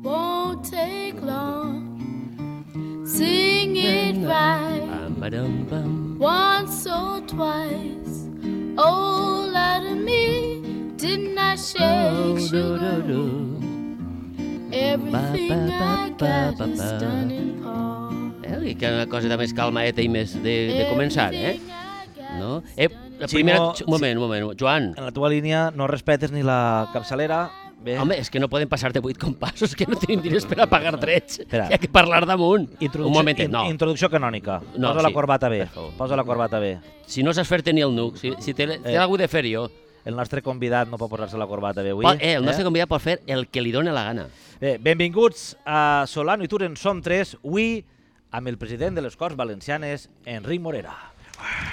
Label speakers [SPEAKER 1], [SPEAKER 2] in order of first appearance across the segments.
[SPEAKER 1] won't take long. Sing
[SPEAKER 2] uh,
[SPEAKER 1] it right
[SPEAKER 2] Ba-dum-bum.
[SPEAKER 1] once or twice. All out of me did not
[SPEAKER 2] Oh,
[SPEAKER 1] shake sugar.
[SPEAKER 2] do-do-do.
[SPEAKER 1] Everything I
[SPEAKER 2] Ba, ba, ba,
[SPEAKER 1] got
[SPEAKER 2] ba,
[SPEAKER 1] is
[SPEAKER 2] ba.
[SPEAKER 1] done in part.
[SPEAKER 2] Eh? I que una cosa de més calmaeta i més de, de començar, eh?
[SPEAKER 1] Everything I got
[SPEAKER 2] No?
[SPEAKER 1] is
[SPEAKER 2] Eh,
[SPEAKER 1] done
[SPEAKER 2] la
[SPEAKER 1] in
[SPEAKER 2] primera...
[SPEAKER 3] Ximo,
[SPEAKER 2] Un moment, un moment. Joan,
[SPEAKER 3] En la teva línia no respetes ni la capçalera. Bé,
[SPEAKER 2] home, és que no poden passar-te vuit compassos, que no tenim diners per a pagar drets.
[SPEAKER 3] Espera.
[SPEAKER 2] Hi ha que parlar damunt.
[SPEAKER 3] introducció,
[SPEAKER 2] Un momentet,
[SPEAKER 3] in-
[SPEAKER 2] no.
[SPEAKER 3] Introducció canònica.
[SPEAKER 2] No,
[SPEAKER 3] Posa la
[SPEAKER 2] sí.
[SPEAKER 3] corbata bé.
[SPEAKER 2] Per favor.
[SPEAKER 3] Posa la corbata bé.
[SPEAKER 2] Si no saps fer-te ni el nuc, si, si té, té
[SPEAKER 3] Eh.
[SPEAKER 2] algú de fer jo,
[SPEAKER 3] El nostre convidat no pot posar-se la corbata bé avui.
[SPEAKER 2] pot, eh, el nostre convidat pot fer el que li dóna la gana.
[SPEAKER 3] Bé, benvinguts a Solano i Turen Som 3, avui amb el president de les Corts Valencianes, Enric Morera.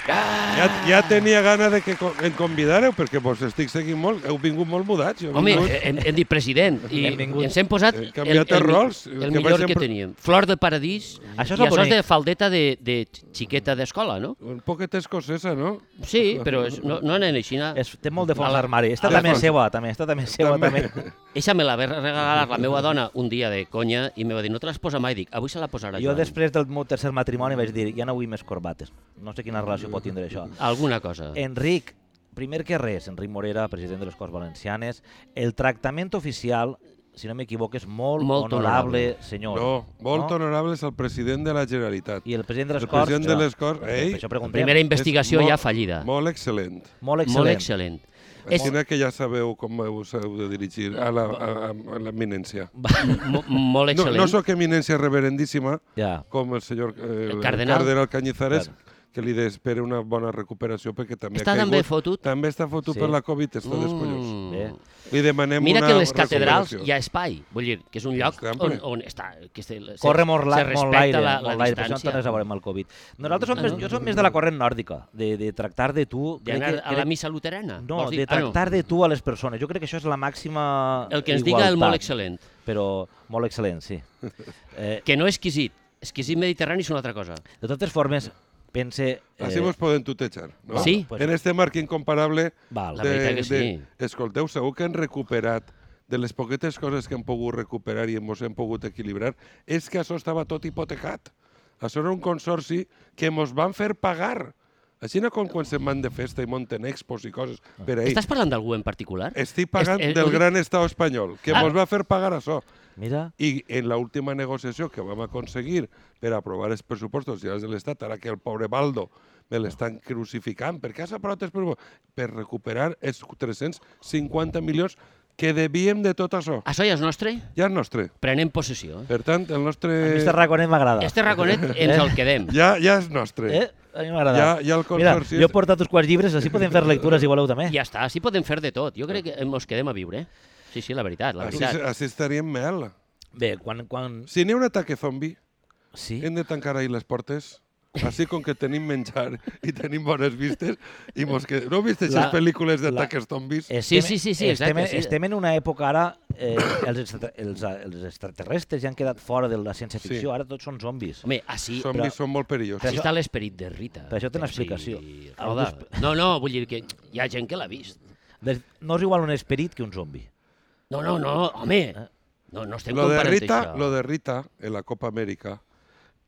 [SPEAKER 4] Ja, ja tenia gana de que co- em convidàreu, perquè vos estic seguint molt, heu vingut molt mudats. Jo he
[SPEAKER 2] Home, eh.
[SPEAKER 4] vingut-
[SPEAKER 2] hem, hem dit president i
[SPEAKER 3] Benvingut.
[SPEAKER 2] ens hem posat
[SPEAKER 4] He Eh, canviat els rols,
[SPEAKER 2] el,
[SPEAKER 4] que
[SPEAKER 2] millor
[SPEAKER 4] vaig
[SPEAKER 2] que
[SPEAKER 4] sempre-
[SPEAKER 2] teníem. Flor de paradís
[SPEAKER 3] Això és
[SPEAKER 2] i
[SPEAKER 3] el
[SPEAKER 2] això és
[SPEAKER 3] bonic.
[SPEAKER 2] de faldeta de, de xiqueta d'escola, no?
[SPEAKER 4] Un poquet escocesa, no?
[SPEAKER 2] Sí, però és, no, no anem així.
[SPEAKER 3] És, té molt de fons
[SPEAKER 2] A la-
[SPEAKER 3] d'armari. Esta
[SPEAKER 4] a la
[SPEAKER 3] també és
[SPEAKER 4] fons.
[SPEAKER 3] seva, també. Esta també és seva, també.
[SPEAKER 4] També.
[SPEAKER 2] Eixa me la va regalar la meva dona un dia de conya i me va dir, no te l'has posat mai? Dic, avui se la posarà
[SPEAKER 3] Jo
[SPEAKER 2] Joan.
[SPEAKER 3] després del meu tercer matrimoni vaig dir, ja no vull més corbates. No sé quina relació pot tindre això.
[SPEAKER 2] Alguna cosa.
[SPEAKER 3] Enric, primer que res, Enric Morera, president de les Corts Valencianes, el tractament oficial, si no m'equivoco, és molt,
[SPEAKER 2] Molt
[SPEAKER 3] honorable,
[SPEAKER 2] honorable.
[SPEAKER 3] senyor.
[SPEAKER 4] No, molt
[SPEAKER 3] No?
[SPEAKER 4] honorable és el president de la Generalitat.
[SPEAKER 3] I el president de les
[SPEAKER 4] El
[SPEAKER 3] Corts...
[SPEAKER 4] president de les Corts, ei,
[SPEAKER 3] això preguntem.
[SPEAKER 2] Primera investigació
[SPEAKER 4] És molt-
[SPEAKER 2] ja fallida.
[SPEAKER 4] Molt excel·lent.
[SPEAKER 3] Molt excel·lent.
[SPEAKER 2] Molt excel·lent. És
[SPEAKER 4] Així que ja sabeu com us heu de dirigir a la- a- a- a l'eminència.
[SPEAKER 2] mo- molt
[SPEAKER 4] No,
[SPEAKER 2] excel·lent.
[SPEAKER 4] no sóc eminència reverendíssima,
[SPEAKER 3] Ja.
[SPEAKER 4] com el senyor eh,
[SPEAKER 2] El
[SPEAKER 4] el
[SPEAKER 2] cardenal.
[SPEAKER 4] cardenal Cañizares, que li espera una bona recuperació perquè també
[SPEAKER 2] Està
[SPEAKER 4] ha caigut.
[SPEAKER 2] també fotut?
[SPEAKER 4] També està fotut
[SPEAKER 3] Sí.
[SPEAKER 4] per la Covid, està mm. descollós.
[SPEAKER 2] Mm.
[SPEAKER 3] Bé.
[SPEAKER 4] Li demanem
[SPEAKER 2] Mira
[SPEAKER 4] una
[SPEAKER 2] que en les catedrals
[SPEAKER 4] recuperació.
[SPEAKER 2] hi ha espai, vull dir, que és un lloc
[SPEAKER 4] Està
[SPEAKER 2] on,
[SPEAKER 4] ample.
[SPEAKER 2] on està, que se, se,
[SPEAKER 3] Corre molt, la,
[SPEAKER 2] se
[SPEAKER 3] molt
[SPEAKER 2] respecta
[SPEAKER 3] l'aire,
[SPEAKER 2] la, la,
[SPEAKER 3] molt l'aire, per això
[SPEAKER 2] distància.
[SPEAKER 3] no veurem el Covid. Nosaltres som
[SPEAKER 2] Ah,
[SPEAKER 3] més,
[SPEAKER 2] no?
[SPEAKER 3] jo som més de la corrent nòrdica, de, de tractar de tu... crec
[SPEAKER 2] D'anar
[SPEAKER 3] que-
[SPEAKER 2] a la
[SPEAKER 3] crec-
[SPEAKER 2] missa luterana?
[SPEAKER 3] No,
[SPEAKER 2] vols dir?
[SPEAKER 3] de tractar de tu a les persones. Jo crec que això és la màxima
[SPEAKER 2] Ah, no. El que ens diga el molt excel·lent,
[SPEAKER 3] Però molt excel·lent, sí. Eh,
[SPEAKER 2] que no exquisit. Exquisit mediterrani és una altra cosa.
[SPEAKER 3] de totes formes, pense... Eh,
[SPEAKER 4] Així vos poden tutejar. No?
[SPEAKER 2] Sí.
[SPEAKER 3] Pues-
[SPEAKER 4] en este marc incomparable...
[SPEAKER 3] Val.
[SPEAKER 2] La veritat que sí.
[SPEAKER 4] Escolteu, segur que han recuperat de les poquetes coses que hem pogut recuperar i ens hem pogut equilibrar, és que això estava tot hipotecat. Això era un consorci que ens van fer pagar. Així no com quan se'n van de festa i monten expos i coses. Per ahí.
[SPEAKER 2] Estàs parlant d'algú en particular?
[SPEAKER 4] Estic pagant
[SPEAKER 2] Est- eh, ho
[SPEAKER 4] del
[SPEAKER 2] dic-
[SPEAKER 4] gran estat espanyol, que
[SPEAKER 2] Ah.
[SPEAKER 4] ens va fer pagar això.
[SPEAKER 3] Mira,
[SPEAKER 4] I en l'última negociació que vam aconseguir per aprovar els pressupostos generals de l'Estat, ara que el pobre Baldo me l'estan crucificant, per què has aprovat els pressupostos? Per recuperar els 350 milions que devíem de tot això.
[SPEAKER 2] Ah, Això ja és nostre?
[SPEAKER 4] Ja és nostre.
[SPEAKER 2] Prenem possessió.
[SPEAKER 4] Per tant, el
[SPEAKER 3] a mi este
[SPEAKER 4] nostre...
[SPEAKER 3] raconet m'agrada.
[SPEAKER 2] Este raconet ens el quedem.
[SPEAKER 4] Ja, ja és nostre.
[SPEAKER 3] Eh? A mi m'agrada.
[SPEAKER 4] Ja- ja el
[SPEAKER 3] Mira,
[SPEAKER 4] consorci
[SPEAKER 3] jo he
[SPEAKER 4] és-
[SPEAKER 3] portat uns quants llibres, així podem fer lectures si voleu també.
[SPEAKER 2] Ja està, així podem fer de tot. Jo crec que ens quedem a viure. eh? Sí, sí, la veritat, la
[SPEAKER 4] Així,
[SPEAKER 2] veritat.
[SPEAKER 4] així estaríem mel.
[SPEAKER 3] Bé, quan... quan...
[SPEAKER 4] Si n'hi ha un atac zombi,
[SPEAKER 3] Sí?
[SPEAKER 4] hem de tancar ahir les portes. Així com que tenim menjar i tenim bones vistes i mos que... No heu vist
[SPEAKER 3] La-
[SPEAKER 4] aquestes pel·lícules
[SPEAKER 3] la-
[SPEAKER 4] d'ataques zombis?
[SPEAKER 3] Estem,
[SPEAKER 2] sí, sí, sí,
[SPEAKER 3] estem,
[SPEAKER 2] exacte, sí.
[SPEAKER 3] Estem en una època ara, eh, els, extra- els, els extraterrestres ja han quedat fora de la ciència-ficció,
[SPEAKER 4] Sí.
[SPEAKER 3] ara tots són zombis.
[SPEAKER 2] Home, així,
[SPEAKER 4] Zombis són molt perillosos.
[SPEAKER 2] Així està l'esperit de Rita.
[SPEAKER 3] Per això té una
[SPEAKER 2] Però sí,
[SPEAKER 3] explicació.
[SPEAKER 2] roda. No, no, vull dir que hi ha gent que l'ha vist.
[SPEAKER 3] Des- No és igual un esperit que un zombi.
[SPEAKER 2] No, no, no, home.
[SPEAKER 3] Ah.
[SPEAKER 2] No, no estem
[SPEAKER 4] lo de
[SPEAKER 2] comparant
[SPEAKER 4] Rita,
[SPEAKER 2] això.
[SPEAKER 4] Lo de Rita, en la Copa Amèrica,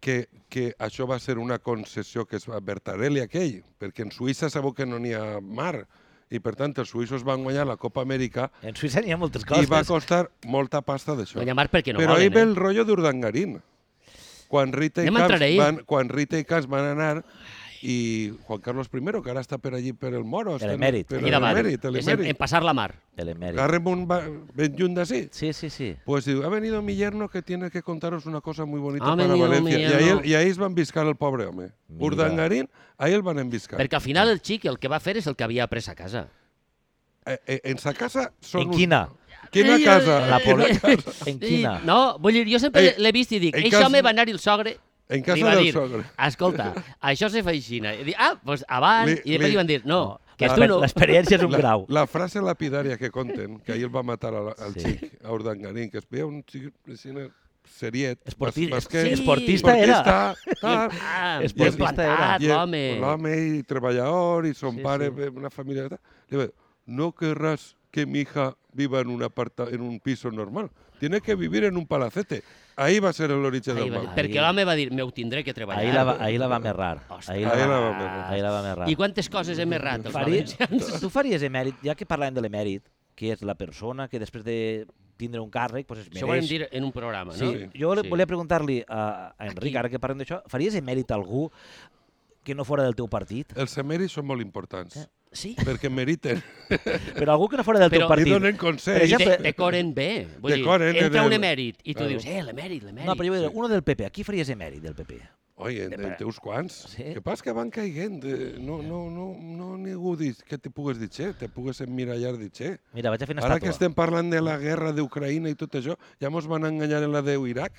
[SPEAKER 4] que, que això va ser una concessió que es va Bertarelli aquell, perquè en Suïssa sabeu que no n'hi ha mar, i per tant els suïssos van guanyar la Copa Amèrica
[SPEAKER 3] En Suïssa n'hi ha moltes
[SPEAKER 4] i
[SPEAKER 3] coses.
[SPEAKER 4] va costar molta pasta d'això.
[SPEAKER 2] No hi ha mar perquè no
[SPEAKER 4] Però
[SPEAKER 2] volen,
[SPEAKER 4] ahir ve
[SPEAKER 2] eh?
[SPEAKER 4] el rotllo d'Urdangarín. Quan Rita, i
[SPEAKER 2] Anem a
[SPEAKER 4] Camps
[SPEAKER 2] entrar ahí.
[SPEAKER 4] van, quan Rita i Camps van anar i Juan Carlos I, que ara està per allí per el Moro. està en-
[SPEAKER 3] emèrit.
[SPEAKER 4] Per
[SPEAKER 2] Aquí davant.
[SPEAKER 4] l'emèrit,
[SPEAKER 2] és en, en
[SPEAKER 4] l'emèrit.
[SPEAKER 2] passar la mar.
[SPEAKER 3] Telemèric.
[SPEAKER 4] Agarrem un ba- ben lluny d'ací.
[SPEAKER 3] Sí, sí, sí.
[SPEAKER 4] Pues diu, ha venido mi yerno que tiene que contaros una cosa muy bonita
[SPEAKER 2] Ha
[SPEAKER 4] para
[SPEAKER 2] venido mi
[SPEAKER 4] Valencia. I
[SPEAKER 2] yerno.
[SPEAKER 4] ahí, i ahí es van viscar el pobre home.
[SPEAKER 3] Mira.
[SPEAKER 4] Urdangarín, ahí el van enviscar.
[SPEAKER 2] Perquè al final el xic el que va fer és el que havia après a casa.
[SPEAKER 4] Eh, eh, en sa casa són...
[SPEAKER 3] En
[SPEAKER 4] un-
[SPEAKER 3] quina?
[SPEAKER 4] Quina
[SPEAKER 2] Ei,
[SPEAKER 4] casa?
[SPEAKER 2] eh,
[SPEAKER 3] La
[SPEAKER 2] eh,
[SPEAKER 3] poli-
[SPEAKER 2] eh,
[SPEAKER 3] En quina?
[SPEAKER 2] I, no, vull dir, jo sempre
[SPEAKER 4] Ei,
[SPEAKER 2] l'he vist i dic,
[SPEAKER 4] en
[SPEAKER 2] això
[SPEAKER 4] cas-
[SPEAKER 2] me va anar el sogre.
[SPEAKER 4] En
[SPEAKER 2] li
[SPEAKER 4] casa
[SPEAKER 2] va
[SPEAKER 4] del
[SPEAKER 2] dir,
[SPEAKER 4] sogre.
[SPEAKER 2] Escolta, això se fa així. I dic, ah, doncs abans,
[SPEAKER 4] Li-
[SPEAKER 2] i després
[SPEAKER 4] li-
[SPEAKER 2] li van dir, no, que
[SPEAKER 3] L'exper-
[SPEAKER 2] tu no.
[SPEAKER 3] L'experiència és un
[SPEAKER 4] La,
[SPEAKER 3] grau.
[SPEAKER 4] la frase lapidària que conten, que ahir el va matar al, al
[SPEAKER 3] Sí.
[SPEAKER 4] xic, a Urdangarín, que es veia un xic així, seriet,
[SPEAKER 3] Esporti-
[SPEAKER 4] bas- basquet,
[SPEAKER 2] sí,
[SPEAKER 3] esportista era.
[SPEAKER 4] tal.
[SPEAKER 2] Ah,
[SPEAKER 3] És
[SPEAKER 2] ben
[SPEAKER 3] portista,
[SPEAKER 2] plantat,
[SPEAKER 4] I el-
[SPEAKER 2] l'home.
[SPEAKER 4] L'home i treballador, i son
[SPEAKER 3] Sí,
[SPEAKER 4] pare,
[SPEAKER 3] sí.
[SPEAKER 4] una família... i tal. Li va dir, no querràs que mi hija viva en un, aparta, en un piso normal. Tiene que vivir en un palacete. Ahí va a ser el origen
[SPEAKER 2] Ahir
[SPEAKER 4] del
[SPEAKER 2] va
[SPEAKER 4] mal.
[SPEAKER 2] dir, perquè l'home va dir, me ho tindré que treballar.
[SPEAKER 3] Ahir la, va- ahir la vam errar.
[SPEAKER 2] Ostres.
[SPEAKER 3] Ahir
[SPEAKER 4] Ahir la
[SPEAKER 3] va-
[SPEAKER 4] vam errar.
[SPEAKER 3] Ahir la vam errar.
[SPEAKER 2] I quantes coses hem errat, els
[SPEAKER 3] Faria,
[SPEAKER 2] valencians?
[SPEAKER 3] tu faries emèrit, ja que parlem de l'emèrit, que és la persona que després de tindre un càrrec pues es mereix...
[SPEAKER 2] Això ho vam dir en un programa, no?
[SPEAKER 3] Sí. Jo
[SPEAKER 2] Sí.
[SPEAKER 3] sí. volia preguntar-li a, a Enric, ara que parlem d'això, faries emèrit a algú que no fora del teu partit?
[SPEAKER 4] Els emeris són molt importants,
[SPEAKER 2] Sí?
[SPEAKER 4] perquè meriten
[SPEAKER 3] Però algú que no fora del
[SPEAKER 2] Però-
[SPEAKER 3] teu
[SPEAKER 4] i
[SPEAKER 3] partit.
[SPEAKER 4] donen Eh,
[SPEAKER 2] I
[SPEAKER 3] Per
[SPEAKER 4] consells.
[SPEAKER 3] exemple-
[SPEAKER 2] te, decoren bé. Vull
[SPEAKER 4] Decoren,
[SPEAKER 2] dir, entra
[SPEAKER 4] eh,
[SPEAKER 2] un
[SPEAKER 4] de-
[SPEAKER 2] emèrit i tu
[SPEAKER 4] Claro.
[SPEAKER 2] dius, eh, l'emèrit, l'emèrit.
[SPEAKER 3] No, però jo vull dir, uno del PP, aquí faries emèrit del PP.
[SPEAKER 4] Oi, en, en té uns quants.
[SPEAKER 3] Sí.
[SPEAKER 4] Que pas que van caient. eh, No, no, no, no ningú diu que te pugues dir xe, te pugues emmirallar dir xe.
[SPEAKER 3] Mira, vaig a fer una
[SPEAKER 4] Ara que
[SPEAKER 3] estàtua.
[SPEAKER 4] estem parlant de la guerra d'Ucraïna i tot això, ja mos van enganyar en la d'Iraq.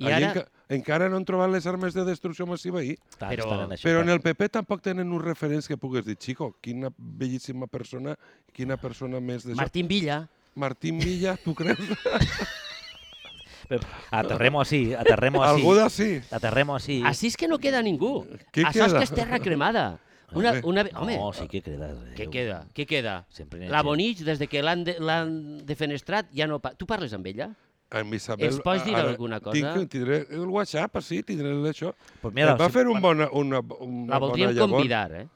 [SPEAKER 2] I
[SPEAKER 4] Allí
[SPEAKER 2] ara-
[SPEAKER 4] enca- encara no han trobat les armes de destrucció massiva ahir.
[SPEAKER 3] Estan,
[SPEAKER 2] Però-
[SPEAKER 3] estan en això,
[SPEAKER 4] Però en
[SPEAKER 3] estan.
[SPEAKER 4] el PP tampoc tenen uns referents que pugues dir, Chico, quina bellíssima persona, quina persona més de... Martín,
[SPEAKER 2] Martín Villa.
[SPEAKER 4] Martín Villa, tu creus?
[SPEAKER 3] Però Aterrem-ho així, aterrem-ho així.
[SPEAKER 4] Algú d'ací?
[SPEAKER 3] Aterrem-ho així.
[SPEAKER 2] Així és que no queda ningú.
[SPEAKER 4] Què
[SPEAKER 2] Això és
[SPEAKER 4] queda?
[SPEAKER 2] que és terra cremada. Una,
[SPEAKER 4] Home.
[SPEAKER 2] una... ve-
[SPEAKER 3] No,
[SPEAKER 2] Home,
[SPEAKER 3] sí que queda.
[SPEAKER 2] què
[SPEAKER 3] Déu.
[SPEAKER 2] queda? Què queda?
[SPEAKER 3] Sempre n'hi ha
[SPEAKER 2] La
[SPEAKER 3] gent.
[SPEAKER 2] Bonich, des de que l'han de, l'han defenestrat, ja no... Pa... Tu parles amb ella?
[SPEAKER 4] Amb Isabel...
[SPEAKER 2] Ens pots dir
[SPEAKER 4] ara
[SPEAKER 2] alguna cosa?
[SPEAKER 4] Tinc, tindré el WhatsApp, sí, tindré això.
[SPEAKER 3] Pues mira,
[SPEAKER 4] va
[SPEAKER 3] si-
[SPEAKER 4] fer un bona, una, una
[SPEAKER 2] La
[SPEAKER 4] bona
[SPEAKER 2] voldríem
[SPEAKER 4] llavor.
[SPEAKER 2] convidar, eh?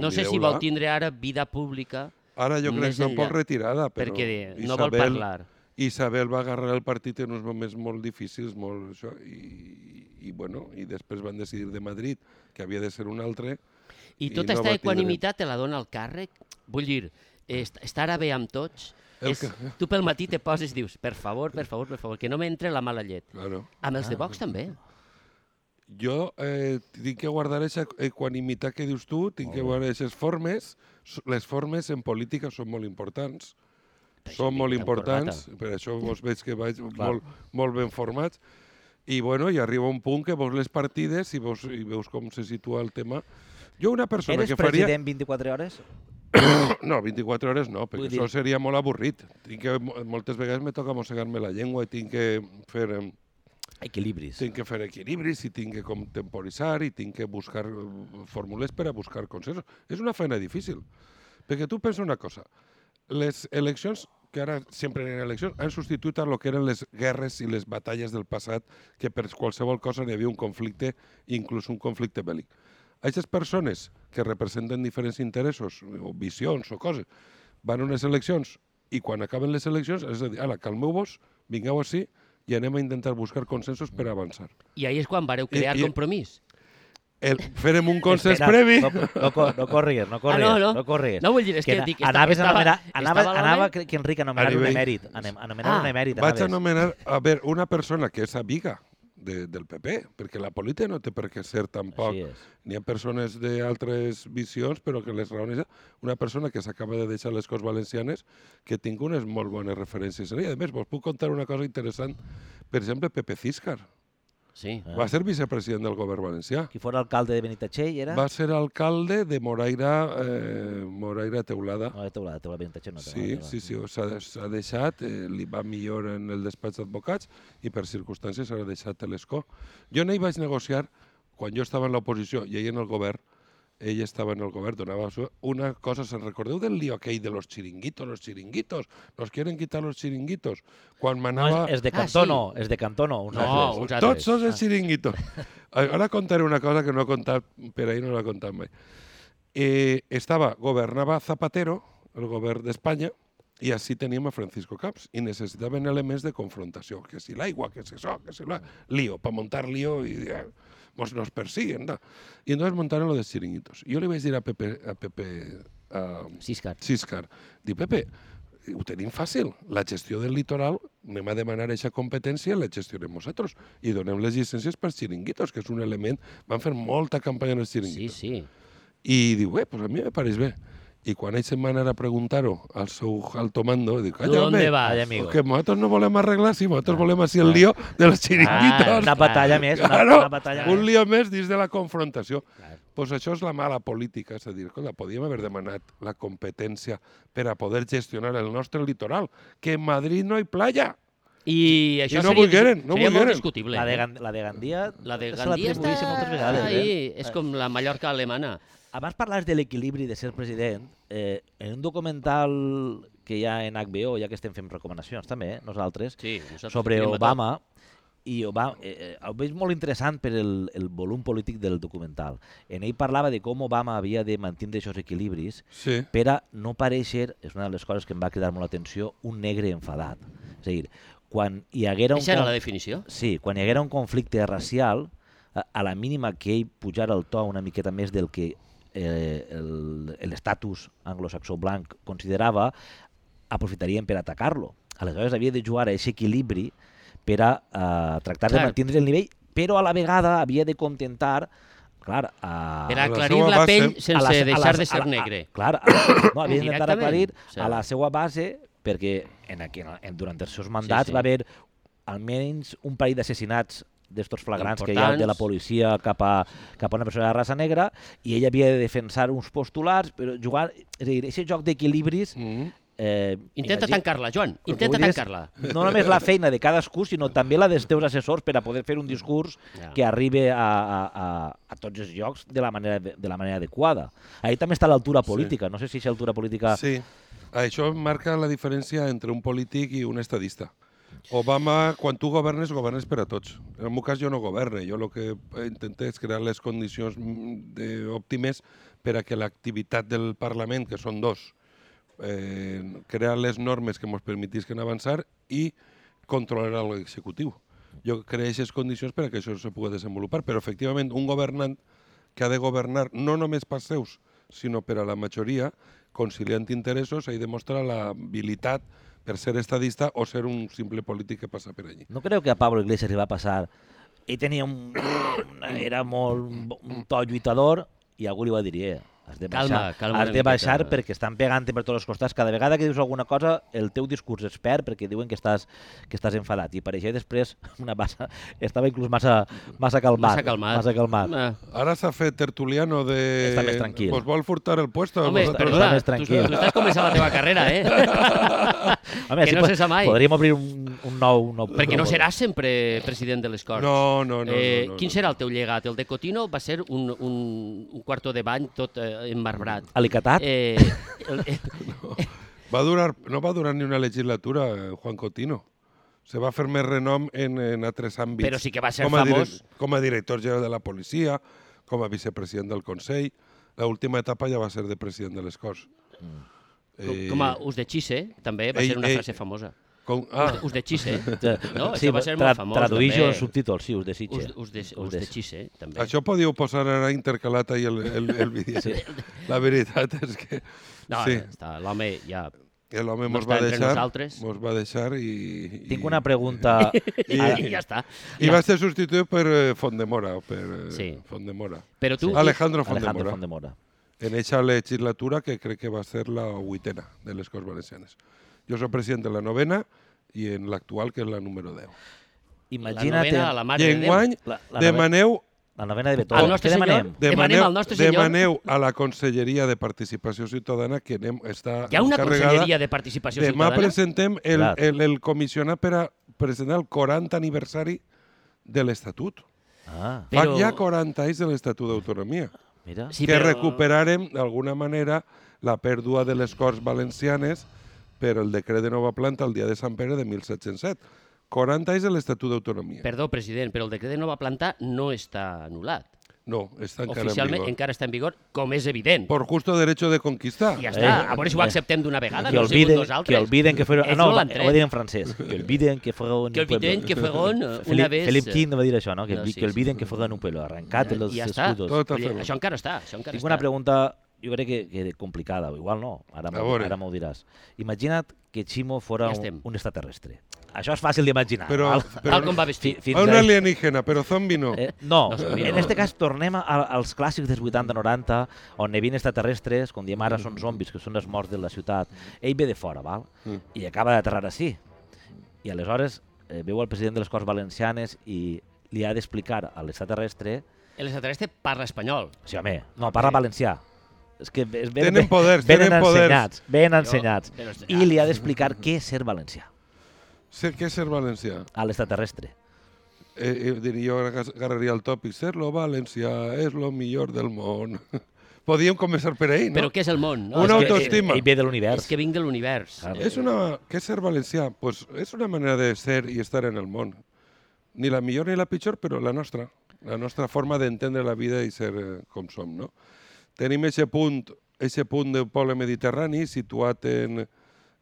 [SPEAKER 2] No sé si
[SPEAKER 4] Convideu-la.
[SPEAKER 2] vol tindre ara vida pública,
[SPEAKER 4] Ara jo crec
[SPEAKER 2] més
[SPEAKER 4] que està un poc
[SPEAKER 2] enllà,
[SPEAKER 4] retirada, però...
[SPEAKER 2] perquè no vol parlar.
[SPEAKER 4] Isabel va agarrar el partit en uns moments molt difícils, molt això, i, i, bueno, i després van decidir de Madrid que havia de ser un altre.
[SPEAKER 2] I
[SPEAKER 4] I
[SPEAKER 2] tota
[SPEAKER 4] no
[SPEAKER 2] aquesta
[SPEAKER 4] va tindre-
[SPEAKER 2] equanimitat te la dona el càrrec? Vull dir, est- estar a bé amb tots...
[SPEAKER 4] El
[SPEAKER 2] És,
[SPEAKER 4] que-
[SPEAKER 2] tu pel matí te poses i dius, per favor, per favor, per favor, que no m'entre la mala llet.
[SPEAKER 4] Claro.
[SPEAKER 2] Amb els de Vox també.
[SPEAKER 4] Jo eh, tinc que guardar aquesta equanimitat que dius tu, tinc que guardar aquestes formes. S- Les formes en política són molt importants. Són
[SPEAKER 2] vinc
[SPEAKER 4] molt
[SPEAKER 2] amb
[SPEAKER 4] importants,
[SPEAKER 3] eh?
[SPEAKER 4] per això vos veig que vaig molt, molt ben formats. I bueno, i arriba un punt que veus les partides i veus, i veus com se situa el tema. Jo una persona
[SPEAKER 3] Eres
[SPEAKER 4] que faria...
[SPEAKER 3] president 24 hores?
[SPEAKER 4] No, 24 hores no, perquè
[SPEAKER 3] Vull dir-
[SPEAKER 4] això seria molt avorrit. Tinc que, mo- moltes vegades me toca mossegar-me la llengua i tinc que fer... em,
[SPEAKER 3] Equilibris.
[SPEAKER 4] Tinc que fer equilibris i tinc que contemporitzar i tinc que buscar eh, fórmules per a buscar consensos. És una feina difícil, perquè tu pensa una cosa. Les eleccions, que ara sempre eren eleccions, han substituït a lo que eren les guerres i les batalles del passat, que per qualsevol cosa n'hi havia un conflicte, inclús un conflicte bèl·lic. Aquestes persones que representen diferents interessos o visions o coses, van a unes eleccions i quan acaben les eleccions és a dir, ara, calmeu-vos, vingueu així i anem a intentar buscar consensos per avançar.
[SPEAKER 2] I ahir és quan vareu crear
[SPEAKER 4] I- i-
[SPEAKER 2] compromís.
[SPEAKER 4] El, farem un consens
[SPEAKER 3] Espera,
[SPEAKER 4] previ.
[SPEAKER 3] No, no, co- no corrigues, no corrigues,
[SPEAKER 2] Ah, no, no.
[SPEAKER 3] no corrigues.
[SPEAKER 2] No vull dir, és que dic, esta-
[SPEAKER 3] anaves a
[SPEAKER 2] estava-
[SPEAKER 3] anomenar, anava,
[SPEAKER 2] estava l'home-
[SPEAKER 3] anava que que Enric anomenar un
[SPEAKER 4] Arribé.
[SPEAKER 3] emèrit. Anem, anomenar
[SPEAKER 2] Ah,
[SPEAKER 3] un emèrit,
[SPEAKER 4] Vaig
[SPEAKER 3] anaves.
[SPEAKER 4] anomenar, a veure, una persona que és amiga de, del PP, perquè la política no té per què ser tampoc...
[SPEAKER 3] Així és.
[SPEAKER 4] N'hi ha persones d'altres visions, però que les raones... Una persona que s'acaba de deixar les Corts Valencianes, que tinc unes molt bones referències en ella. A més, vos puc contar una cosa interessant. Per exemple, Pepe Císcar.
[SPEAKER 2] Sí.
[SPEAKER 4] Va ser vicepresident del govern valencià.
[SPEAKER 3] Qui fora alcalde de Benitatxell era?
[SPEAKER 4] Va ser alcalde de Moraira, eh, Moraira Teulada.
[SPEAKER 3] No, de teulada, teulada de Benitatxell no.
[SPEAKER 4] Sí, sí, sí, ho s'ha s'ha deixat, eh, li va millor en el despatx d'advocats i per circumstàncies s'ha deixat a l'escó. Jo no hi vaig negociar quan jo estava en l'oposició i ell en el govern, ell estava en el govern, donava su- una cosa, se'n recordeu del lío aquell de los chiringuitos, los chiringuitos, nos quieren quitar los chiringuitos, quan
[SPEAKER 3] No,
[SPEAKER 4] manava...
[SPEAKER 3] és, és de
[SPEAKER 2] Ah,
[SPEAKER 3] Cantono, és de Cantono. Un
[SPEAKER 2] No,
[SPEAKER 3] altre.
[SPEAKER 2] uns altres.
[SPEAKER 4] Tots són els xiringuitos. Ara contaré una cosa que no he contat, per ahir no l'he contat mai. Eh, estava, governava Zapatero, el govern d'Espanya, i així teníem a Francisco Camps, i necessitaven elements E de confrontació, que si l'aigua, que si això, que si la... Lío, per muntar lío i... Eh, mos nos persiguen, da. I entonces montaron lo de chiringuitos. I jo li vaig dir a Pepe, a Pepe a,
[SPEAKER 2] Siscar.
[SPEAKER 4] Siscar. Diu, Pepe, ho tenim fàcil. La gestió del litoral, anem a demanar aquesta competència, la gestionem nosaltres. I donem les llicències pels xiringuitos, que és un element... Van fer molta campanya en els
[SPEAKER 2] Sí,
[SPEAKER 4] xiringuitos.
[SPEAKER 2] sí.
[SPEAKER 4] I diu, bé, pues a mi me pareix bé. I quan ell se'n va anar a preguntar-ho al seu alto mando, diu,
[SPEAKER 2] Tu
[SPEAKER 4] calla,
[SPEAKER 2] on
[SPEAKER 4] home,
[SPEAKER 2] vas?
[SPEAKER 3] Ai, amigo.
[SPEAKER 4] que nosaltres no volem arreglar si nosaltres volem així el lío de los xiringuitos.
[SPEAKER 2] Ah,
[SPEAKER 3] Eh, Una batalla més, una,
[SPEAKER 4] Claro,
[SPEAKER 3] una batalla
[SPEAKER 4] un
[SPEAKER 3] més.
[SPEAKER 4] lío més dins de la confrontació. Doncs pues això és la mala política, és a dir, escolta, podíem haver demanat la competència per a poder gestionar el nostre litoral, que en Madrid no hi playa.
[SPEAKER 2] I això
[SPEAKER 4] no
[SPEAKER 2] seria,
[SPEAKER 4] volgueren, no
[SPEAKER 2] seria molt
[SPEAKER 4] volgueren.
[SPEAKER 2] discutible.
[SPEAKER 3] La de,
[SPEAKER 2] eh?
[SPEAKER 3] Gan- la de Gandia,
[SPEAKER 2] La de
[SPEAKER 3] se
[SPEAKER 2] Gandia està...
[SPEAKER 3] l'atribuïssin moltes vegades.
[SPEAKER 2] ahí,
[SPEAKER 3] Eh?
[SPEAKER 2] és com la Mallorca alemana.
[SPEAKER 3] Abans parlaves de l'equilibri de ser president, eh, en un documental que hi ha en HBO, ja que estem fent recomanacions també, eh, nosaltres,
[SPEAKER 2] Sí, nosaltres
[SPEAKER 3] sobre
[SPEAKER 2] diríem a tot.
[SPEAKER 3] Obama, i Obama, eh, eh, el veig molt interessant per el, el volum polític del documental. En ell parlava de com Obama havia de mantenir aquests equilibris
[SPEAKER 4] Sí.
[SPEAKER 3] per a no pareixer, és una de les coses que em va cridar molt l'atenció, un negre enfadat. És a dir, quan hi haguera un...
[SPEAKER 2] Aquesta era la
[SPEAKER 3] conf-
[SPEAKER 2] definició.
[SPEAKER 3] Sí, quan hi haguera un conflicte racial, a, a la mínima que ell pujara el to una miqueta més del que eh, el- l'estatus anglosaxó blanc considerava, aprofitarien per atacar-lo. Aleshores havia de jugar a aquest equilibri per a eh, tractar de
[SPEAKER 2] Clar.
[SPEAKER 3] mantenir el nivell, però a la vegada havia de contentar clar, a,
[SPEAKER 2] Per
[SPEAKER 4] la
[SPEAKER 2] aclarir
[SPEAKER 4] seua
[SPEAKER 2] la
[SPEAKER 4] base,
[SPEAKER 2] pell
[SPEAKER 3] a
[SPEAKER 2] sense
[SPEAKER 3] les-
[SPEAKER 2] deixar
[SPEAKER 3] a les-
[SPEAKER 2] de
[SPEAKER 3] a
[SPEAKER 2] ser
[SPEAKER 3] la- a-
[SPEAKER 2] negre.
[SPEAKER 3] Clar, a- no, havia d'intentar
[SPEAKER 2] Directament,
[SPEAKER 3] aclarir
[SPEAKER 2] cert.
[SPEAKER 3] a la seva base perquè en, aqu- en, durant els seus mandats
[SPEAKER 2] sí.
[SPEAKER 3] va haver almenys un parell d'assassinats d'estos flagrants que hi ha
[SPEAKER 2] Importants.
[SPEAKER 3] de la policia cap a, cap a una persona de raça negra i ell havia de defensar uns postulats però jugar, és a dir, aquest joc d'equilibris
[SPEAKER 4] Mm.
[SPEAKER 3] eh,
[SPEAKER 2] Intenta
[SPEAKER 3] imagina-
[SPEAKER 2] tancar-la, Joan.
[SPEAKER 3] el que
[SPEAKER 2] Intenta
[SPEAKER 3] vull dir és
[SPEAKER 2] tancar-la.
[SPEAKER 3] No només la feina de cadascú, sinó també la dels teus assessors per a poder fer un discurs
[SPEAKER 2] Ja.
[SPEAKER 3] que arribi a, a, a, a tots els llocs de la manera, de la manera adequada. Ahí també està l'altura política. No sé si aquesta altura política...
[SPEAKER 4] Sí. Això marca la diferència entre un polític i un estadista. Obama, quan tu governes, governes per a tots. En el meu cas jo no governe, jo el que intenté és crear les condicions mm, de- òptimes per a que l'activitat del Parlament, que són dos, eh, crear les normes que ens permetisquen avançar i controlar l'executiu. Jo creé aquestes condicions per a que això se pugui desenvolupar, però efectivament un governant que ha de governar no només pels seus, sinó per a la majoria, conciliant interessos, ahí demostra l'habilitat per ser estadista o ser un simple polític que passa per allí.
[SPEAKER 3] No creu que a Pablo Iglesias li va passar... Ell tenia un... una- era molt un bo- un to lluitador i algú li va dir, eh, has de baixar,
[SPEAKER 2] Calma, calma
[SPEAKER 3] has
[SPEAKER 2] una
[SPEAKER 3] de
[SPEAKER 2] miqueta." eh."
[SPEAKER 3] baixar perquè estan pegant per tots els costats. Cada vegada que dius alguna cosa, el teu discurs es perd perquè diuen que estàs, que estàs enfadat. I per això després una massa, estava inclús massa, massa calmat.
[SPEAKER 2] Massa calmat.
[SPEAKER 3] Massa calmat.
[SPEAKER 2] Ah.
[SPEAKER 4] Ara s'ha fet tertuliano de...
[SPEAKER 3] Està més tranquil.
[SPEAKER 4] Pues vol furtar el puesto. a
[SPEAKER 2] Home,
[SPEAKER 3] Està-
[SPEAKER 4] vosaltres.
[SPEAKER 2] perdona,
[SPEAKER 3] més
[SPEAKER 2] tu, tu
[SPEAKER 3] tranquil.
[SPEAKER 2] estàs començant la teva carrera, eh?
[SPEAKER 3] Home,
[SPEAKER 2] que no
[SPEAKER 3] po-
[SPEAKER 2] se sap mai.
[SPEAKER 3] Podríem obrir un, un nou... Un nou
[SPEAKER 2] Perquè no seràs sempre president de les Corts.
[SPEAKER 4] No, no, no,
[SPEAKER 2] Eh,
[SPEAKER 4] no, no,
[SPEAKER 2] quin
[SPEAKER 4] no.
[SPEAKER 2] serà el teu llegat? El de Cotino va ser un, un, un quarto de bany tot eh, emmarbrat.
[SPEAKER 3] Alicatat?
[SPEAKER 2] Eh, el, eh,
[SPEAKER 4] Va durar, no va durar ni una legislatura, eh, Juan Cotino. Se va fer més renom en, en altres àmbits.
[SPEAKER 2] Però sí que va ser
[SPEAKER 4] com a dire-
[SPEAKER 2] famós.
[SPEAKER 4] Com a director general de la policia, com a vicepresident del Consell. L'última etapa ja va ser de president de les Corts.
[SPEAKER 2] com-
[SPEAKER 3] Eh.
[SPEAKER 2] com a us de Xisse, també va
[SPEAKER 4] Ell-
[SPEAKER 2] ser una
[SPEAKER 4] ell-
[SPEAKER 2] frase famosa.
[SPEAKER 4] Com,
[SPEAKER 2] Ah.
[SPEAKER 4] ah,
[SPEAKER 2] Us de Xisse. No,
[SPEAKER 3] sí,
[SPEAKER 2] això va ser
[SPEAKER 3] tra-
[SPEAKER 2] molt famós.
[SPEAKER 3] Traduïix
[SPEAKER 2] també.
[SPEAKER 3] els subtítols, sí, us desitge.
[SPEAKER 2] Us, us, de, us,
[SPEAKER 3] des-
[SPEAKER 2] de Xisse, també.
[SPEAKER 4] Això podíeu posar ara intercalat ahir el, el, el vídeo. Sí. La veritat és que...
[SPEAKER 2] No,
[SPEAKER 4] sí,
[SPEAKER 2] està, l'home ja...
[SPEAKER 4] que l'home
[SPEAKER 2] no
[SPEAKER 4] mos,
[SPEAKER 2] està
[SPEAKER 4] va
[SPEAKER 2] entre
[SPEAKER 4] deixar,
[SPEAKER 2] nosaltres.
[SPEAKER 4] mos va deixar i...
[SPEAKER 3] Tinc
[SPEAKER 4] i-
[SPEAKER 3] una pregunta...
[SPEAKER 2] I,
[SPEAKER 4] Ah.
[SPEAKER 2] ja està.
[SPEAKER 4] I va ser substituït per eh, Fondemora. Per, eh,
[SPEAKER 2] Sí.
[SPEAKER 4] Fondemora.
[SPEAKER 2] Però tu...
[SPEAKER 4] Alejandro
[SPEAKER 3] Alejandro
[SPEAKER 4] Fondemora.
[SPEAKER 3] Fondemora.
[SPEAKER 4] En eixa legislatura que crec que va ser la vuitena de les Corts Valencianes. Jo soc president de la novena i en l'actual, que és la número 10.
[SPEAKER 2] La
[SPEAKER 3] Imagina't...
[SPEAKER 2] novena, Ah, la mare
[SPEAKER 4] I
[SPEAKER 2] de Déu.
[SPEAKER 4] enguany
[SPEAKER 3] La- la
[SPEAKER 4] demaneu
[SPEAKER 3] La novena de Beethoven.
[SPEAKER 2] Al nostre
[SPEAKER 3] Què
[SPEAKER 2] senyor,
[SPEAKER 3] demanem?
[SPEAKER 2] demanem al nostre senyor...
[SPEAKER 4] demaneu a la Conselleria de Participació Ciutadana que anem, està
[SPEAKER 2] Hi ha una
[SPEAKER 4] encarregada. eh,
[SPEAKER 2] conselleria de participació
[SPEAKER 4] Demà
[SPEAKER 2] ciutadana?
[SPEAKER 4] presentem el,
[SPEAKER 3] Clar.
[SPEAKER 4] el, el comissionat per a presentar el 40 aniversari de l'Estatut.
[SPEAKER 3] Ah,
[SPEAKER 4] Però...
[SPEAKER 2] Però-
[SPEAKER 4] Fa ja 40 anys de l'Estatut d'Autonomia,
[SPEAKER 3] mira.
[SPEAKER 2] Sí,
[SPEAKER 4] que
[SPEAKER 2] però-
[SPEAKER 4] recuperarem d'alguna manera la pèrdua de les Corts Valencianes per el decret de nova planta el dia de Sant Pere de 1707. 40 anys de l'Estatut d'Autonomia.
[SPEAKER 2] Perdó, president, però el decret de nova planta no està anul·lat.
[SPEAKER 4] No, està encara en
[SPEAKER 2] Oficialment
[SPEAKER 4] vigor.
[SPEAKER 2] encara està en vigor, com és evident.
[SPEAKER 4] Por justo derecho de conquistar.
[SPEAKER 2] I ja
[SPEAKER 3] Eh,
[SPEAKER 2] està. A veure si ho
[SPEAKER 3] eh.
[SPEAKER 2] acceptem d'una vegada,
[SPEAKER 3] Que
[SPEAKER 2] no hem sigut
[SPEAKER 3] olviden,
[SPEAKER 2] nosaltres.
[SPEAKER 3] que olviden que fueron... Ah,
[SPEAKER 2] Ells
[SPEAKER 3] no,
[SPEAKER 2] no l'han
[SPEAKER 3] ho
[SPEAKER 2] tret.
[SPEAKER 3] va dir en francès. Que olviden que fueron...
[SPEAKER 2] Que
[SPEAKER 3] un pueblo.
[SPEAKER 2] olviden que fueron eh, una
[SPEAKER 3] Felip,
[SPEAKER 2] vez...
[SPEAKER 3] Felip
[SPEAKER 2] eh,
[SPEAKER 3] King va dir això, no? Que,
[SPEAKER 2] no,
[SPEAKER 3] no, sí,
[SPEAKER 2] sí,
[SPEAKER 3] que
[SPEAKER 2] sí.
[SPEAKER 3] olviden que fueron un pueblo. Arrancate los
[SPEAKER 2] I ja està.
[SPEAKER 3] escudos.
[SPEAKER 4] Tot a
[SPEAKER 2] Vull dir,
[SPEAKER 4] fer-ho.
[SPEAKER 2] Això encara està, això encara
[SPEAKER 3] Tinc
[SPEAKER 2] està.
[SPEAKER 3] una pregunta, jo crec que, que complicada, o igual no, ara
[SPEAKER 4] A
[SPEAKER 3] m'ho
[SPEAKER 4] veure.
[SPEAKER 3] ara m'ho diràs. Imagina't que Chimo fora
[SPEAKER 2] Ja
[SPEAKER 3] un,
[SPEAKER 2] estem.
[SPEAKER 3] un extraterrestre. Això és fàcil d'imaginar.
[SPEAKER 4] Però-
[SPEAKER 3] val?
[SPEAKER 4] però-
[SPEAKER 2] Tal com va
[SPEAKER 3] Fi-
[SPEAKER 2] vestir.
[SPEAKER 3] fins
[SPEAKER 4] A un
[SPEAKER 3] ahí.
[SPEAKER 4] alienígena, però zombi no.
[SPEAKER 3] Eh, no,
[SPEAKER 2] No sabia.
[SPEAKER 3] en este cas tornem a, als clàssics dels 80-90, on hi havia extraterrestres, com diem ara són zombis, que són els morts de la ciutat. Ell ve de fora, val?
[SPEAKER 4] Mm.
[SPEAKER 3] I acaba d'aterrar així. I aleshores eh, veu el president de les Corts Valencianes i li ha d'explicar a l'extraterrestre...
[SPEAKER 2] L'extraterrestre parla espanyol.
[SPEAKER 3] Sí, home, no, parla valencià. És que ve- es
[SPEAKER 4] Tenen poders,
[SPEAKER 3] venen
[SPEAKER 4] tenen poders.
[SPEAKER 3] ensenyats, ben ensenyats.
[SPEAKER 2] però és-
[SPEAKER 3] I li ha d'explicar què és ser valencià.
[SPEAKER 4] Sé què és ser valencià.
[SPEAKER 3] a l'extraterrestre.
[SPEAKER 4] Eh, eh, diria, jo aga- agarraria el tòpic. Ser lo valencià és lo millor del món. Podíem començar per ahir, no?
[SPEAKER 2] Però què és el món? No?
[SPEAKER 4] Una
[SPEAKER 2] és, que,
[SPEAKER 4] autoestima.
[SPEAKER 3] Ell, ell ve de
[SPEAKER 2] és
[SPEAKER 3] l'univers.
[SPEAKER 2] que vinc de l'univers.
[SPEAKER 3] Clar.
[SPEAKER 4] És una... Què és ser valencià? Pues és una manera de ser i estar en el món. Ni la millor ni la pitjor, però la nostra. La nostra forma d'entendre la vida i ser eh, com som, no? Tenim aquest punt, eixe punt del poble mediterrani situat en,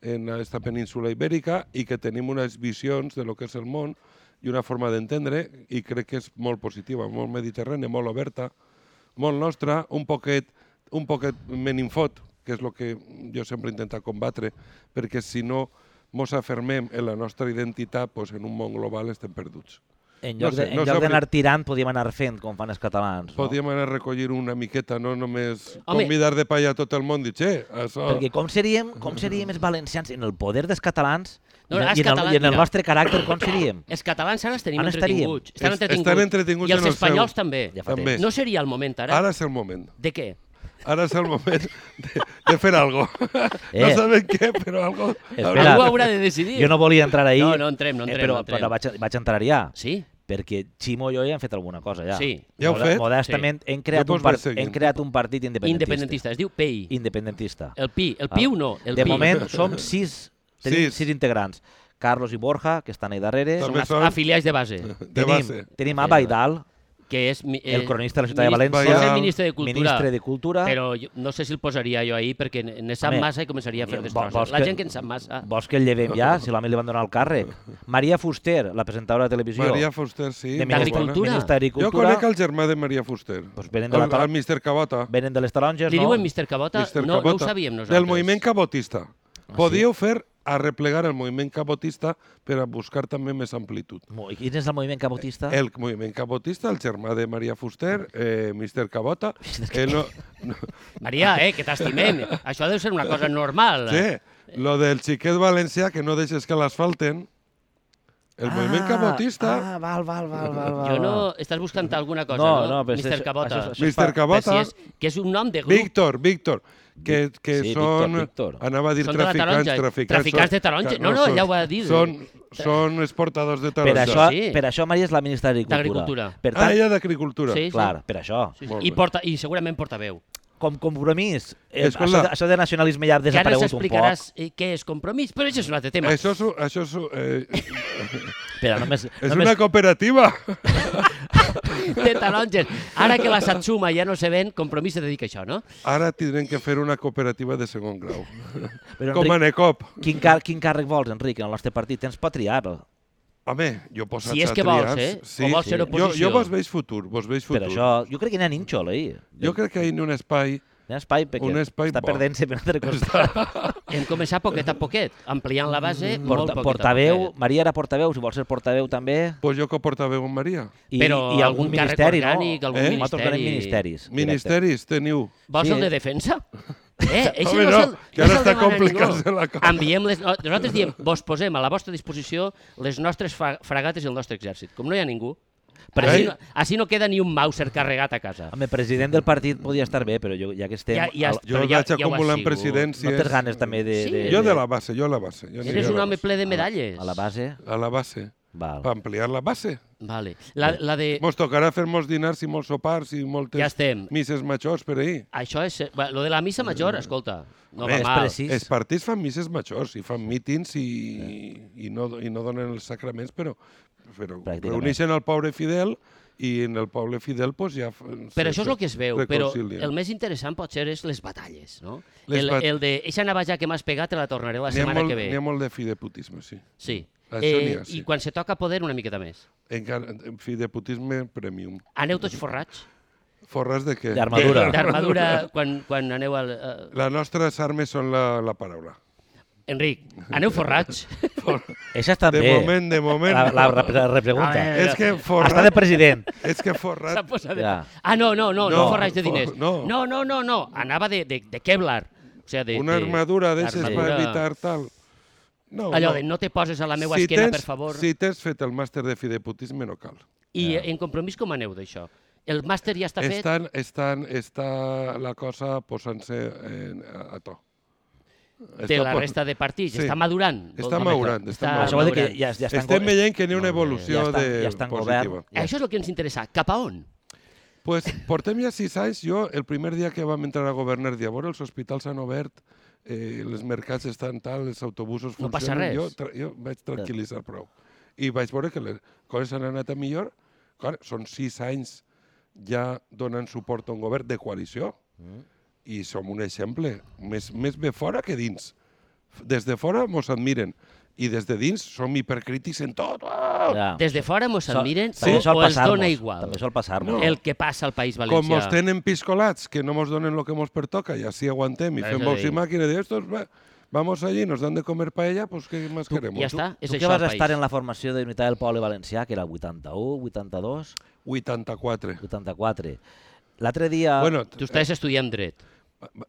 [SPEAKER 4] en aquesta península ibèrica i que tenim unes visions de lo que és el món i una forma d'entendre i crec que és molt positiva, molt mediterrània, molt oberta, molt nostra, un poquet, un poquet meninfot, que és el que jo sempre intento combatre, perquè si no mos afermem en la nostra identitat, pues, en un món global estem perduts.
[SPEAKER 3] En
[SPEAKER 4] no
[SPEAKER 3] lloc, de-
[SPEAKER 4] sé,
[SPEAKER 3] en
[SPEAKER 4] no
[SPEAKER 3] lloc
[SPEAKER 4] sabria-
[SPEAKER 3] d'anar tirant, podíem anar fent, com fan els catalans. No?
[SPEAKER 4] Podíem anar a recollir una miqueta, no només
[SPEAKER 2] Home.
[SPEAKER 4] convidar de palla a tot el món, dir, "Che, això...
[SPEAKER 2] Oh.
[SPEAKER 3] Perquè com seríem, com seríem els valencians en el poder dels catalans
[SPEAKER 2] Mm. No,
[SPEAKER 3] i, en-
[SPEAKER 2] els
[SPEAKER 3] i, en el,
[SPEAKER 2] catalans,
[SPEAKER 3] i en el
[SPEAKER 2] mira.
[SPEAKER 3] vostre caràcter, com seríem?
[SPEAKER 2] Els catalans ara els tenim
[SPEAKER 3] Ara estaríem.
[SPEAKER 2] entretinguts. Estan
[SPEAKER 4] Es-
[SPEAKER 2] entretinguts.
[SPEAKER 4] estan entretinguts
[SPEAKER 2] I
[SPEAKER 4] en
[SPEAKER 2] els
[SPEAKER 4] el
[SPEAKER 2] espanyols
[SPEAKER 4] seu.
[SPEAKER 2] també.
[SPEAKER 3] Ja fa
[SPEAKER 4] També.
[SPEAKER 3] temps.
[SPEAKER 2] No seria el moment ara?
[SPEAKER 4] Ara és el moment.
[SPEAKER 2] De què?
[SPEAKER 4] Ara és el moment de, de fer algo. Eh. No
[SPEAKER 3] Eh.
[SPEAKER 4] sabem què, però algo...
[SPEAKER 3] Espera.
[SPEAKER 2] Algú haurà de decidir.
[SPEAKER 3] Jo no volia entrar ahir,
[SPEAKER 2] No, no entrem, no
[SPEAKER 3] eh,
[SPEAKER 2] entrem,
[SPEAKER 3] però,
[SPEAKER 2] no entrem.
[SPEAKER 3] però vaig, vaig entrar ja,
[SPEAKER 2] Sí?
[SPEAKER 3] perquè Ximo i jo ja hem fet alguna cosa ja.
[SPEAKER 2] Sí.
[SPEAKER 4] Ja ho
[SPEAKER 3] Moda-
[SPEAKER 4] fet?
[SPEAKER 3] Modestament hem, creat
[SPEAKER 4] Jo
[SPEAKER 3] un
[SPEAKER 4] vos vaig
[SPEAKER 3] part,
[SPEAKER 4] seguint.
[SPEAKER 3] hem creat un partit independentista.
[SPEAKER 2] Independentista. Es diu PEI.
[SPEAKER 3] Independentista.
[SPEAKER 2] El PI. El PIU no. El
[SPEAKER 3] de
[SPEAKER 2] PI.
[SPEAKER 3] moment som sis, tenim
[SPEAKER 4] Sis.
[SPEAKER 3] sis. integrants. Carlos i Borja, que estan ahí darrere.
[SPEAKER 4] També
[SPEAKER 2] Af-
[SPEAKER 4] són
[SPEAKER 2] Afiliats de base.
[SPEAKER 4] de base.
[SPEAKER 3] Tenim, tenim a Baidal,
[SPEAKER 2] Que és... mi-
[SPEAKER 3] el
[SPEAKER 2] eh,
[SPEAKER 3] cronista de la ciutat de
[SPEAKER 2] minis-
[SPEAKER 3] València.
[SPEAKER 2] pot ser ministre de Cultura.
[SPEAKER 3] Ministre de Cultura.
[SPEAKER 2] Però jo, no sé si el posaria jo ahir perquè n- ne sap
[SPEAKER 3] Home,
[SPEAKER 2] massa i començaria a fer
[SPEAKER 3] Vol-
[SPEAKER 2] destrosses.
[SPEAKER 3] vols
[SPEAKER 2] La
[SPEAKER 3] que-
[SPEAKER 2] gent que en sap massa...
[SPEAKER 3] Vols que el llevem ja, si l'home li van donar el càrrec? Maria Fuster, la presentadora de televisió.
[SPEAKER 4] Maria Fuster, sí.
[SPEAKER 3] de
[SPEAKER 4] molt
[SPEAKER 2] Ministre-
[SPEAKER 4] bona.
[SPEAKER 2] Agricultura.
[SPEAKER 3] Ministre
[SPEAKER 4] Jo
[SPEAKER 3] d'Agricultura.
[SPEAKER 4] conec el germà de Maria Fuster.
[SPEAKER 3] Pues venen de
[SPEAKER 4] el,
[SPEAKER 3] la tala-
[SPEAKER 4] el Mr. Cabota.
[SPEAKER 3] Venen de les taronges,
[SPEAKER 2] Li
[SPEAKER 3] no?
[SPEAKER 2] diuen Mr. Cabota?
[SPEAKER 4] Mister
[SPEAKER 2] no, no ho
[SPEAKER 4] Cabota,
[SPEAKER 2] sabíem nosaltres. Ah,
[SPEAKER 4] Del moviment cabotista. Podíeu fer arreplegar el moviment cabotista per a buscar també més amplitud.
[SPEAKER 3] Mo- i Quin és el moviment
[SPEAKER 2] Ah.
[SPEAKER 3] cabotista?
[SPEAKER 4] El moviment cabotista, el germà de Maria Fuster, eh, Mister Cabota... El no, no,
[SPEAKER 2] Maria, eh, que t'estimem. Això deu ser una cosa normal.
[SPEAKER 4] sí, lo del xiquet valencià que no deixes que l'asfalten. El moviment cabotista...
[SPEAKER 3] Ah, val, val, val, val. val
[SPEAKER 2] Jo no...
[SPEAKER 3] val.
[SPEAKER 2] Estàs buscant alguna cosa,
[SPEAKER 3] Ah. No,
[SPEAKER 2] no?
[SPEAKER 3] no, però
[SPEAKER 2] Mr.
[SPEAKER 3] això-
[SPEAKER 2] Cabota.
[SPEAKER 3] això- això-
[SPEAKER 4] Mister
[SPEAKER 3] fa-
[SPEAKER 4] Cabota,
[SPEAKER 2] Però si és, que és un nom de grup.
[SPEAKER 4] Víctor, Víctor, que, que
[SPEAKER 3] Sí,
[SPEAKER 4] són...
[SPEAKER 3] Víctor, Víctor.
[SPEAKER 4] Anava a dir
[SPEAKER 2] Són de la
[SPEAKER 4] traficants,
[SPEAKER 2] taronja.
[SPEAKER 4] traficants.
[SPEAKER 2] Traficants
[SPEAKER 4] són-
[SPEAKER 2] de taronja.
[SPEAKER 4] que
[SPEAKER 2] No, no,
[SPEAKER 4] són-
[SPEAKER 2] ja ho ha dit.
[SPEAKER 4] Són, són exportadors de
[SPEAKER 3] Per
[SPEAKER 4] taronja.
[SPEAKER 3] això,
[SPEAKER 2] sí.
[SPEAKER 3] per això Maria és la ministra d'Agricultura.
[SPEAKER 2] D'Agricultura.
[SPEAKER 3] Per
[SPEAKER 4] Ah,
[SPEAKER 3] tant,
[SPEAKER 4] ella d'agricultura.
[SPEAKER 2] Sí.
[SPEAKER 3] clar, per això.
[SPEAKER 2] Sí, sí.
[SPEAKER 4] Molt
[SPEAKER 2] I,
[SPEAKER 4] bé.
[SPEAKER 2] porta, I segurament portaveu.
[SPEAKER 3] Com compromís, eh,
[SPEAKER 4] Escolta.
[SPEAKER 3] això, de, això de nacionalisme ja ha
[SPEAKER 2] Que ara ens
[SPEAKER 3] desaparegut un poc.
[SPEAKER 2] explicaràs eh, què és compromís, però això és un altre tema.
[SPEAKER 4] Això és, u- això és, u- eh,
[SPEAKER 3] Espera, només,
[SPEAKER 4] és
[SPEAKER 3] només,
[SPEAKER 4] una cooperativa.
[SPEAKER 2] De taronges. Ara que la Satsuma ja no se ven, compromís se dedica a això, no?
[SPEAKER 4] Ara tindrem que fer una cooperativa de segon grau.
[SPEAKER 3] però,
[SPEAKER 4] Com a
[SPEAKER 3] Enric,
[SPEAKER 4] Necop.
[SPEAKER 3] quin, car quin càrrec vols, Enric, en el nostre partit? Tens pot triar.
[SPEAKER 4] Home, jo posat
[SPEAKER 2] Si és
[SPEAKER 4] a
[SPEAKER 2] que vols,
[SPEAKER 4] triar,
[SPEAKER 2] eh? O vols ser
[SPEAKER 4] Jo,
[SPEAKER 2] oposició.
[SPEAKER 4] jo vos veig futur, vos veig
[SPEAKER 3] Per
[SPEAKER 4] futur.
[SPEAKER 3] això, jo crec que n'hi ha ninxol, ahir.
[SPEAKER 4] Jo crec que hi ha un espai...
[SPEAKER 3] N'hi ha espai, perquè
[SPEAKER 4] Un espai
[SPEAKER 3] està
[SPEAKER 4] bo.
[SPEAKER 3] perdent-se per l'altre costat.
[SPEAKER 2] Hem començat poquet a poquet, ampliant la base molt
[SPEAKER 3] Porta,
[SPEAKER 2] poquet
[SPEAKER 3] portaveu,
[SPEAKER 2] a poquet.
[SPEAKER 3] Maria era portaveu, si vols ser portaveu també.
[SPEAKER 4] Pues jo que portaveu en Maria.
[SPEAKER 3] I,
[SPEAKER 2] Però
[SPEAKER 3] i
[SPEAKER 2] algun
[SPEAKER 3] algun
[SPEAKER 2] càrrec
[SPEAKER 3] ministeri,
[SPEAKER 2] orgànic,
[SPEAKER 3] no?
[SPEAKER 4] Eh?
[SPEAKER 2] algun
[SPEAKER 3] Nosaltres
[SPEAKER 2] ministeri.
[SPEAKER 3] tenim ministeris. directe.
[SPEAKER 4] Ministeris, teniu.
[SPEAKER 2] Vols
[SPEAKER 3] Sí.
[SPEAKER 2] el de defensa? Eh, eixe
[SPEAKER 4] Home,
[SPEAKER 2] no,
[SPEAKER 4] no,
[SPEAKER 2] és el,
[SPEAKER 4] que ara
[SPEAKER 2] no se'l
[SPEAKER 4] està
[SPEAKER 2] demana
[SPEAKER 4] complicant-se
[SPEAKER 2] ningú.
[SPEAKER 4] la cosa.
[SPEAKER 2] Enviem les, no- nosaltres diem, vos posem a la vostra disposició les nostres fra- fragates i el nostre exèrcit. Com no hi ha ningú,
[SPEAKER 4] Però
[SPEAKER 2] així,
[SPEAKER 4] ell-
[SPEAKER 2] no, així no queda ni un Mauser carregat a casa.
[SPEAKER 3] Home, president del partit podia estar bé, però jo, ja que estem...
[SPEAKER 2] Ja- ja
[SPEAKER 3] al-
[SPEAKER 4] Jo
[SPEAKER 2] Però ja-
[SPEAKER 4] vaig
[SPEAKER 2] ja ho has
[SPEAKER 4] acumulant
[SPEAKER 2] sigut.
[SPEAKER 4] presidències.
[SPEAKER 3] no tens ganes també de...
[SPEAKER 2] Sí.
[SPEAKER 3] de,
[SPEAKER 4] Jo de la base, jo a la base. Jo aniré
[SPEAKER 2] Eres
[SPEAKER 4] a
[SPEAKER 2] un
[SPEAKER 4] la
[SPEAKER 2] home
[SPEAKER 4] base.
[SPEAKER 2] ple de
[SPEAKER 3] a la-
[SPEAKER 2] medalles.
[SPEAKER 3] A la base?
[SPEAKER 4] A la base.
[SPEAKER 3] Val.
[SPEAKER 4] Per ampliar la base.
[SPEAKER 2] Vale. La, la de...
[SPEAKER 4] Mos tocarà fer molts dinars i molts sopars i moltes
[SPEAKER 2] Eh, Ja estem.
[SPEAKER 4] misses majors per ahir.
[SPEAKER 2] Això és... Bueno, lo de la missa
[SPEAKER 4] Mm.
[SPEAKER 2] major, escolta, no
[SPEAKER 3] Home,
[SPEAKER 2] va
[SPEAKER 3] és
[SPEAKER 2] mal.
[SPEAKER 3] precís. Sis.
[SPEAKER 4] Els partits fan misses majors i fan mítings i, i, no, i no donen els sacraments, però, però
[SPEAKER 3] Pràcticament.
[SPEAKER 4] reuneixen el pobre fidel i en el poble fidel pues, ja...
[SPEAKER 2] Però això és el que es veu, però el més interessant potser és les batalles, no?
[SPEAKER 4] Les
[SPEAKER 2] el,
[SPEAKER 4] bat-
[SPEAKER 2] el de, eixa navaja que m'has pegat te la tornaré la
[SPEAKER 4] N'hi ha,
[SPEAKER 2] setmana
[SPEAKER 4] molt,
[SPEAKER 2] que ve.
[SPEAKER 4] n'hi ha molt de fideputisme, sí.
[SPEAKER 2] Sí. Eh,
[SPEAKER 4] Això n'hi ha, sí.
[SPEAKER 2] I quan se toca poder, una miqueta més.
[SPEAKER 4] Encara, eh, fideputisme premium.
[SPEAKER 2] Aneu tots forrats?
[SPEAKER 4] Forres de què?
[SPEAKER 3] D'arma- Armadura.
[SPEAKER 2] De- D'armadura, quan, quan aneu al... eh,
[SPEAKER 4] Les nostres armes són la, la paraula.
[SPEAKER 2] Enric, aneu forrats?
[SPEAKER 3] Això està
[SPEAKER 4] De
[SPEAKER 3] bé.
[SPEAKER 4] moment, de moment...
[SPEAKER 3] La, la, la, la repregunta.
[SPEAKER 2] Home,
[SPEAKER 4] És que
[SPEAKER 3] Està de
[SPEAKER 4] forrat...
[SPEAKER 3] president.
[SPEAKER 4] És que
[SPEAKER 2] S'ha
[SPEAKER 4] forrat...
[SPEAKER 2] posat de...
[SPEAKER 3] Ja.
[SPEAKER 2] Ah, no, no, no, no,
[SPEAKER 4] No,
[SPEAKER 2] forrats de
[SPEAKER 4] for-
[SPEAKER 2] diners.
[SPEAKER 4] no.
[SPEAKER 2] no, no, no, no. anava de, de, de Kevlar. O sea, de,
[SPEAKER 4] Una
[SPEAKER 2] de-
[SPEAKER 4] armadura d'eixes per
[SPEAKER 2] armadura.
[SPEAKER 4] evitar tal. No,
[SPEAKER 2] Allò de no te poses a la meva esquena, per favor.
[SPEAKER 4] Si Ah. tens fet el màster de fideputisme, no cal.
[SPEAKER 2] I en compromís com aneu d'això? El màster ja està fet?
[SPEAKER 4] Estan, estan, està la cosa posant-se en- a, a to.
[SPEAKER 2] de la
[SPEAKER 4] po-
[SPEAKER 2] resta de partits.
[SPEAKER 4] Sí.
[SPEAKER 2] Està madurant.
[SPEAKER 4] Està
[SPEAKER 2] Volta
[SPEAKER 4] madurant,
[SPEAKER 2] Mecla.
[SPEAKER 4] està
[SPEAKER 2] Està
[SPEAKER 4] madurant.
[SPEAKER 3] Això vol dir que
[SPEAKER 2] madurant.
[SPEAKER 3] ja, ja estan...
[SPEAKER 4] Estem
[SPEAKER 3] go-
[SPEAKER 4] veient que n'hi ha
[SPEAKER 3] Molt
[SPEAKER 4] una
[SPEAKER 3] bé.
[SPEAKER 4] evolució
[SPEAKER 3] ja estan,
[SPEAKER 4] de
[SPEAKER 3] ja estan
[SPEAKER 4] positiva.
[SPEAKER 3] govern. Ja
[SPEAKER 2] Això és el que ens interessa. Cap a on?
[SPEAKER 4] Pues portem ja sis anys. Jo, el primer dia que vam entrar a governar, dia, veure, els hospitals s'han obert, eh, els mercats estan tal, els autobusos
[SPEAKER 2] No
[SPEAKER 4] funcionen...
[SPEAKER 2] passa res.
[SPEAKER 4] Jo, tra jo vaig tranquil·litzar prou. I vaig veure que les coses han anat a millor. Clar, són sis anys ja donant suport a un govern de coalició. Mm. I som un exemple. Més, més bé fora que dins. F- Des de fora mos admiren. I des de dins som hipercrítics en tot. Ah!
[SPEAKER 3] Ja.
[SPEAKER 2] Des de fora mos admiren
[SPEAKER 3] També
[SPEAKER 2] o,
[SPEAKER 3] sol
[SPEAKER 2] o els
[SPEAKER 3] passar-nos,
[SPEAKER 2] dona igual
[SPEAKER 3] També sol passar-nos.
[SPEAKER 2] el que passa al País Valencià.
[SPEAKER 4] Com mos tenen piscolats, que no mos donen lo que mos pertoca, y así aguantem y
[SPEAKER 2] Eso
[SPEAKER 4] fem box
[SPEAKER 2] sí.
[SPEAKER 4] y máquina de estos, va, vamos allí, nos dan de comer paella, pues ¿qué más queremos?
[SPEAKER 2] Ja està, és
[SPEAKER 3] tu que
[SPEAKER 2] això
[SPEAKER 3] vas
[SPEAKER 2] el
[SPEAKER 3] estar
[SPEAKER 2] país.
[SPEAKER 3] en la formació de l'Unitat del Poble Valencià, que era 81, 82,
[SPEAKER 4] 84.
[SPEAKER 3] 84. L'altre dia...
[SPEAKER 4] Bueno,
[SPEAKER 2] Tu estàs estudiant dret.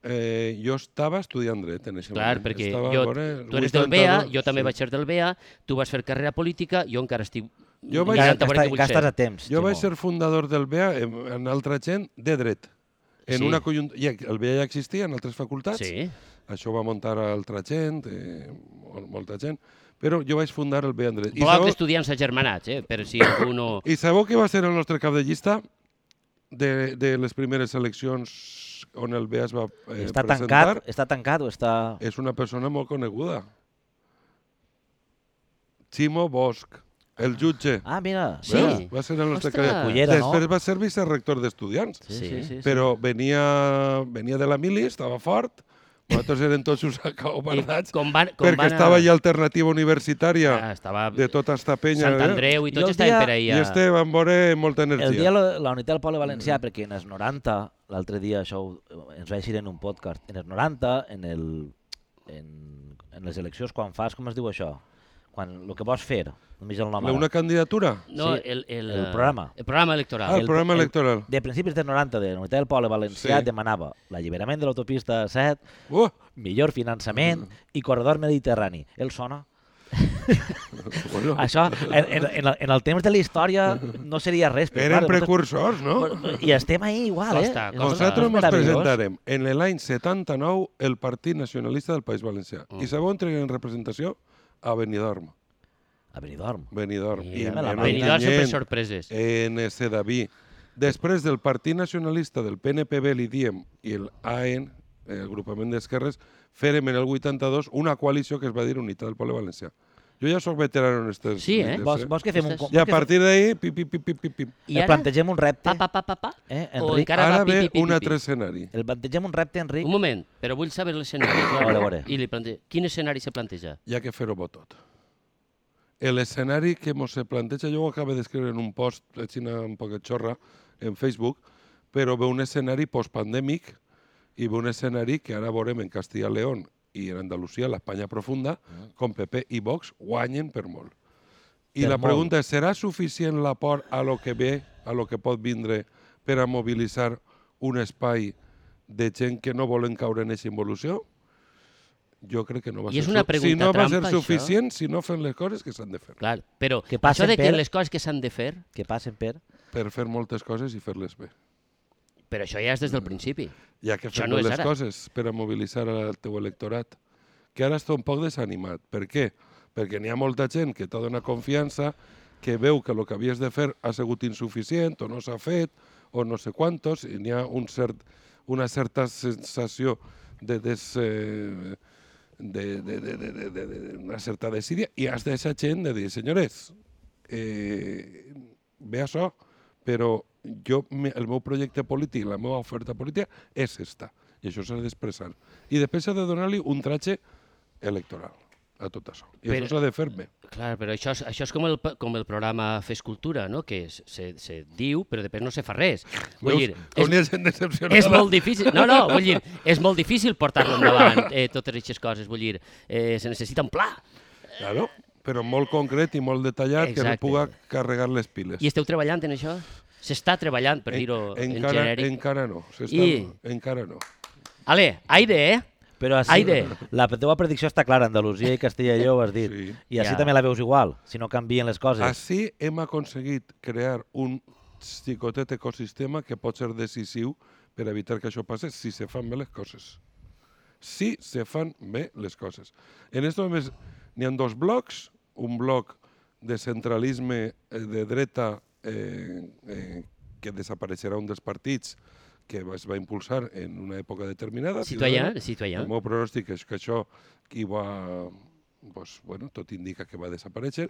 [SPEAKER 4] eh, jo estava estudiant dret en aquest
[SPEAKER 2] Clar,
[SPEAKER 4] moment.
[SPEAKER 2] perquè
[SPEAKER 4] Estava, a
[SPEAKER 2] jo,
[SPEAKER 4] veure,
[SPEAKER 2] tu eres del BEA,
[SPEAKER 4] 82,
[SPEAKER 2] jo també
[SPEAKER 4] sí.
[SPEAKER 2] vaig ser del BEA, tu vas fer carrera política, jo encara estic...
[SPEAKER 4] Jo vaig-
[SPEAKER 2] encara
[SPEAKER 4] Encara
[SPEAKER 2] en tabaré
[SPEAKER 3] encara,
[SPEAKER 2] que vull
[SPEAKER 3] encara
[SPEAKER 2] ser.
[SPEAKER 3] estàs a temps,
[SPEAKER 4] Jo vaig
[SPEAKER 3] Ximo.
[SPEAKER 4] ser fundador del BEA, en, en altra gent, de dret. En
[SPEAKER 2] Sí.
[SPEAKER 4] una conjunt... ja, el BEA ja existia en altres facultats,
[SPEAKER 2] Sí,
[SPEAKER 4] això ho va muntar altra gent, eh, mol- molta gent, però jo vaig fundar el BEA en dret. I
[SPEAKER 2] bloc
[SPEAKER 4] sabeu-
[SPEAKER 2] d'estudiants agermanats, eh? per si algú no...
[SPEAKER 4] I sabeu qui va ser el nostre cap de llista de, de les primeres eleccions on el BEA es va eh,
[SPEAKER 3] Està
[SPEAKER 4] presentar? Eh,
[SPEAKER 3] tancat, està tancat o està...
[SPEAKER 4] És una persona molt coneguda. Ximo Bosch, el jutge.
[SPEAKER 3] Ah, mira.
[SPEAKER 2] Sí.
[SPEAKER 3] mira.
[SPEAKER 4] Veus? Va ser el nostre
[SPEAKER 2] Ostres.
[SPEAKER 4] cap de-
[SPEAKER 3] Cullera, no?
[SPEAKER 4] Després va ser vicerrector d'estudiants.
[SPEAKER 3] Sí, sí, sí, sí.
[SPEAKER 4] Però venia, venia de la mili, estava fort, nosaltres eren tots uns acaobardats,
[SPEAKER 2] com van, com
[SPEAKER 4] perquè
[SPEAKER 2] van a-
[SPEAKER 4] estava ja alternativa universitària
[SPEAKER 2] Ah, estava
[SPEAKER 4] de tota esta penya.
[SPEAKER 2] Sant
[SPEAKER 4] eh?
[SPEAKER 2] Andreu i
[SPEAKER 3] Jo
[SPEAKER 2] tots
[SPEAKER 3] el
[SPEAKER 2] estaven
[SPEAKER 3] dia-
[SPEAKER 2] per
[SPEAKER 4] I
[SPEAKER 2] ahir.
[SPEAKER 4] este van veure molta energia.
[SPEAKER 3] El dia la, la unitat del poble valencià,
[SPEAKER 4] Mm.
[SPEAKER 3] perquè en els 90, l'altre dia això ho, ens va eixir en un podcast, en els 90, en, el, en, en les eleccions, quan fas, com es diu això? Quan el que vols fer, només el nom.
[SPEAKER 4] La
[SPEAKER 3] ara.
[SPEAKER 4] una candidatura?
[SPEAKER 2] No,
[SPEAKER 3] sí,
[SPEAKER 2] el, el,
[SPEAKER 3] el programa.
[SPEAKER 2] El programa
[SPEAKER 4] Ah,
[SPEAKER 2] electoral.
[SPEAKER 4] el, programa electoral.
[SPEAKER 3] De principis dels 90 de la unitat del poble valencià
[SPEAKER 4] Sí.
[SPEAKER 3] sí. demanava l'alliberament de l'autopista 7,
[SPEAKER 4] Uh,
[SPEAKER 3] millor
[SPEAKER 4] Mm.
[SPEAKER 3] finançament i corredor mediterrani. El sona?
[SPEAKER 4] bueno,
[SPEAKER 3] Això, en, en, en, el, en el temps de la història, no seria res. però,
[SPEAKER 4] eren
[SPEAKER 3] clar,
[SPEAKER 4] precursors, no?
[SPEAKER 3] nosaltres- I estem ahí igual,
[SPEAKER 2] Costa,
[SPEAKER 3] eh?
[SPEAKER 2] costa.
[SPEAKER 3] És
[SPEAKER 4] Nosaltres ens
[SPEAKER 3] meravellós.
[SPEAKER 4] presentarem en l'any 79 el Partit Nacionalista del País Valencià. I sabeu on tenien representació? A Benidorm.
[SPEAKER 3] A Benidorm.
[SPEAKER 4] Benidorm. I
[SPEAKER 3] Mira, me la
[SPEAKER 4] en
[SPEAKER 3] mano.
[SPEAKER 2] Benidorm sempre
[SPEAKER 4] Ontinyent,
[SPEAKER 2] sorpreses.
[SPEAKER 4] En Sedaví. Després del Partit Nacionalista del PNPB, l'IDIEM i el AEN, el grupament d'esquerres, ferem en el 82 una coalició que es va dir Unitat del Poble Valencià. Jo ja sóc veterano en aquestes...
[SPEAKER 2] Sí, eh?
[SPEAKER 3] Vols, vols que fem un...
[SPEAKER 2] Ostres.
[SPEAKER 3] vols
[SPEAKER 4] I a
[SPEAKER 3] que
[SPEAKER 4] partir d'ahir, pip, pip, pip, pip, pip, pip.
[SPEAKER 3] I ara? plantegem un repte.
[SPEAKER 2] Pa, pa, pa, pa, pa.
[SPEAKER 3] Eh,
[SPEAKER 2] o
[SPEAKER 3] Enric?
[SPEAKER 2] encara
[SPEAKER 4] Ara
[SPEAKER 2] va pi,
[SPEAKER 4] ve
[SPEAKER 2] pi, pi,
[SPEAKER 4] un
[SPEAKER 2] pi,
[SPEAKER 4] altre
[SPEAKER 2] pi.
[SPEAKER 4] escenari.
[SPEAKER 3] El plantegem un repte, Enric.
[SPEAKER 2] Un moment, però vull saber l'escenari. clar.
[SPEAKER 3] A veure, a veure.
[SPEAKER 2] I li plante... Quin escenari se planteja?
[SPEAKER 4] Hi ha que fer-ho bo tot. L'escenari que mos se planteja, jo ho acabo d'escriure en un post, així un poquet xorra, en Facebook, però ve un escenari postpandèmic i ve un escenari que ara veurem en Castilla i León i en Andalusia, l'Espanya profunda,
[SPEAKER 3] Ah.
[SPEAKER 4] com PP i Vox guanyen per molt. I
[SPEAKER 3] Per
[SPEAKER 4] la
[SPEAKER 3] molt.
[SPEAKER 4] pregunta és, serà suficient l'aport a lo que ve, a lo que pot vindre, per a mobilitzar un espai de gent que no volen caure en aquesta involució? Jo crec que no va
[SPEAKER 2] I
[SPEAKER 4] ser
[SPEAKER 2] és una
[SPEAKER 4] su- Si
[SPEAKER 2] pregunta
[SPEAKER 4] no va
[SPEAKER 2] trampa,
[SPEAKER 4] ser
[SPEAKER 2] això?
[SPEAKER 4] suficient, si no fem les coses que s'han de fer.
[SPEAKER 2] Clar, però
[SPEAKER 3] Que
[SPEAKER 2] això
[SPEAKER 3] passen
[SPEAKER 2] de que
[SPEAKER 3] per-
[SPEAKER 2] les coses que s'han de fer,
[SPEAKER 3] Que passen per...
[SPEAKER 4] Per fer moltes coses i fer-les bé.
[SPEAKER 2] però això ja és des del principi.
[SPEAKER 4] Ja que
[SPEAKER 2] Això
[SPEAKER 4] fem
[SPEAKER 2] no és
[SPEAKER 4] les
[SPEAKER 2] ara.
[SPEAKER 4] coses per a mobilitzar el teu electorat. Que ara està un poc desanimat. Per què? Perquè n'hi ha molta gent que t'ha donat confiança, que veu que el que havies de fer ha sigut insuficient, o no s'ha fet, o no sé quantos, i n'hi ha un cert, una certa sensació de des... Eh, de, de, de, de, de, de, de una certa desídia i has deixat gent de dir, senyores, eh, ve això, però jo, me- el meu projecte polític, la meva oferta política és esta. I això s'ha d'expressar. I després s'ha de donar-li un tratge electoral a tot això. I
[SPEAKER 2] Però-
[SPEAKER 4] això s'ha de fer bé.
[SPEAKER 2] Clar, però això és, això és com, el, pa- com el programa Fes Cultura, no? que es- se, se diu, però després no se fa res. Vull dir,
[SPEAKER 4] com
[SPEAKER 2] és,
[SPEAKER 4] n'hi ha gent decepcionada.
[SPEAKER 2] és molt difícil, no, no, vull dir, és molt difícil portar-lo endavant, eh, totes aquestes coses, vull dir, eh, se necessita un pla.
[SPEAKER 4] Claro, però molt concret i molt detallat, que no
[SPEAKER 2] Exacte.
[SPEAKER 4] puga carregar les piles.
[SPEAKER 2] I esteu treballant en això? S'està treballant, per dir-ho en,
[SPEAKER 4] encara,
[SPEAKER 2] genèric.
[SPEAKER 4] encara no. s'està-
[SPEAKER 2] I-
[SPEAKER 4] Encara no.
[SPEAKER 2] Ale, aire, eh?
[SPEAKER 3] Però així,
[SPEAKER 2] Aire.
[SPEAKER 3] la teua predicció està clara, Andalusia i Castella i Lleó, ho has dit.
[SPEAKER 4] Sí.
[SPEAKER 3] I així
[SPEAKER 2] Ja.
[SPEAKER 3] també la veus igual, si no canvien les coses.
[SPEAKER 4] Així hem aconseguit crear un xicotet ecosistema que pot ser decisiu per evitar que això passe si se fan bé les coses. si se fan bé les coses. En esto només n'hi ha dos blocs, un bloc de centralisme eh, de dreta eh, eh, que desapareixerà un dels partits que es va impulsar en una època determinada.
[SPEAKER 2] Citoyen,
[SPEAKER 4] Ciudadanos.
[SPEAKER 2] Citoyen.
[SPEAKER 4] El meu pronòstic és que això qui va... Pues, bueno, tot indica que va desaparèixer.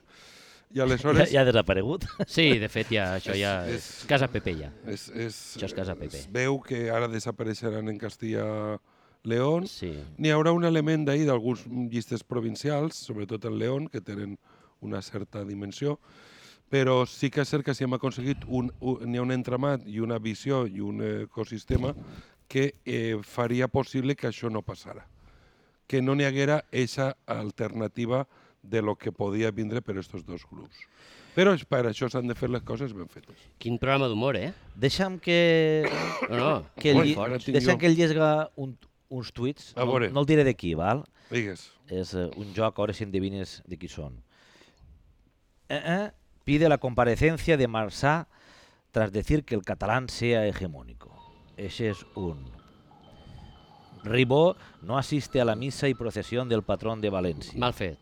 [SPEAKER 4] I
[SPEAKER 3] Ja,
[SPEAKER 4] aleshores...
[SPEAKER 3] ja ha desaparegut.
[SPEAKER 2] Sí, de fet, ja, això ja és,
[SPEAKER 4] És-
[SPEAKER 2] casa Pepe ja.
[SPEAKER 4] És, és,
[SPEAKER 2] Això és casa Pepe.
[SPEAKER 4] Es veu que ara desapareixeran en Castilla-León.
[SPEAKER 2] Sí.
[SPEAKER 4] N'hi haurà un element d'ahir d'alguns llistes provincials, sobretot en León, que tenen una certa dimensió, però sí que és cert que si hem aconseguit un, un, n'hi ha un entramat i una visió i un ecosistema que eh, faria possible que això no passara. Que no n'hi haguera eixa alternativa de lo que podia vindre per estos dos grups. Però és per això s'han de fer les coses ben fetes.
[SPEAKER 2] Quin programa d'humor, eh?
[SPEAKER 3] Deixa'm que,
[SPEAKER 2] No, no.
[SPEAKER 3] que,
[SPEAKER 4] Ui,
[SPEAKER 3] lli...
[SPEAKER 4] ara tinc
[SPEAKER 3] Deixa'm
[SPEAKER 4] jo.
[SPEAKER 3] que lliga un, uns tuits.
[SPEAKER 4] A
[SPEAKER 3] No,
[SPEAKER 4] veure.
[SPEAKER 3] no el diré de qui, val?
[SPEAKER 4] Digues.
[SPEAKER 3] És eh, un joc, a veure si endevines de qui són. Eh, eh, pide la comparecencia de Marsá tras decir que el catalán sea hegemónico. Ese es un. Ribó no asiste a la misa y procesión del patrón de Valencia.
[SPEAKER 2] Mal fet.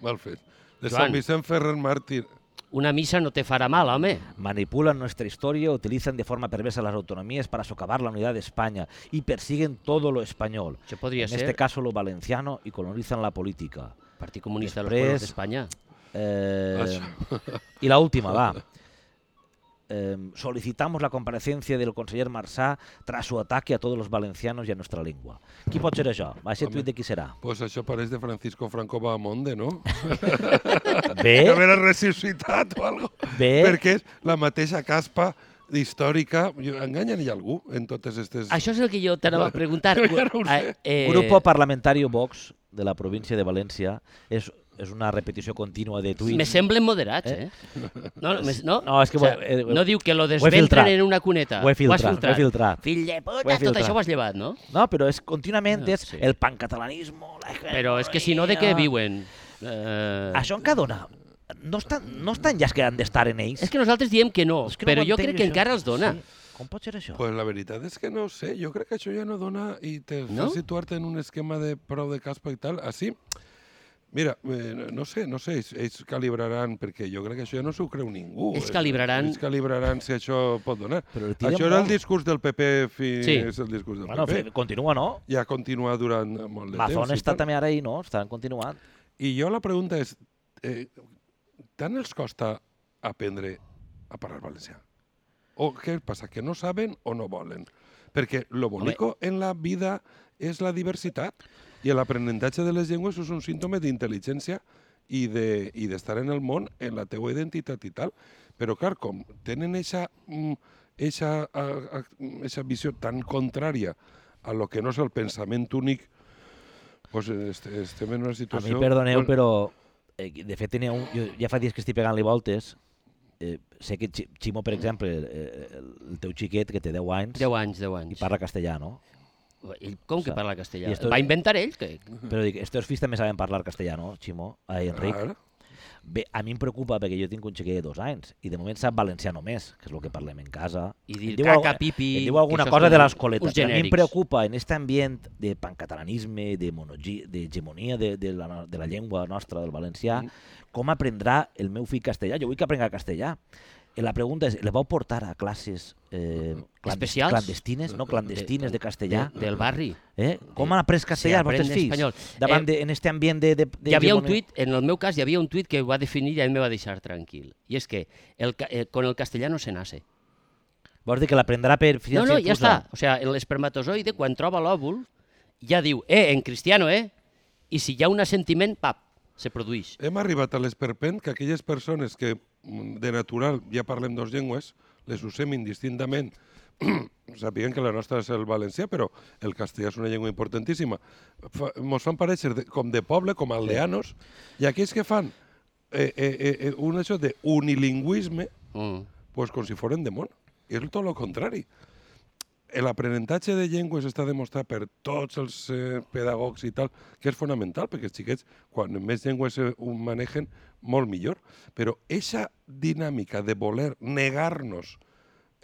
[SPEAKER 4] Mal fet. De
[SPEAKER 2] Joan.
[SPEAKER 4] Sant Vicent Ferrer Màrtir.
[SPEAKER 2] Una missa no te farà mal, home.
[SPEAKER 3] Manipulan nuestra historia, utilizan de forma perversa las autonomías para socavar la unidad de España y persiguen todo lo español.
[SPEAKER 2] Això podria
[SPEAKER 3] en
[SPEAKER 2] ser
[SPEAKER 3] este caso lo valenciano y colonizan la política.
[SPEAKER 2] Partit Comunista
[SPEAKER 3] després-
[SPEAKER 2] dels Pueblos d'Espanya.
[SPEAKER 3] Eh,
[SPEAKER 4] Això.
[SPEAKER 3] y la última, va. Em, solicitamos la comparecencia del conseller Marsá tras su ataque a todos los valencianos y a nuestra lengua. Qui pot ser això? Va ser
[SPEAKER 4] Home.
[SPEAKER 3] tuit de qui serà?
[SPEAKER 4] Pues això pareix de Francisco Franco Bahamonde, no? Que
[SPEAKER 3] Bé,
[SPEAKER 4] haver ressuscitat o algo.
[SPEAKER 3] bé.
[SPEAKER 4] Perquè és la mateixa caspa històrica. Jo- Enganyen hi algú en totes aquestes...
[SPEAKER 2] Això és el que jo t'anava a preguntar.
[SPEAKER 4] ja no ho sé.
[SPEAKER 2] eh,
[SPEAKER 3] Grupo Parlamentario Vox de la província de València és, és una repetició contínua de tuits.
[SPEAKER 2] me semblen moderats, eh? No, no, me- no?
[SPEAKER 3] No, és que eh,
[SPEAKER 2] O sea,
[SPEAKER 3] ho he- he-
[SPEAKER 2] no diu que lo
[SPEAKER 3] filtrat.
[SPEAKER 2] desventren en una cuneta.
[SPEAKER 3] Ho he filtrat,
[SPEAKER 2] has
[SPEAKER 3] ho he filtrat.
[SPEAKER 2] Fill de
[SPEAKER 3] Ho he
[SPEAKER 2] puta, tot
[SPEAKER 3] filtrat.
[SPEAKER 2] això ho has llevat, no?
[SPEAKER 3] No, però és contínuament
[SPEAKER 2] Ah,
[SPEAKER 3] és
[SPEAKER 2] sí.
[SPEAKER 3] el pancatalanisme... la
[SPEAKER 2] Però és que si no, de què
[SPEAKER 3] hegemonia.
[SPEAKER 2] viuen? Eh,
[SPEAKER 3] Això encara dona. No estan, no estan ja els que han d'estar en ells.
[SPEAKER 2] és que nosaltres diem que no,
[SPEAKER 3] És que no
[SPEAKER 2] però
[SPEAKER 3] ho
[SPEAKER 2] jo
[SPEAKER 3] entenc,
[SPEAKER 2] crec que
[SPEAKER 3] això.
[SPEAKER 2] encara els dona.
[SPEAKER 3] Sí. Com pot ser això?
[SPEAKER 4] Pues la veritat és que no ho sé. Jo crec que això ja no dona i te no?
[SPEAKER 2] No?
[SPEAKER 4] fa situar-te en un esquema de prou de caspa i tal. Així, mira, eh, no- no sé, no sé, ells, ells calibraran, perquè jo crec que això ja no s'ho creu ningú.
[SPEAKER 2] Ells calibraran-
[SPEAKER 4] Ells calibraran si això pot donar.
[SPEAKER 3] Però el tiren
[SPEAKER 4] Això era el
[SPEAKER 3] molt.
[SPEAKER 4] discurs del PP fins
[SPEAKER 2] Sí.
[SPEAKER 4] és el discurs del
[SPEAKER 3] bueno,
[SPEAKER 4] PP.
[SPEAKER 3] fe, continua, no?
[SPEAKER 4] ja continua durant molt de
[SPEAKER 3] Mazón
[SPEAKER 4] temps. i
[SPEAKER 3] està
[SPEAKER 4] tal.
[SPEAKER 3] també ara i no, estan continuant.
[SPEAKER 4] I jo la pregunta és, eh, tant els costa aprendre a parlar valencià? O què passa, que no saben o no volen? Perquè lo bonico en la vida és la diversitat i l'aprenentatge de les llengües és un símptoma d'intel·ligència i de- i d'estar de, en el món, en la teua identitat i tal. Però, clar, com tenen eixa, mm, eixa, a- a- eixa visió tan contrària a lo que no és el pensament únic, pues est estem en una
[SPEAKER 3] A mi,
[SPEAKER 4] situació...
[SPEAKER 3] perdoneu,
[SPEAKER 4] Bueno,
[SPEAKER 3] però eh, de fet tenia un, jo, ja fa dies que estic pegant-li voltes. Eh, sé que Chi- Ximo, per exemple, eh, el el teu xiquet, que té 10 anys,
[SPEAKER 2] 10 anys, 10
[SPEAKER 3] i
[SPEAKER 2] anys.
[SPEAKER 3] parla castellà, no?
[SPEAKER 2] Ell, com que
[SPEAKER 3] Sa-
[SPEAKER 2] parla castellà?
[SPEAKER 3] I esto-
[SPEAKER 2] Va inventar ell? Que...
[SPEAKER 3] Però dic, estos fills també saben parlar castellà, no, Ximo? Ai, Enric.
[SPEAKER 4] Clar.
[SPEAKER 3] Bé, a mi em preocupa perquè jo tinc un xiquet de dos anys i de moment sap valencià només, que és el que parlem en casa.
[SPEAKER 2] I dir
[SPEAKER 3] Em diu
[SPEAKER 2] caca,
[SPEAKER 3] algu-
[SPEAKER 2] pipi,
[SPEAKER 3] Em
[SPEAKER 2] que
[SPEAKER 3] diu alguna
[SPEAKER 2] això és
[SPEAKER 3] cosa de
[SPEAKER 2] com
[SPEAKER 3] l'escoleta.
[SPEAKER 2] uns
[SPEAKER 3] però A mi em
[SPEAKER 2] genèrics.
[SPEAKER 3] preocupa en aquest ambient de pancatalanisme, de monogi- d'hegemonia de, de, la, no- de la llengua nostra, del valencià,
[SPEAKER 2] Mm.
[SPEAKER 3] com aprendrà el meu fill castellà? Jo vull que aprenga castellà. I la pregunta és, le vau portar a classes eh, clandest-
[SPEAKER 2] Especials?
[SPEAKER 3] clandestines, no clandestines de castellà?
[SPEAKER 2] De, del barri.
[SPEAKER 3] Eh? Com han après castellà els vostres
[SPEAKER 2] aprende
[SPEAKER 3] fills?
[SPEAKER 2] espanyol.
[SPEAKER 3] Davant
[SPEAKER 2] Eh,
[SPEAKER 3] de, en este ambient de, de, de
[SPEAKER 2] Hi havia un
[SPEAKER 3] hegemonia?
[SPEAKER 2] tuit, en el meu cas, hi havia un tuit que ho va definir i a mi me va deixar tranquil. I és que el, ca- eh, con el castellà no se nace.
[SPEAKER 3] Vols dir que l'aprendrà per
[SPEAKER 2] No, no, ja
[SPEAKER 3] infusa?
[SPEAKER 2] està. O sea, l'espermatozoide, quan troba l'òvul, ja diu, eh, en cristiano, eh? I si hi ha un assentiment, pap, se produeix.
[SPEAKER 3] Eh,
[SPEAKER 4] Hem arribat a l'esperpent que aquelles persones que mm, de natural ja parlem dos llengües, les usem indistintament, sapiguen que la nostra és el valencià, però el castellà és una llengua importantíssima. Fa, mos fan pareixer de, com de poble, com a aldeanos, i aquells que fan eh, eh, eh, eh, un això de unilingüisme,
[SPEAKER 2] Mm.
[SPEAKER 4] pues com si foren de món. És tot el contrari. L'aprenentatge de llengües està demostrat per tots els eh, pedagogs i tal, que és fonamental, perquè els xiquets, quan més llengües se ho manegen, molt millor. Però aquesta dinàmica de voler negar-nos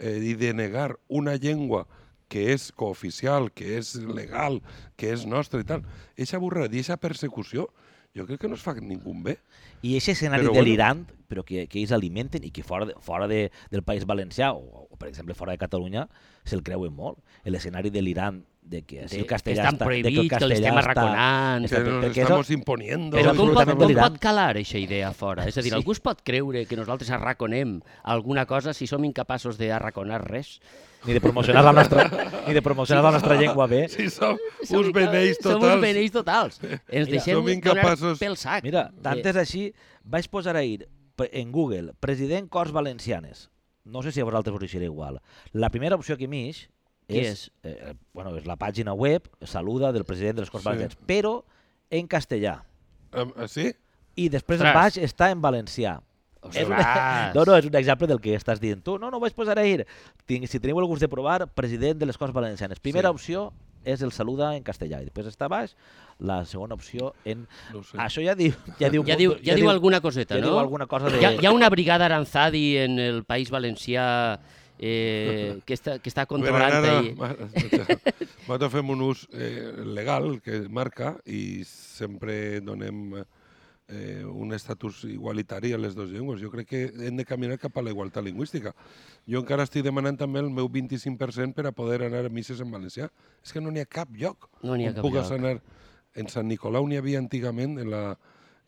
[SPEAKER 4] eh, i de negar una llengua que és cooficial, que és legal, que és nostre i tal. Eixa borradissa persecució, jo crec que no es fa a ningú bé.
[SPEAKER 3] I aquest escenari
[SPEAKER 4] Però
[SPEAKER 3] però
[SPEAKER 4] bueno.
[SPEAKER 3] delirant, però que, que ells alimenten i que fora, de, fora de, del País Valencià o, o, per exemple, fora de Catalunya, se'l creuen molt. L'escenari delirant de que si el
[SPEAKER 2] De- que
[SPEAKER 3] castellà
[SPEAKER 2] estan
[SPEAKER 3] està...
[SPEAKER 2] prohibits, que l'estem arraconant.
[SPEAKER 4] Que
[SPEAKER 3] Està,
[SPEAKER 4] nos
[SPEAKER 3] perquè això,
[SPEAKER 4] estamos imponiendo.
[SPEAKER 2] Però
[SPEAKER 3] és
[SPEAKER 2] com pot,
[SPEAKER 3] absolutament
[SPEAKER 2] com
[SPEAKER 3] delirant.
[SPEAKER 2] pot calar aquesta idea fora? És a dir,
[SPEAKER 3] Sí.
[SPEAKER 2] sí. algú es pot creure que nosaltres arraconem alguna cosa si som incapaços d'arraconar res?
[SPEAKER 3] ni de promocionar la nostra, ni de promocionar la nostra llengua bé.
[SPEAKER 4] Sí, som
[SPEAKER 2] Som
[SPEAKER 4] uns beneis
[SPEAKER 2] inca- Som uns
[SPEAKER 4] totals.
[SPEAKER 2] beneis totals. Ens deixem
[SPEAKER 4] som
[SPEAKER 2] donar
[SPEAKER 4] incapaços.
[SPEAKER 2] pel sac. Eh,
[SPEAKER 3] Mira, tant és així, vaig posar ahir pre- en Google president Corts Valencianes. No sé si a vosaltres us deixaré igual. La primera opció que m'ix
[SPEAKER 2] Qui
[SPEAKER 3] és, eh, bueno, és la pàgina web, saluda del president de les Corts
[SPEAKER 4] Sí.
[SPEAKER 3] Valencianes, però en castellà.
[SPEAKER 4] Em- eh, Sí?
[SPEAKER 3] I després
[SPEAKER 2] Ostres.
[SPEAKER 3] Ostres. baix està en valencià. És una...
[SPEAKER 2] Ostres.
[SPEAKER 3] No, no, és un exemple del que estàs dient tu. No, no ho vaig posar ahir. Tinc, si teniu el gust de provar, president de les Corts Valencianes. Primera
[SPEAKER 4] Sí.
[SPEAKER 3] sí. opció és el saluda en castellà. I després està baix la segona opció en...
[SPEAKER 4] No ho sé.
[SPEAKER 3] Això ja diu... Ja diu,
[SPEAKER 2] Ja diu, ja, diu alguna coseta,
[SPEAKER 3] ja
[SPEAKER 2] no?
[SPEAKER 3] diu alguna cosa de-
[SPEAKER 2] Hi ha, hi ha una brigada aranzadi en el País Valencià eh, que, està, que està controlant... i...
[SPEAKER 4] Nosaltres fem un ús eh, legal que marca i sempre donem eh, un estatus igualitari a les dues llengües. Jo crec que hem de caminar cap a la igualtat lingüística. Jo encara estic demanant també el meu 25% per a poder anar a misses en valencià. És que no n'hi ha cap lloc
[SPEAKER 2] No n'hi ha
[SPEAKER 4] on
[SPEAKER 2] cap
[SPEAKER 4] pugues
[SPEAKER 2] lloc.
[SPEAKER 4] anar. En Sant Nicolau n'hi havia antigament, en, la,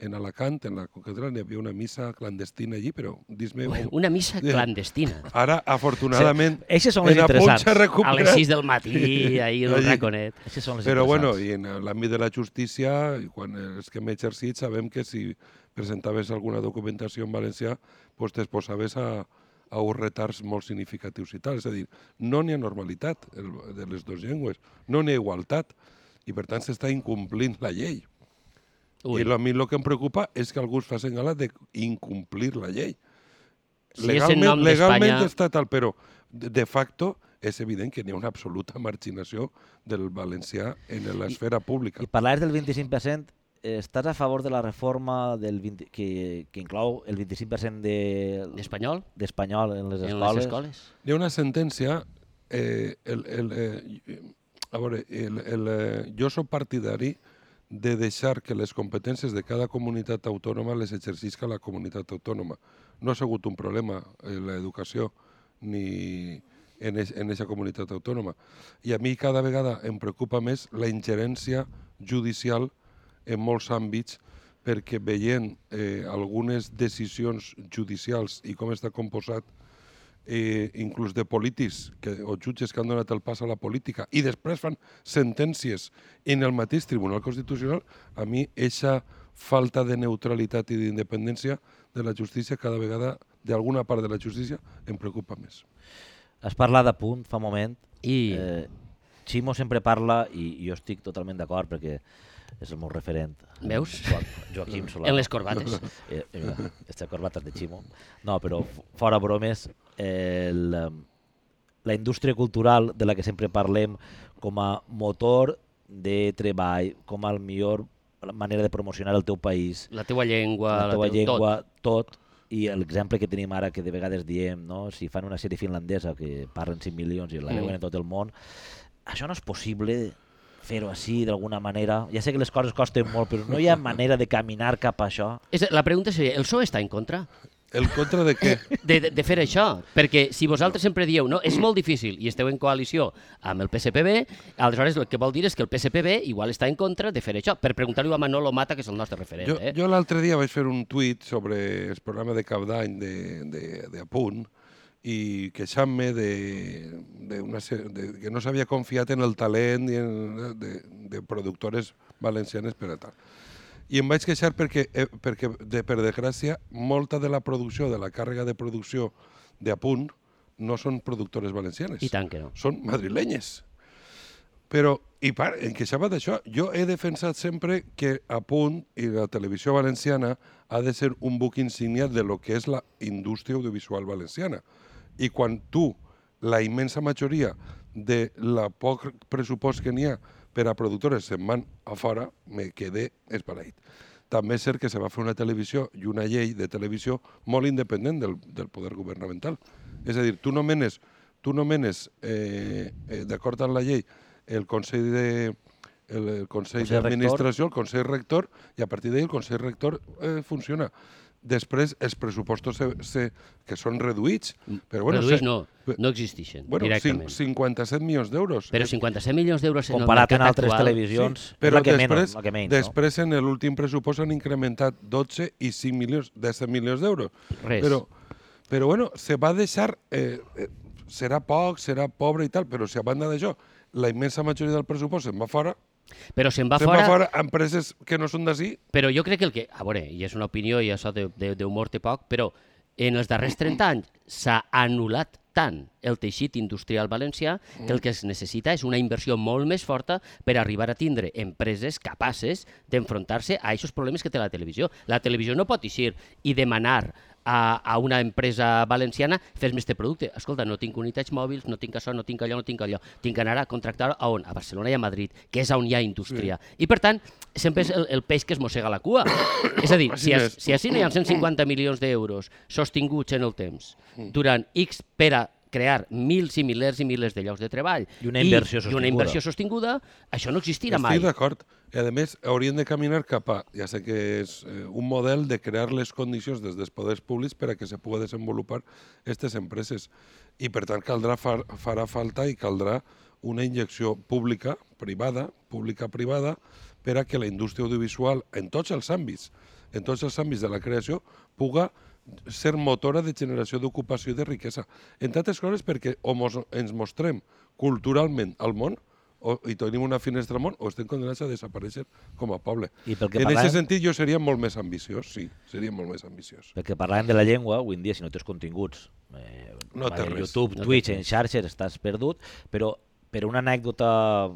[SPEAKER 4] en Alacant, en la Concatedral, n'hi havia una missa clandestina allí, però dis-me... on-
[SPEAKER 2] Una missa clandestina.
[SPEAKER 4] Ara, afortunadament,
[SPEAKER 3] Eixes són les
[SPEAKER 4] en Apol
[SPEAKER 3] interessants.
[SPEAKER 4] s'ha
[SPEAKER 2] A les
[SPEAKER 4] recuperat.
[SPEAKER 2] 6 del matí, ahir el
[SPEAKER 4] Allí.
[SPEAKER 2] raconet.
[SPEAKER 3] Així són les
[SPEAKER 4] Però bueno,
[SPEAKER 3] interessants.
[SPEAKER 4] i en l'àmbit de la justícia, i quan els que hem exercit, sabem que si presentaves alguna documentació en valencià, doncs t'exposaves a, a uns retards molt significatius i tal. És a dir, no n'hi ha normalitat el, de les dues llengües, no n'hi ha igualtat, i per tant s'està incomplint la llei.
[SPEAKER 2] Ui.
[SPEAKER 4] I lo- a mi el que em preocupa és que algú es facin gala de incomplir la llei.
[SPEAKER 2] Si és en nom d'Espanya-
[SPEAKER 4] legalment està tal, però de de facto és evident que n'hi ha una absoluta marginació del valencià en l'esfera pública.
[SPEAKER 3] I parlaves del 25%, eh, estàs a favor de la reforma del 20, que, que inclou el 25% de-
[SPEAKER 2] D'espanyol?
[SPEAKER 3] d'espanyol de, en les
[SPEAKER 2] En
[SPEAKER 3] escoles?
[SPEAKER 2] les escoles?
[SPEAKER 4] Hi ha una sentència... Eh, el, el, eh, a veure, el, el, eh, jo sóc partidari de deixar que les competències de cada comunitat autònoma les exercisca la comunitat autònoma. No ha sigut un problema eh, l'educació ni en aquesta comunitat autònoma. I a mi cada vegada em preocupa més la ingerència judicial en molts àmbits perquè veient eh, algunes decisions judicials i com està composat eh, inclús de polítics que, o jutges que han donat el pas a la política i després fan sentències en el mateix Tribunal Constitucional, a mi eixa falta de neutralitat i d'independència de la justícia cada vegada d'alguna part de la justícia em preocupa més.
[SPEAKER 3] Has parlat de punt fa un moment.
[SPEAKER 2] I-
[SPEAKER 3] Eh, Ximo sempre parla, i jo estic totalment d'acord perquè és el meu referent.
[SPEAKER 2] Veus?
[SPEAKER 3] Jo, Joaquim Solà.
[SPEAKER 2] En les corbates.
[SPEAKER 3] Eh, eh, mira, este corbates de Ximo. No, però f- fora bromes, eh, el, em, la indústria cultural de la que sempre parlem com a motor de treball, com a millor manera de promocionar el teu país,
[SPEAKER 2] La teua llengua,
[SPEAKER 3] la teva
[SPEAKER 2] teu- tot.
[SPEAKER 3] llengua, tot. I l'exemple que tenim ara, que de vegades diem, no? si fan una sèrie finlandesa que parlen 5 milions i la
[SPEAKER 2] Mm.
[SPEAKER 3] veuen en tot el món, això no és possible fer-ho així d'alguna manera. Ja sé que les coses costen molt, però no hi ha manera de caminar cap a això.
[SPEAKER 2] És, la pregunta seria, el PSOE està en contra
[SPEAKER 4] El contra de què?
[SPEAKER 2] de, de, de fer això? Perquè si vosaltres sempre dieu, no, és molt difícil i esteu en coalició amb el PSPB, aleshores el que vol dir és que el PSPB igual està en contra de fer això, per preguntar-ho a Manolo Mata, que és el nostre referent.
[SPEAKER 4] Jo,
[SPEAKER 2] eh?
[SPEAKER 4] jo l'altre dia vaig fer un tuit sobre el programa de cap d'any de, de, de Apunt i queixant-me de, de, una, se- de, que no s'havia confiat en el talent i en, de, de productores valencianes per a tal. I em vaig queixar perquè, eh, perquè de, per desgràcia, molta de la producció, de la càrrega de producció d'Apunt, no són productores valencianes
[SPEAKER 2] I tant que no.
[SPEAKER 4] són madrilenyes. Però, i per, en queixava d'això, jo he defensat sempre que a punt i la televisió valenciana ha de ser un buc insígnia de lo que és la indústria audiovisual valenciana. I quan tu, la immensa majoria de la poc pressupost que n'hi ha per a productores se'n van a fora, me quedé espalaït. També és cert que se va fer una televisió i una llei de televisió molt independent del, del poder governamental. És a dir, tu nomenes, tu nomenes, eh, eh, d'acord amb la llei, el Consell de el, el Consell
[SPEAKER 3] Consell Rector.
[SPEAKER 4] d'Administració, el Consell Rector, i a partir d'ahí el Consell Rector eh, funciona. Després, els pressupostos se, se, que són reduïts, però
[SPEAKER 2] Mm.
[SPEAKER 4] bueno...
[SPEAKER 2] Reduïts
[SPEAKER 4] se-
[SPEAKER 2] no,
[SPEAKER 4] pe-
[SPEAKER 2] no existeixen
[SPEAKER 4] Bueno, cin-
[SPEAKER 2] directament.
[SPEAKER 4] 57 milions d'euros.
[SPEAKER 2] Però
[SPEAKER 4] Eh,
[SPEAKER 2] 57 milions d'euros en el
[SPEAKER 3] Comparat
[SPEAKER 2] mercat
[SPEAKER 3] amb altres
[SPEAKER 2] actual...
[SPEAKER 3] televisions,
[SPEAKER 4] Sí,
[SPEAKER 3] sí,
[SPEAKER 4] però
[SPEAKER 3] la que
[SPEAKER 4] després,
[SPEAKER 3] menys, la que menys no?
[SPEAKER 4] després en l'últim pressupost han incrementat 12 i 5 milions, 10 milions d'euros.
[SPEAKER 2] Res.
[SPEAKER 4] Però, però bueno, se va deixar... Eh, eh, serà poc, serà pobre i tal, però si a banda d'això la immensa majoria del pressupost se'n va fora,
[SPEAKER 2] Però se'n va
[SPEAKER 4] se'n va
[SPEAKER 2] fora
[SPEAKER 4] fora a empreses que no són d'ací,
[SPEAKER 2] Però jo crec que el que... A veure, i és una opinió i això de- de- d'humor té poc, però en els darrers 30 anys s'ha anul·lat tant el teixit industrial valencià que el que es necessita és una inversió molt més forta per arribar a tindre empreses capaces d'enfrontar-se a aquests problemes que té la televisió. La televisió no pot eixir i demanar a, a una empresa valenciana fes-me este producte. Escolta, no tinc unitats mòbils, no tinc això, no tinc allò, no tinc allò. Tinc que anar a contractar a on? A Barcelona i a Madrid, que és on hi ha indústria. Sí. I per tant, sempre és el, el peix que es mossega la cua. és a dir,
[SPEAKER 4] Així
[SPEAKER 2] si,
[SPEAKER 4] és.
[SPEAKER 2] es, si així no hi ha 150 milions d'euros sostinguts en el temps
[SPEAKER 3] Mm.
[SPEAKER 2] durant X per a crear mils i milers i milers de llocs de treball
[SPEAKER 3] I una
[SPEAKER 2] i
[SPEAKER 3] inversió
[SPEAKER 2] una
[SPEAKER 3] sostinguda.
[SPEAKER 2] inversió sostinguda, això no existirà mai.
[SPEAKER 4] Estic d'acord. I a més, haurien de caminar cap a, ja sé que és eh, un model de crear les condicions des dels poders públics per a que se pugui desenvolupar aquestes empreses. I per tant caldrà far, farà falta i caldrà una injecció pública, privada, pública privada, per a que la indústria audiovisual en tots els àmbits, en tots els àmbits de la creació, puga ser motora de generació d'ocupació i de riquesa. Entre altres coses perquè o mos, ens mostrem culturalment al món o, i tenim una finestra al món o estem condemnats a desaparèixer com a poble.
[SPEAKER 3] I pel que
[SPEAKER 4] en aquest
[SPEAKER 3] parlàvem-
[SPEAKER 4] sentit jo seria molt més ambiciós, sí, seria molt més ambiciós.
[SPEAKER 3] Perquè parlàvem de la llengua, avui en dia, si no tens continguts, eh,
[SPEAKER 4] No
[SPEAKER 3] vaja,
[SPEAKER 4] té res.
[SPEAKER 3] YouTube,
[SPEAKER 2] No té
[SPEAKER 3] Twitch, en xarxes, estàs perdut, però per una anècdota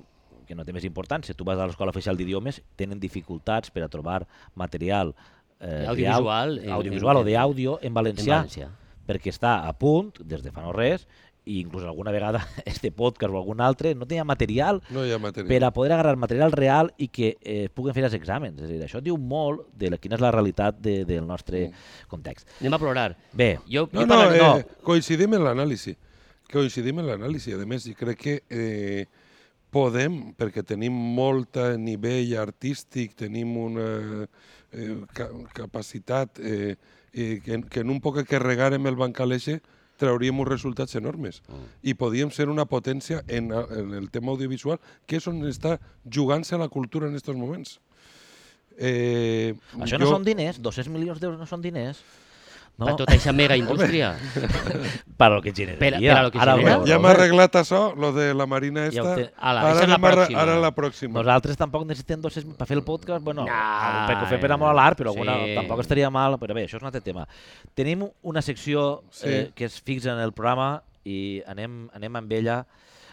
[SPEAKER 3] que no té més importància, tu vas a l'Escola Oficial d'Idiomes, tenen dificultats per a trobar material eh,
[SPEAKER 2] Audiovisual
[SPEAKER 3] real,
[SPEAKER 2] en-
[SPEAKER 3] audiovisual
[SPEAKER 2] en-
[SPEAKER 3] o d'àudio en valencià,
[SPEAKER 2] en valencià.
[SPEAKER 3] perquè està a punt, des de fa no res, i inclús alguna vegada este podcast o algun altre no tenia material
[SPEAKER 4] No hi ha matèria.
[SPEAKER 3] per a poder agarrar material real i que eh, puguen fer els exàmens. És a dir, això diu molt de la, quina és la realitat de, del nostre context.
[SPEAKER 2] Anem a plorar.
[SPEAKER 3] Bé,
[SPEAKER 2] Jo,
[SPEAKER 4] Mm. No,
[SPEAKER 2] jo
[SPEAKER 4] no,
[SPEAKER 2] parlaré-
[SPEAKER 4] eh,
[SPEAKER 3] no.
[SPEAKER 4] coincidim en l'anàlisi. Coincidim en l'anàlisi. A més, jo crec que eh, podem, perquè tenim molt nivell artístic, tenim una eh, ca capacitat eh, eh, que, en- que en un poc que regarem el bancaleixer trauríem uns resultats enormes.
[SPEAKER 3] Mm.
[SPEAKER 4] I podíem ser una potència en, a- en el tema audiovisual, que és on està jugant-se la cultura en aquests moments. Eh,
[SPEAKER 3] Això no són diners, 200 milions d'euros no són diners. No?
[SPEAKER 2] Per tota aquesta mega indústria.
[SPEAKER 3] Per lo que
[SPEAKER 2] Per-
[SPEAKER 3] generaria.
[SPEAKER 2] per a lo que
[SPEAKER 3] Ara ho
[SPEAKER 2] genera.
[SPEAKER 3] veureu,
[SPEAKER 4] Ja
[SPEAKER 3] eh?
[SPEAKER 4] m'ha arreglat això, lo de la Marina
[SPEAKER 3] Ja
[SPEAKER 4] esta.
[SPEAKER 3] ho té.
[SPEAKER 2] Ala,
[SPEAKER 4] ara,
[SPEAKER 2] esa és la
[SPEAKER 4] m'ha arre-
[SPEAKER 2] pròxima.
[SPEAKER 4] ara la pròxima.
[SPEAKER 3] Nosaltres tampoc necessitem 200 mil per fer el podcast. Bueno,
[SPEAKER 2] No,
[SPEAKER 3] no, perquè ho fem per
[SPEAKER 2] eh,
[SPEAKER 3] amor a l'art, però alguna,
[SPEAKER 2] sí.
[SPEAKER 3] tampoc estaria mal. Però bé, això és un altre tema. Tenim una secció
[SPEAKER 4] Sí.
[SPEAKER 3] eh, que es fixa en el programa i anem, anem amb ella.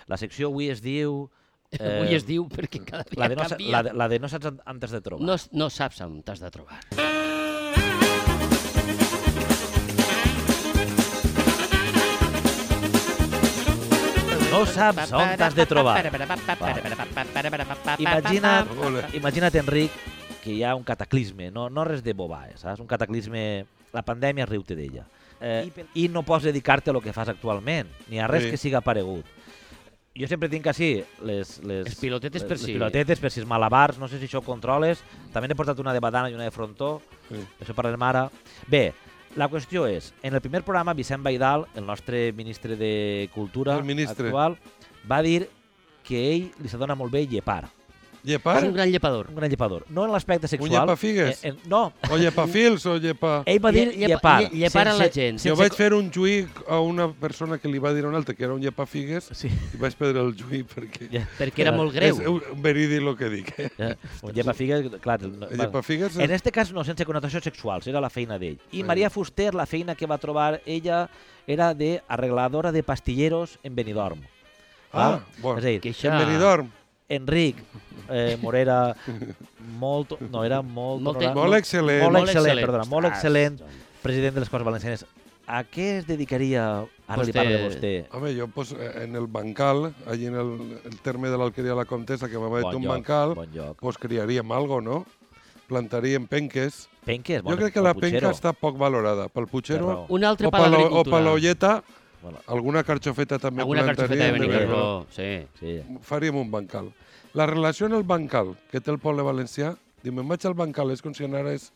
[SPEAKER 3] La secció avui es diu... eh,
[SPEAKER 2] Avui es diu perquè cada dia
[SPEAKER 3] la de, no, sa-
[SPEAKER 2] canvia.
[SPEAKER 3] la, de, la de no saps on- on t'has de trobar.
[SPEAKER 2] No, no saps on t'has de trobar.
[SPEAKER 3] no saps on t'has de trobar. Imagina't,
[SPEAKER 4] Ole.
[SPEAKER 3] imagina't, Enric, que hi ha un cataclisme, no, no res de bobades, saps? Un cataclisme... La pandèmia riu-te d'ella. Eh, I no pots dedicar-te a lo que fas actualment, ni a res
[SPEAKER 4] Sí.
[SPEAKER 3] sí. que siga paregut. Jo sempre tinc així les, les,
[SPEAKER 2] Els pilotetes per
[SPEAKER 3] les,
[SPEAKER 2] si.
[SPEAKER 3] les pilotetes per si els malabars, no sé si això ho controles. També n'he portat una de badana i una de frontó,
[SPEAKER 4] Sí.
[SPEAKER 3] això parlem ara. Bé, la qüestió és, en el primer programa, Vicent Baidal, el nostre ministre de Cultura
[SPEAKER 4] El ministre.
[SPEAKER 3] actual, va dir que ell li s'adona molt bé llepar.
[SPEAKER 4] Llepar?
[SPEAKER 2] És un gran llepador.
[SPEAKER 3] Un gran llepador. No en l'aspecte sexual.
[SPEAKER 4] llepafigues?
[SPEAKER 3] En, en, no,
[SPEAKER 4] O llepafils o llepa...
[SPEAKER 3] ell va dir
[SPEAKER 2] Lle- llepa-
[SPEAKER 3] llepar.
[SPEAKER 2] lle- llepar a la gent.
[SPEAKER 4] Jo vaig fer un juïc a una persona que li va dir a un altre que era un llepafigues
[SPEAKER 3] Sí.
[SPEAKER 4] i vaig perdre el juïc perquè...
[SPEAKER 3] Ja,
[SPEAKER 2] Perquè era molt greu.
[SPEAKER 4] És un veridi el que dic. Eh?
[SPEAKER 3] ja, un llepafigues, clar. El,
[SPEAKER 4] El llepafigues
[SPEAKER 3] En este cas no, sense connotació sexual, era la feina d'ell. I
[SPEAKER 4] Sí.
[SPEAKER 3] Maria Fuster, la feina que va trobar ella era de arregladora de pastilleros en Benidorm.
[SPEAKER 4] Ah,
[SPEAKER 3] És
[SPEAKER 4] bueno.
[SPEAKER 3] a dir,
[SPEAKER 2] Que això...
[SPEAKER 4] En Benidorm.
[SPEAKER 3] Enric eh, Morera, molt, no, era molt...
[SPEAKER 2] Molt-
[SPEAKER 3] honorable-
[SPEAKER 4] Molt excel·lent.
[SPEAKER 3] Molt,
[SPEAKER 2] Molt
[SPEAKER 3] excel·lent,
[SPEAKER 2] excel·lent.
[SPEAKER 3] perdona, molt
[SPEAKER 2] Ostres,
[SPEAKER 3] excel·lent,
[SPEAKER 2] doncs.
[SPEAKER 3] president de les Corts Valencianes. A què es dedicaria, ara li
[SPEAKER 2] Vostè-
[SPEAKER 3] parlo de vostè,
[SPEAKER 4] Home, jo pues, en el bancal, allí en el, el terme de l'alqueria de la Comtessa, que m'ha dit
[SPEAKER 3] Bon
[SPEAKER 4] un
[SPEAKER 3] lloc,
[SPEAKER 4] bancal,
[SPEAKER 3] bon lloc.
[SPEAKER 4] pues criaríem algo, no? Plantaríem penques.
[SPEAKER 3] Penques,
[SPEAKER 4] Jo
[SPEAKER 3] bon,
[SPEAKER 4] crec que
[SPEAKER 3] bon
[SPEAKER 4] la
[SPEAKER 3] putxero.
[SPEAKER 4] penca està poc valorada. Pel
[SPEAKER 3] Té
[SPEAKER 4] putxero
[SPEAKER 3] raó.
[SPEAKER 2] Un altre
[SPEAKER 4] o
[SPEAKER 2] per
[SPEAKER 4] per la- o per
[SPEAKER 2] l'agricultura.
[SPEAKER 4] l'olleta,
[SPEAKER 3] Bueno,
[SPEAKER 4] Alguna carxofeta també
[SPEAKER 2] Alguna carxofeta de
[SPEAKER 4] plantaríem,
[SPEAKER 2] Benicarló,
[SPEAKER 4] veritat.
[SPEAKER 2] sí.
[SPEAKER 3] sí.
[SPEAKER 4] faríem un bancal. La relació en el bancal que té el poble valencià, dir, me'n vaig al bancal, és com si anara, és,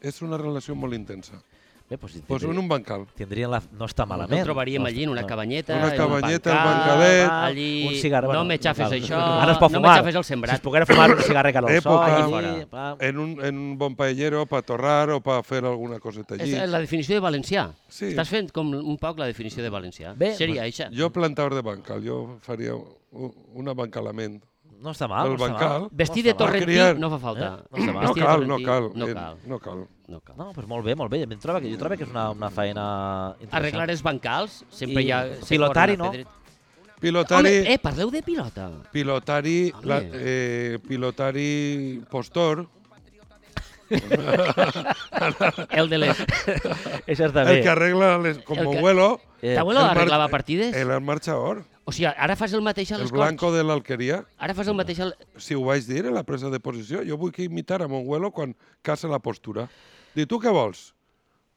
[SPEAKER 4] és una relació molt intensa.
[SPEAKER 3] Bé, doncs,
[SPEAKER 4] Pues en un bancal.
[SPEAKER 3] tindrien la... No està malament.
[SPEAKER 2] Malament. El trobaríem
[SPEAKER 3] no
[SPEAKER 2] allí en una
[SPEAKER 3] no.
[SPEAKER 2] cabanyeta,
[SPEAKER 4] Una
[SPEAKER 2] en
[SPEAKER 4] cabanyeta,
[SPEAKER 2] un
[SPEAKER 4] un
[SPEAKER 2] bancal,
[SPEAKER 4] bancalet.
[SPEAKER 2] allí...
[SPEAKER 3] Un cigarret.
[SPEAKER 2] no
[SPEAKER 3] bueno,
[SPEAKER 2] me xafes
[SPEAKER 3] cal.
[SPEAKER 2] això,
[SPEAKER 3] Ara es pot
[SPEAKER 2] no
[SPEAKER 3] fumar.
[SPEAKER 2] me xafes el
[SPEAKER 3] Si es
[SPEAKER 2] sembrat.
[SPEAKER 3] poguera fumar un cigarret cara al sol,
[SPEAKER 4] Època. eh,
[SPEAKER 3] allí, pam.
[SPEAKER 4] En un, en un bon paellero per torrar o per fer alguna coseta
[SPEAKER 2] És
[SPEAKER 4] allí.
[SPEAKER 2] la definició de valencià.
[SPEAKER 4] Sí.
[SPEAKER 2] Estàs fent com un poc la definició de valencià.
[SPEAKER 3] Bé,
[SPEAKER 2] Seria això.
[SPEAKER 4] Jo plantador de bancal, jo faria un, un abancalament.
[SPEAKER 3] No està mal. no
[SPEAKER 4] el
[SPEAKER 3] està
[SPEAKER 4] bancal.
[SPEAKER 3] mal.
[SPEAKER 2] Vestir
[SPEAKER 3] no
[SPEAKER 2] de
[SPEAKER 3] està mal.
[SPEAKER 4] torre-
[SPEAKER 2] torrentí
[SPEAKER 4] criar.
[SPEAKER 2] no fa falta.
[SPEAKER 3] Eh? No està mal.
[SPEAKER 4] No
[SPEAKER 2] Vestir de
[SPEAKER 4] cal, no
[SPEAKER 2] torrentí,
[SPEAKER 4] cal,
[SPEAKER 2] No
[SPEAKER 4] eh,
[SPEAKER 2] cal.
[SPEAKER 4] no cal.
[SPEAKER 2] No cal.
[SPEAKER 3] No, doncs molt bé, molt bé. Em troba que, jo trobo que és una, una feina interessant.
[SPEAKER 2] Arreglar els bancals, sempre
[SPEAKER 3] I
[SPEAKER 2] hi ha... sempre
[SPEAKER 3] pilotari,
[SPEAKER 2] hi ha una
[SPEAKER 3] no?
[SPEAKER 2] pedret-
[SPEAKER 4] Pilotari,
[SPEAKER 2] Home, eh, parleu de pilota.
[SPEAKER 4] pilotari,
[SPEAKER 2] Home.
[SPEAKER 4] la, eh, pilotari postor,
[SPEAKER 2] El de les...
[SPEAKER 3] Eh, Això està bé.
[SPEAKER 4] el que arregla les, com
[SPEAKER 2] El que-
[SPEAKER 4] vuelo,
[SPEAKER 3] Eh,
[SPEAKER 2] T'abuelo
[SPEAKER 4] el mar-
[SPEAKER 2] arreglava partides?
[SPEAKER 4] el marxador,
[SPEAKER 2] O sigui, ara fas el mateix a
[SPEAKER 4] el
[SPEAKER 2] les
[SPEAKER 4] blanco de l'alqueria.
[SPEAKER 2] Ara fas el mateix al...
[SPEAKER 4] si ho vaig dir a la presa de posició, jo vull que imitar a Monguelo quan caça la postura. Di tu què vols?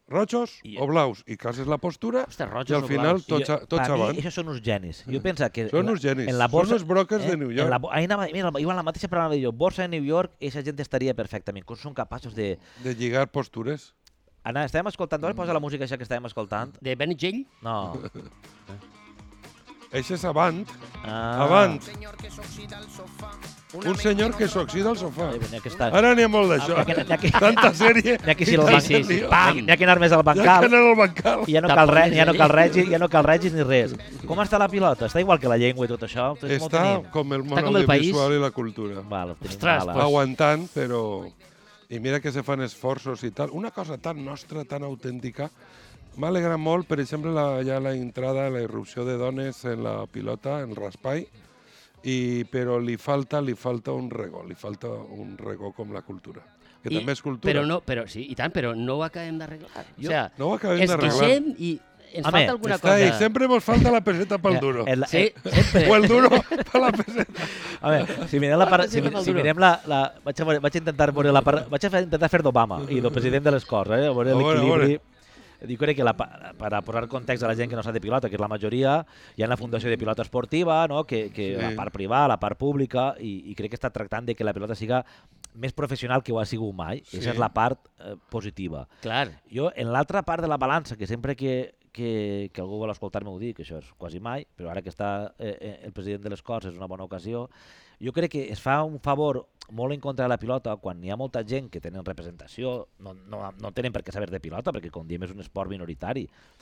[SPEAKER 4] Rojos
[SPEAKER 3] I-
[SPEAKER 4] o blaus? I caces la postura
[SPEAKER 2] Ostres, rojos
[SPEAKER 4] i al
[SPEAKER 2] o
[SPEAKER 4] final
[SPEAKER 2] blaus.
[SPEAKER 4] tots,
[SPEAKER 3] Jo-
[SPEAKER 4] a- tots
[SPEAKER 3] per mi,
[SPEAKER 4] avant.
[SPEAKER 3] Això són uns genis. Jo penso que...
[SPEAKER 4] Són
[SPEAKER 3] en la-
[SPEAKER 4] uns genis.
[SPEAKER 3] En la
[SPEAKER 4] Són
[SPEAKER 3] borsa, eh,
[SPEAKER 4] els brokers de New York.
[SPEAKER 3] En la, bo- ahí anava, mira, igual la mateixa paraula que jo. Borsa de New York, aquesta gent estaria perfectament. Com són capaços de...
[SPEAKER 4] De lligar postures.
[SPEAKER 3] Anna, estàvem escoltant... Ara posa la música això que estàvem escoltant.
[SPEAKER 2] De Benigell?
[SPEAKER 3] No.
[SPEAKER 4] Això és avant,
[SPEAKER 3] Ah.
[SPEAKER 4] avant.
[SPEAKER 5] Un
[SPEAKER 4] Un senyor que s'oxida al sofà.
[SPEAKER 3] Ai, N'hi ha que estar...
[SPEAKER 4] Ara n'hi ha molt d'això.
[SPEAKER 3] Ah, n'hi ha que- n'hi ha que-
[SPEAKER 4] Tanta sèrie.
[SPEAKER 3] N'hi ha que ser al
[SPEAKER 4] i tant
[SPEAKER 3] banc.
[SPEAKER 4] de
[SPEAKER 2] sí,
[SPEAKER 4] lío.
[SPEAKER 3] Pam! N'hi ha que anar més al
[SPEAKER 4] Hi ha que
[SPEAKER 3] bancal.
[SPEAKER 4] anar al bancal.
[SPEAKER 3] I ja no cal res, ja no cal res, ja no cal res ni res. Com està la pilota? Està igual que la llengua i tot això? Tot és molt
[SPEAKER 4] Està
[SPEAKER 3] tenim.
[SPEAKER 4] com el món
[SPEAKER 2] Està com el país.
[SPEAKER 4] audiovisual i la cultura.
[SPEAKER 3] Val, tenim
[SPEAKER 2] Ostres,
[SPEAKER 3] mala.
[SPEAKER 2] pues-
[SPEAKER 4] aguantant, però... I mira que se fan esforços i tal. Una cosa tan nostra, tan autèntica, m'ha alegrat molt, per exemple, la, ja la entrada, la irrupció de dones en la pilota, en Raspai, i, però li falta, li falta un regó, li falta un regó com la cultura, que I, també és cultura.
[SPEAKER 2] Però no, però sí, i tant, però no ho acabem d'arreglar. O sigui,
[SPEAKER 4] no ho acabem
[SPEAKER 2] ens
[SPEAKER 4] d'arreglar.
[SPEAKER 2] queixem i ens
[SPEAKER 3] Home,
[SPEAKER 2] falta alguna
[SPEAKER 4] Està ahí,
[SPEAKER 2] cosa.
[SPEAKER 4] sempre mos falta la peseta pel
[SPEAKER 3] Eh,
[SPEAKER 4] duro.
[SPEAKER 3] el-
[SPEAKER 2] Sí,
[SPEAKER 3] eh,
[SPEAKER 2] sempre.
[SPEAKER 4] O el duro per la peseta.
[SPEAKER 3] A veure, si mirem la part...
[SPEAKER 2] Sí,
[SPEAKER 3] Si,
[SPEAKER 2] sí,
[SPEAKER 3] mi-
[SPEAKER 2] sí,
[SPEAKER 3] si
[SPEAKER 2] sí.
[SPEAKER 3] mirem la... la vaig, a, veure- vaig a intentar veure la part... Vaig a fer, intentar fer d'Obama i del president de les Corts, eh? A veure
[SPEAKER 4] A veure, a
[SPEAKER 3] l'equilibri... Jo crec que la, pa- per a posar context a la gent que no sap de pilota, que és la majoria, hi ha la Fundació de Pilota Esportiva, no? que, que
[SPEAKER 4] Sí.
[SPEAKER 3] la part privada, la part pública, i, i crec que està tractant de que la pilota siga més professional que ho ha sigut mai.
[SPEAKER 4] Sí.
[SPEAKER 3] Sí. Aquesta és la part eh, positiva.
[SPEAKER 2] Clar.
[SPEAKER 3] Jo, en l'altra part de la balança, que sempre que, que, que algú vol escoltar-me ho dic, que això és quasi mai, però ara que està eh, eh, el president de les Corts és una bona ocasió, jo crec que es fa un favor molt en contra de la pilota quan hi ha molta gent que tenen representació, no, no, no tenen per què saber de pilota, perquè com diem és un esport minoritari,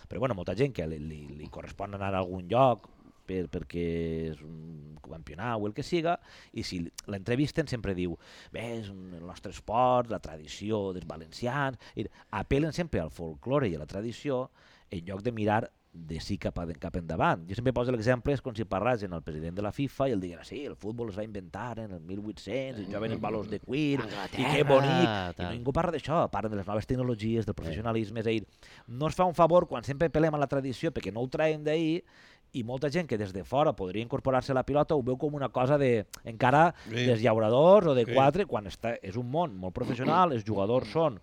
[SPEAKER 3] però bueno, molta gent que li, li, li correspon anar a algun lloc per, perquè és un campionat o el que siga, i si l'entrevisten sempre diu bé, és un, el nostre esport, la tradició dels valencians, i apel·len sempre al folklore i a la tradició en lloc de mirar de sí cap, a, cap endavant. Jo sempre poso l'exemple, és com si parlàs en el president de la FIFA i el diguera, sí, el futbol es va inventar en el 1800, i jo venen valors de cuir, i que
[SPEAKER 2] Anglaterra,
[SPEAKER 3] bonic, i
[SPEAKER 2] tal.
[SPEAKER 3] no ningú parla d'això, parlen de les noves tecnologies, del professionalisme, és a dir, no es fa un favor quan sempre pelem a la tradició perquè no ho traiem d'ahir i molta gent que des de fora podria incorporar-se a la pilota ho veu com una cosa de, encara
[SPEAKER 4] Sí.
[SPEAKER 3] dels llauradors o de
[SPEAKER 4] Sí.
[SPEAKER 3] quatre, quan està, és un món molt professional, els jugadors són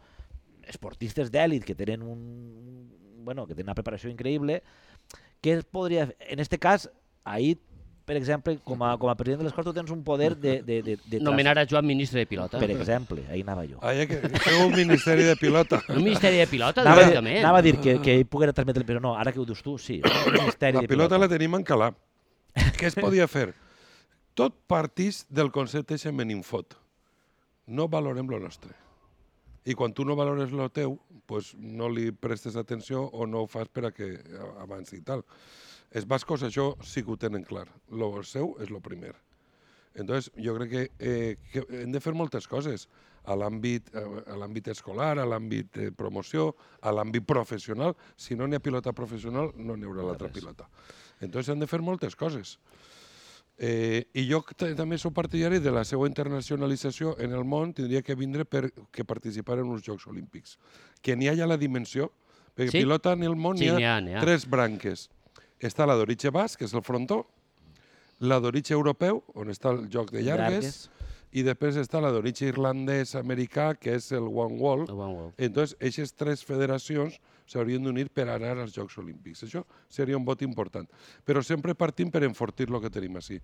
[SPEAKER 3] esportistes d'èlit que tenen un bueno, que tenen una preparació increïble, què es podria... En este cas, ahir, per exemple, com a, com a president de les Corts, tu tens un poder de... de, de, de trans-
[SPEAKER 2] Nomenar a Joan ministre de pilota.
[SPEAKER 3] Per exemple, ahir anava jo.
[SPEAKER 4] Ah, ja que feu un ministeri de pilota.
[SPEAKER 2] Un ministeri de pilota,
[SPEAKER 3] Anava, a dir-
[SPEAKER 2] directament.
[SPEAKER 3] anava a dir que, que ell poguera transmetre, però no, ara que ho dius tu, sí. El misteri
[SPEAKER 4] La
[SPEAKER 3] de
[SPEAKER 4] pilota la tenim en calà. Què es podia fer? Tot partís del concepte xemeninfot. No valorem lo nostre. I quan tu no valores lo teu, pues no li prestes atenció o no ho fas per a que a- avanci i tal. Els bascos això sí que ho tenen clar. Lo seu és lo primer. Entonces, jo crec que, eh, que hem de fer moltes coses a l'àmbit a- a l'àmbit escolar, a l'àmbit de promoció, a l'àmbit professional. Si no n'hi ha pilota professional, no n'hi haurà l'altra pilota. Entonces, hem de fer moltes coses. Eh, I jo t- també sóc partidari de la seva internacionalització en el món, tindria que vindre per que participar en uns Jocs Olímpics. Que n'hi ha ja la dimensió, perquè
[SPEAKER 2] Sí.
[SPEAKER 4] pilota en el món
[SPEAKER 2] Sí,
[SPEAKER 4] n'hi
[SPEAKER 2] n'hi
[SPEAKER 4] ha,
[SPEAKER 2] ha, n'hi ha.
[SPEAKER 4] tres branques. Està la d'oritge basc, que és el frontó, la d'oritge europeu, on està el joc de llargues, i després està la d'oritge irlandès-americà, que és el one wall.
[SPEAKER 2] El one wall.
[SPEAKER 4] Entonces, aquestes tres federacions s'haurien d'unir per anar als Jocs Olímpics. Això seria un vot important. Però sempre partim per enfortir el que tenim així.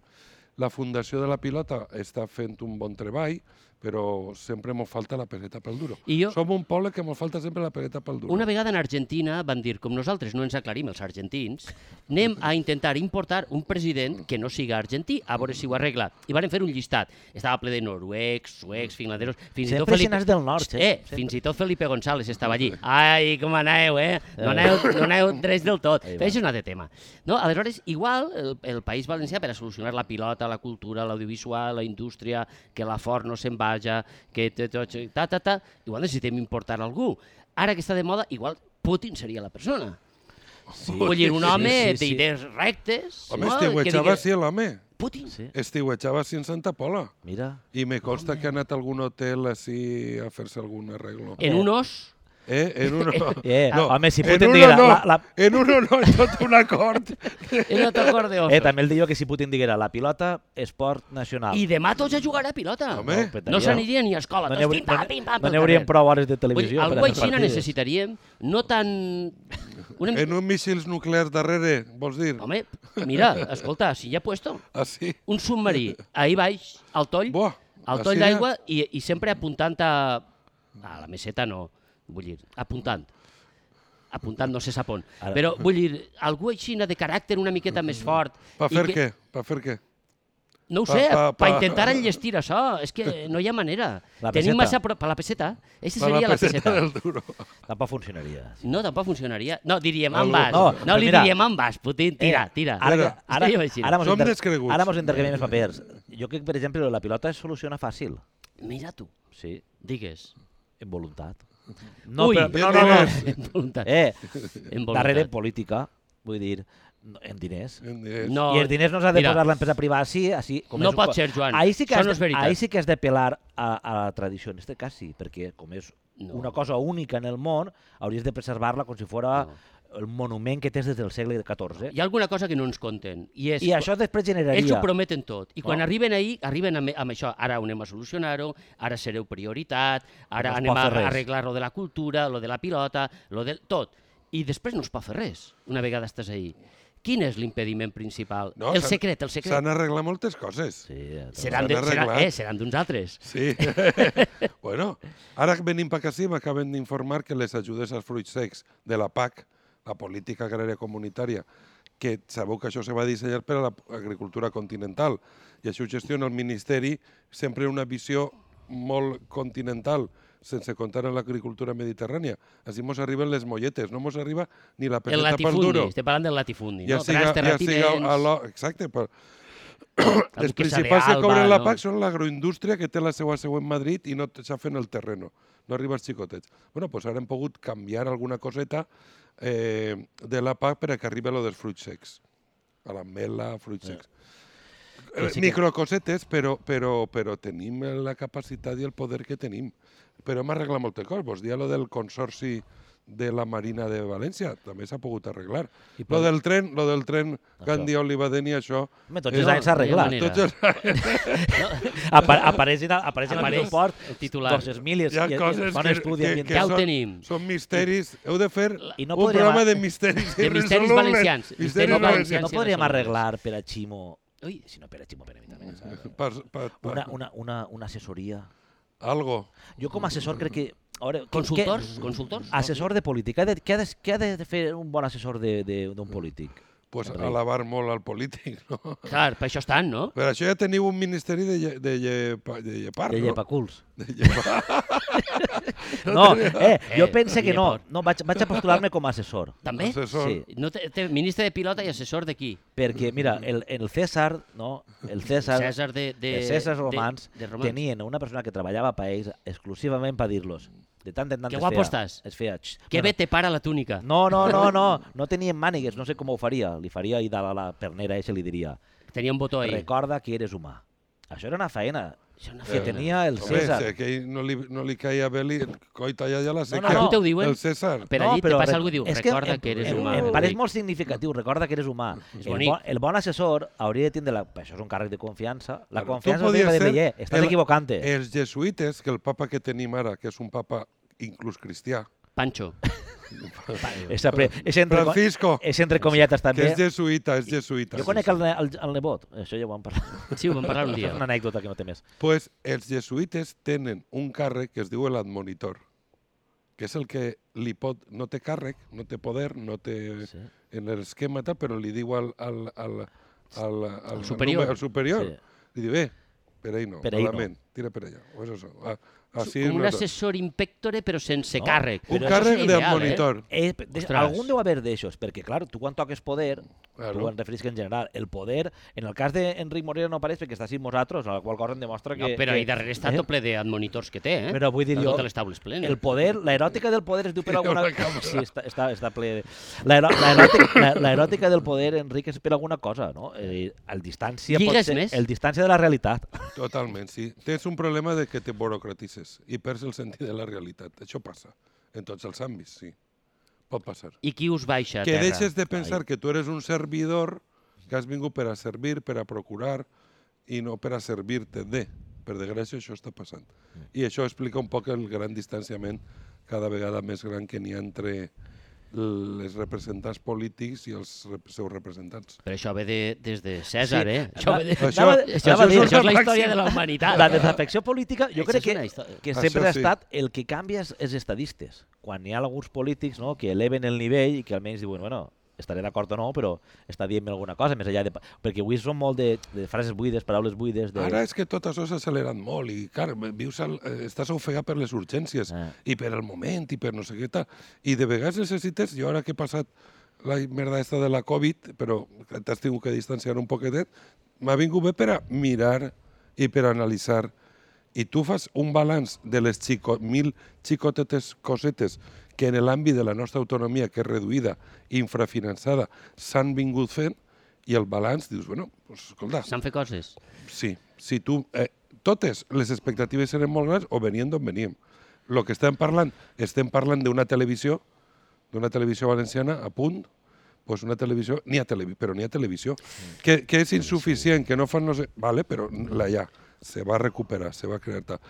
[SPEAKER 4] La Fundació de la Pilota està fent un bon treball, però sempre ens falta la peleta pel duro.
[SPEAKER 2] I jo-
[SPEAKER 4] Som un poble que ens falta sempre la peleta pel duro.
[SPEAKER 2] Una vegada en Argentina van dir, com nosaltres no ens aclarim els argentins, anem a intentar importar un president que no siga argentí, a veure si ho arregla. I van fer un llistat. Estava ple de noruecs, suecs, finlanderos... Fins i tot
[SPEAKER 3] Sempre
[SPEAKER 2] Felipe...
[SPEAKER 3] si n'has del nord,
[SPEAKER 2] eh? eh
[SPEAKER 3] sempre,
[SPEAKER 2] fins i tot Felipe González estava allí. Ai, com aneu, eh? No aneu, no aneu tres del tot.
[SPEAKER 3] Ahí va.
[SPEAKER 2] Però això és un altre tema. No? Aleshores, igual, el, el País Valencià, per a solucionar la pilota, la cultura, l'audiovisual, la indústria, que la Ford no se'n vaja, que té tot això, ta, ta, ta, igual necessitem importar algú. Ara que està de moda, igual Putin seria la persona. Sí. Vull dir, un home sí, sí, sí. d'idees rectes...
[SPEAKER 4] Home,
[SPEAKER 2] no? Que
[SPEAKER 4] estiuetxava
[SPEAKER 2] digués,
[SPEAKER 4] sí, l'home.
[SPEAKER 2] Putin.
[SPEAKER 3] Sí.
[SPEAKER 4] Estiuetxava sí en Santa Pola.
[SPEAKER 3] Mira,
[SPEAKER 4] I me consta que ha anat a algun hotel així a fer-se algun arreglo.
[SPEAKER 2] En un os...
[SPEAKER 4] Eh, en uno no.
[SPEAKER 3] Eh,
[SPEAKER 4] no.
[SPEAKER 3] home, si
[SPEAKER 4] en
[SPEAKER 3] Putin
[SPEAKER 4] uno
[SPEAKER 3] diguera
[SPEAKER 4] no.
[SPEAKER 3] la- la-
[SPEAKER 4] En uno no, és tot un acord.
[SPEAKER 2] En un acordeó.
[SPEAKER 3] eh, també el diu que si Putin diguera la pilota, esport nacional.
[SPEAKER 2] I demà tots a jugar a pilota.
[SPEAKER 4] Home.
[SPEAKER 2] no no s'aniria ni a escola.
[SPEAKER 3] Ah. No
[SPEAKER 2] Tots
[SPEAKER 3] n'hi hauri-
[SPEAKER 2] pim, pam,
[SPEAKER 3] no-
[SPEAKER 2] pim, pam,
[SPEAKER 3] no
[SPEAKER 2] pel
[SPEAKER 3] n'hi haurien
[SPEAKER 2] carrer.
[SPEAKER 3] prou hores de
[SPEAKER 2] Vull dir,
[SPEAKER 3] televisió. per
[SPEAKER 2] algú
[SPEAKER 3] a fer
[SPEAKER 2] així no
[SPEAKER 3] partides.
[SPEAKER 2] necessitaríem, no tan... Una...
[SPEAKER 4] En un míssils nuclears darrere, vols dir?
[SPEAKER 2] Home, mira, escolta, si hi ha puesto,
[SPEAKER 4] Ah, sí?
[SPEAKER 2] un submarí ahir baix, al toll,
[SPEAKER 4] Buah,
[SPEAKER 2] al toll
[SPEAKER 4] així era.
[SPEAKER 2] d'aigua i, i sempre apuntant a... A la meseta no, vull dir, apuntant. Apuntant no se sap on.
[SPEAKER 3] Ara-
[SPEAKER 2] Però vull dir, algú així de caràcter una miqueta més fort...
[SPEAKER 4] Mm, Per
[SPEAKER 2] i
[SPEAKER 4] fer
[SPEAKER 2] que-
[SPEAKER 4] què? Per fer què?
[SPEAKER 2] No ho
[SPEAKER 4] Pa-
[SPEAKER 2] sé,
[SPEAKER 4] pa-
[SPEAKER 2] per
[SPEAKER 4] pa-
[SPEAKER 2] intentar enllestir això, és que no hi ha manera.
[SPEAKER 3] La
[SPEAKER 2] Tenim
[SPEAKER 3] peseta.
[SPEAKER 2] massa... Per la peseta? Eixa
[SPEAKER 4] Per
[SPEAKER 2] seria
[SPEAKER 4] la peseta
[SPEAKER 2] La peseta.
[SPEAKER 4] del duro.
[SPEAKER 3] Tampoc funcionaria.
[SPEAKER 2] No, tampoc funcionaria. No, diríem
[SPEAKER 4] Algú-
[SPEAKER 2] en vas.
[SPEAKER 3] No,
[SPEAKER 2] No,
[SPEAKER 3] però
[SPEAKER 2] li
[SPEAKER 3] mira- Eh,
[SPEAKER 2] diríem en vas, Putin, tira, tira.
[SPEAKER 3] Ara, que-
[SPEAKER 4] Mira.
[SPEAKER 3] ara,
[SPEAKER 2] Seria
[SPEAKER 3] ara,
[SPEAKER 2] així.
[SPEAKER 3] mos
[SPEAKER 4] Som
[SPEAKER 3] inter-
[SPEAKER 4] descreguts.
[SPEAKER 3] ara mos intercanviem els papers. Jo crec, per exemple, la pilota es soluciona fàcil.
[SPEAKER 2] Mira tu,
[SPEAKER 3] Sí,
[SPEAKER 2] digues.
[SPEAKER 3] en voluntat.
[SPEAKER 2] Ui,
[SPEAKER 3] però-
[SPEAKER 4] no, no, no.
[SPEAKER 2] En voluntat.
[SPEAKER 3] Eh,
[SPEAKER 2] En voluntat.
[SPEAKER 3] darrere política, vull dir, no- en diners.
[SPEAKER 4] En diners.
[SPEAKER 2] No,
[SPEAKER 3] I els diners no s'ha de
[SPEAKER 2] mira,
[SPEAKER 3] posar l'empresa privada, sí, així... Com
[SPEAKER 2] No
[SPEAKER 3] és un
[SPEAKER 2] pot
[SPEAKER 3] co-
[SPEAKER 2] ser, Joan.
[SPEAKER 3] Ahí sí que
[SPEAKER 2] Això
[SPEAKER 3] has,
[SPEAKER 2] no és
[SPEAKER 3] de,
[SPEAKER 2] veritat.
[SPEAKER 3] ahí sí que has de pelar a, a la tradició, en este cas sí, perquè com és
[SPEAKER 2] No.
[SPEAKER 3] una cosa única en el món, hauries de preservar-la com si fora
[SPEAKER 2] No.
[SPEAKER 3] el monument que tens des del segle XIV.
[SPEAKER 2] Hi ha alguna cosa que no ens conten. I, és,
[SPEAKER 3] I això després generaria...
[SPEAKER 2] Ells ho prometen tot. I quan
[SPEAKER 3] No.
[SPEAKER 2] arriben ahir, arriben amb, amb això. Ara ho anem a solucionar-ho, ara sereu prioritat, ara
[SPEAKER 3] No es
[SPEAKER 2] anem
[SPEAKER 3] pot
[SPEAKER 2] a
[SPEAKER 3] fer res.
[SPEAKER 2] arreglar lo de la cultura, lo de la pilota, lo de... tot. I després no es pot fer res, una vegada estàs ahir. Quin és l'impediment principal?
[SPEAKER 4] No,
[SPEAKER 2] el
[SPEAKER 4] s'han-
[SPEAKER 2] secret, el secret.
[SPEAKER 4] S'han arreglat moltes coses.
[SPEAKER 3] Sí,
[SPEAKER 2] Seran,
[SPEAKER 4] s'han
[SPEAKER 2] de, seran,
[SPEAKER 4] arreglat.
[SPEAKER 2] eh, seran d'uns altres.
[SPEAKER 4] Sí. bueno, ara venim per Casim, acaben d'informar que les ajudes als fruits secs de la PAC, la Política Agrària Comunitària, que sabeu que això se va dissenyar per a l'agricultura continental i això ho gestiona el Ministeri sempre una visió molt continental, sense comptar en l'agricultura mediterrània. Així mos arriben les molletes, no mos arriba ni la
[SPEAKER 2] El
[SPEAKER 4] peseta pel
[SPEAKER 2] latifundi,
[SPEAKER 4] duro.
[SPEAKER 2] estem parlant del latifundi.
[SPEAKER 4] Ja
[SPEAKER 2] no?
[SPEAKER 4] siga,
[SPEAKER 2] Grans
[SPEAKER 4] ja siga
[SPEAKER 2] terratinents,
[SPEAKER 4] a lo... Exacte, però... Les
[SPEAKER 2] que s'ha
[SPEAKER 4] principals que
[SPEAKER 2] d'Alba,
[SPEAKER 4] cobren la
[SPEAKER 2] no?
[SPEAKER 4] PAC són l'agroindústria que té la seva seu en Madrid i no t- s'afen el terreno, no arriba als xicotets. bueno, doncs ara hem pogut canviar alguna coseta eh, de la PAC per a que arribi a lo dels fruits secs. A la mela, fruits secs. Eh, Microcosetes, però, però, però tenim la capacitat i el poder que tenim. Però hem arreglat moltes coses. Vos dia lo del consorci de la Marina de València, també s'ha pogut arreglar.
[SPEAKER 3] I
[SPEAKER 4] Lo
[SPEAKER 3] pot-
[SPEAKER 4] del tren, lo del tren Gandhi-Olivadeni, això...
[SPEAKER 3] Home, tots
[SPEAKER 4] és-
[SPEAKER 3] els anys s'ha arreglat.
[SPEAKER 2] manera.
[SPEAKER 4] Tots els
[SPEAKER 3] Apa apareixen, a- apareixen
[SPEAKER 2] Apareix
[SPEAKER 3] apareix, l'aeroport
[SPEAKER 2] el titular.
[SPEAKER 3] 200.000 i, es-
[SPEAKER 4] Hi ha
[SPEAKER 3] i,
[SPEAKER 4] coses
[SPEAKER 3] i fan
[SPEAKER 4] que,
[SPEAKER 3] estudi
[SPEAKER 4] que, Doncs, que Doncs,
[SPEAKER 2] Ja ho
[SPEAKER 4] són,
[SPEAKER 2] tenim.
[SPEAKER 4] són misteris. Heu de fer
[SPEAKER 3] I no
[SPEAKER 4] un
[SPEAKER 3] podríem-
[SPEAKER 4] programa de misteris.
[SPEAKER 2] De misteris
[SPEAKER 4] irresolubles.
[SPEAKER 2] valencians.
[SPEAKER 4] Misteris
[SPEAKER 3] no,
[SPEAKER 2] Misteris
[SPEAKER 3] podem-
[SPEAKER 2] valencians.
[SPEAKER 4] valencians.
[SPEAKER 3] no
[SPEAKER 2] sí,
[SPEAKER 3] podríem
[SPEAKER 2] no són
[SPEAKER 3] arreglar per a Ximo,
[SPEAKER 2] Ui.
[SPEAKER 3] si no per a Ximo, per a mi també, saps?
[SPEAKER 4] Per, per, per,
[SPEAKER 3] una, una, una, una assessoria.
[SPEAKER 4] Algo.
[SPEAKER 3] Jo com a assessor crec que... a Veure, que-
[SPEAKER 2] Consultors?
[SPEAKER 3] que-
[SPEAKER 2] Consultors?
[SPEAKER 3] Assessor de política. Què ha de, què ha de, què ha de fer un bon assessor de- de- d'un polític?
[SPEAKER 4] Pues alabar molt al polític, no?
[SPEAKER 2] Clar, per això estan, no?
[SPEAKER 4] Per això ja teniu un ministeri de, lle, de, llepa, de llepar,
[SPEAKER 3] De
[SPEAKER 4] no?
[SPEAKER 3] llepaculs.
[SPEAKER 4] De llepar.
[SPEAKER 3] No, eh, jo
[SPEAKER 2] Eh,
[SPEAKER 3] pense que no.
[SPEAKER 2] llepor.
[SPEAKER 3] no vaig, vaig a postular-me com a assessor.
[SPEAKER 2] També?
[SPEAKER 4] Assessor.
[SPEAKER 3] Sí.
[SPEAKER 2] No té, té ministre de pilota i assessor de qui?
[SPEAKER 3] Perquè, mira, el, el César, no? El César,
[SPEAKER 2] César de- de-
[SPEAKER 3] els Cèsars
[SPEAKER 2] de-
[SPEAKER 3] romans,
[SPEAKER 2] de romans.
[SPEAKER 3] tenien una persona que treballava per ells exclusivament per dir-los. De tant en tant
[SPEAKER 2] Que
[SPEAKER 3] es
[SPEAKER 2] guapo
[SPEAKER 3] feia-
[SPEAKER 2] estàs.
[SPEAKER 3] Es feia... "Xx".
[SPEAKER 2] Que bé te para la túnica.
[SPEAKER 3] No, no, no, no, no tenien mànigues, no sé com ho faria. Li faria i de la, la pernera eixa li diria
[SPEAKER 2] Tenia un botó ahí.
[SPEAKER 3] recorda que eres humà. Això era una faena
[SPEAKER 2] Això no
[SPEAKER 3] que
[SPEAKER 2] feia nada.
[SPEAKER 3] tenia el
[SPEAKER 4] Eh, Home,
[SPEAKER 3] César.
[SPEAKER 4] si aquell no li, no li caia bé, li, coi, talla ja la
[SPEAKER 3] no,
[SPEAKER 4] sequia.
[SPEAKER 3] no.
[SPEAKER 2] Tu te ho diuen?
[SPEAKER 4] El César.
[SPEAKER 2] Per allí te passa
[SPEAKER 3] rec-
[SPEAKER 2] algú i diu,
[SPEAKER 3] és
[SPEAKER 2] recorda
[SPEAKER 3] em-
[SPEAKER 2] que eres
[SPEAKER 3] em-
[SPEAKER 2] humà. eh,
[SPEAKER 3] Em
[SPEAKER 2] Vull
[SPEAKER 3] pareix
[SPEAKER 2] dir,
[SPEAKER 3] molt significatiu, recorda que eres humà. El
[SPEAKER 2] bonic.
[SPEAKER 3] bon, el bon assessor hauria de tindre, la, això és un càrrec de confiança, la
[SPEAKER 4] Claro,
[SPEAKER 3] confiança
[SPEAKER 4] tu
[SPEAKER 3] de
[SPEAKER 4] podies
[SPEAKER 3] dir,
[SPEAKER 4] ser
[SPEAKER 3] "Veie, estàs
[SPEAKER 4] el-
[SPEAKER 3] Eh. equivocant-te.
[SPEAKER 4] Els jesuïtes, que el papa que tenim ara, que és un papa inclús cristià,
[SPEAKER 2] Pancho.
[SPEAKER 3] És, apre, és entre,
[SPEAKER 4] Francisco,
[SPEAKER 3] és entre comillates
[SPEAKER 4] que
[SPEAKER 3] eh, també.
[SPEAKER 4] és jesuïta, és jesuïta.
[SPEAKER 3] Jo conec el, ne- el, el nebot, això ja ho vam parlar.
[SPEAKER 2] Sí, ho vam parlar un dia.
[SPEAKER 3] És una anècdota que no té més.
[SPEAKER 4] Pues els jesuïtes tenen un càrrec que es diu l'admonitor, que és el que li pot... No té càrrec, no té poder, no té...
[SPEAKER 3] Sí.
[SPEAKER 4] En l'esquema tal, però li diu al... al, al, al, al
[SPEAKER 2] superior.
[SPEAKER 4] Al superior.
[SPEAKER 3] Sí.
[SPEAKER 4] Li diu, eh, per ahí no,
[SPEAKER 3] Per
[SPEAKER 4] per
[SPEAKER 3] ahí no.
[SPEAKER 4] malament, no. tira per allà. O és això. A, així
[SPEAKER 2] Com un
[SPEAKER 4] no Ah, és-
[SPEAKER 2] assessor impectore, però sense
[SPEAKER 3] No,
[SPEAKER 2] càrrec.
[SPEAKER 4] un
[SPEAKER 2] Però això
[SPEAKER 4] càrrec
[SPEAKER 2] seria
[SPEAKER 4] de
[SPEAKER 2] ideal,
[SPEAKER 4] monitor.
[SPEAKER 3] Eh, de,
[SPEAKER 2] Ostres.
[SPEAKER 3] algun deu haver d'aixòs, perquè, clar, tu quan toques poder, claro.
[SPEAKER 4] Claro.
[SPEAKER 3] tu en referís que en general, el poder, en el cas d'Enric Morera no apareix perquè està així amb nosaltres, la qual cosa em
[SPEAKER 2] Eh?
[SPEAKER 3] demostra que...
[SPEAKER 2] No, però
[SPEAKER 3] que,
[SPEAKER 2] i darrere està tot ple d'admonitors que té, eh?
[SPEAKER 3] Però vull dir
[SPEAKER 2] Està
[SPEAKER 3] jo-
[SPEAKER 2] Totes les taules plenes.
[SPEAKER 3] El poder, l'eròtica del poder es diu per
[SPEAKER 4] Hi ha
[SPEAKER 3] alguna...
[SPEAKER 4] una càmera.
[SPEAKER 3] Sí, està, està, està ple... de- L'erò- l'eròtic- la- L'eròtica del poder, Enric, és per alguna cosa, no? Eh, el distància... pot
[SPEAKER 2] Lligues
[SPEAKER 3] ser-
[SPEAKER 2] més?
[SPEAKER 3] El distància de la realitat.
[SPEAKER 4] Totalment, sí. Tens un problema de que te burocratices i perds el sentit de la realitat. Això passa. En tots els àmbits, sí. Pot passar.
[SPEAKER 2] I qui us baixa a
[SPEAKER 4] que
[SPEAKER 2] terra?
[SPEAKER 4] deixes de pensar que tu eres un servidor que has vingut per a servir, per a procurar i no per a servir-te de. Per desgràcia, això està passant. I això explica un poc el gran distanciament cada vegada més gran que n'hi ha entre les representants polítics i els rep- seus representants.
[SPEAKER 2] Però això ve de, des de Cèsar,
[SPEAKER 3] Sí.
[SPEAKER 2] eh? Això, ve de...
[SPEAKER 4] Això-
[SPEAKER 2] això,
[SPEAKER 3] Anava-
[SPEAKER 2] això,
[SPEAKER 3] anava a
[SPEAKER 2] és,
[SPEAKER 3] dir-
[SPEAKER 2] això és la història
[SPEAKER 4] màxima.
[SPEAKER 2] de la humanitat.
[SPEAKER 3] La desafecció política, jo
[SPEAKER 2] Això és
[SPEAKER 3] crec que,
[SPEAKER 2] una història.
[SPEAKER 3] que sempre
[SPEAKER 4] Això
[SPEAKER 3] ha
[SPEAKER 4] sí.
[SPEAKER 3] estat el que canvia és, és estadistes. Quan hi ha alguns polítics no, que eleven el nivell i que almenys diuen, bueno, estaré d'acord o no, però està dient alguna cosa, més enllà de... pa-". Perquè avui són molt de, de frases buides, paraules buides... De...
[SPEAKER 4] Ara és que tot això s'ha accelerat molt i, clar, vius al, eh, estàs ofegat per les urgències
[SPEAKER 3] Ah.
[SPEAKER 4] i per el moment i per no sé què tal. I de vegades necessites, jo ara que he passat la merda esta de la Covid, però t'has tingut que distanciar un poquetet, m'ha vingut bé per a mirar i per a analitzar. I tu fas un balanç de les xico, mil xicotetes cosetes que en l'àmbit de la nostra autonomia, que és reduïda, infrafinançada, s'han vingut fent, i el balanç dius, bueno, pues, escolta,
[SPEAKER 2] S'han fet coses.
[SPEAKER 4] Sí, si tu... Eh, totes les expectatives eren molt grans o venien d'on veníem. El que estem parlant, estem parlant d'una televisió, d'una televisió valenciana a punt, pues una televisió, ni a televi, però ni a televisió, que, que és insuficient, que no fan no sé... Vale, però la ja, se va recuperar, se va crear tal.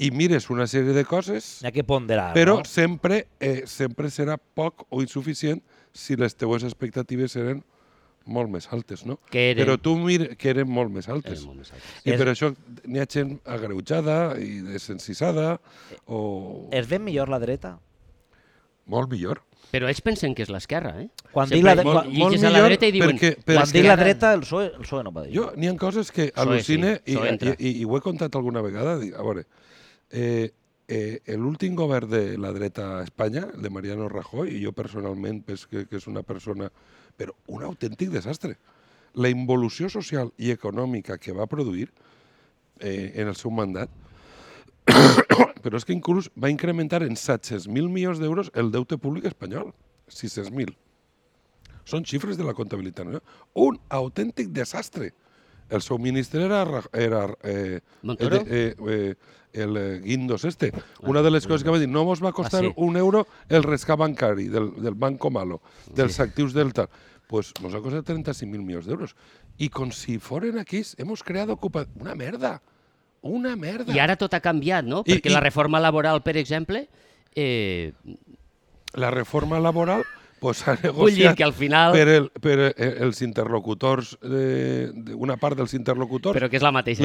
[SPEAKER 4] I mires una sèrie de coses
[SPEAKER 3] N'hi ha que ponderar,
[SPEAKER 4] però
[SPEAKER 3] no?
[SPEAKER 4] sempre, eh, sempre serà poc o insuficient si les teues expectatives eren molt més altes, no?
[SPEAKER 2] Que eren.
[SPEAKER 4] Però tu mira que eren molt més altes.
[SPEAKER 2] Eren molt més altes.
[SPEAKER 4] I
[SPEAKER 3] És-
[SPEAKER 4] per això n'hi ha gent agreujada i desencisada o...
[SPEAKER 3] Es ven millor la dreta?
[SPEAKER 4] Molt millor.
[SPEAKER 2] Però ells pensen que és l'esquerra, eh?
[SPEAKER 3] Quan
[SPEAKER 2] Sempre
[SPEAKER 3] dic la de-
[SPEAKER 2] lli-
[SPEAKER 3] quan-
[SPEAKER 4] Molt
[SPEAKER 2] lligues a la
[SPEAKER 4] millor
[SPEAKER 2] dreta i diuen...
[SPEAKER 4] perquè-
[SPEAKER 2] "L'esquerra".
[SPEAKER 4] Però
[SPEAKER 3] Quan
[SPEAKER 4] és
[SPEAKER 3] dic
[SPEAKER 4] que-
[SPEAKER 3] la dreta, el PSOE, el PSOE no va dir.
[SPEAKER 4] Jo, n'hi ha coses que
[SPEAKER 2] Això és, sí,
[SPEAKER 4] al·lucine i,
[SPEAKER 2] això
[SPEAKER 4] i,
[SPEAKER 2] entra.
[SPEAKER 4] i, i ho he contat alguna vegada. dic, A veure, eh, eh, l'últim govern de la dreta a Espanya, el de Mariano Rajoy, i jo personalment penso que, que és una persona... Però un autèntic desastre. La involució social i econòmica que va produir eh, en el seu mandat però és que inclús va incrementar en 700.000 milions d'euros el deute públic espanyol. 600.000. Són xifres de la comptabilitat. No? Un autèntic desastre. El seu ministre era... Ra- era eh,
[SPEAKER 2] Montoro?
[SPEAKER 4] el de- eh, eh, el eh, Guindos este. Una de les coses que va dir, no mos va costar
[SPEAKER 3] Ah, sí.
[SPEAKER 4] un euro el rescat bancari del, del Banco Malo, dels actius del tal. Pues nos ha costat 35.000 milions d'euros. I com si foren aquí, hemos creado ocupació. Una merda. Una merda.
[SPEAKER 2] I ara tot ha canviat, no?
[SPEAKER 4] I-
[SPEAKER 2] Perquè
[SPEAKER 4] i-
[SPEAKER 2] la reforma laboral, per exemple, eh,
[SPEAKER 4] la reforma laboral pues, ha
[SPEAKER 2] vull dir
[SPEAKER 4] negociat
[SPEAKER 2] que al final...
[SPEAKER 4] per,
[SPEAKER 2] Però,
[SPEAKER 4] el, per eh, els interlocutors, de, de una part dels interlocutors,
[SPEAKER 2] que és la mateixa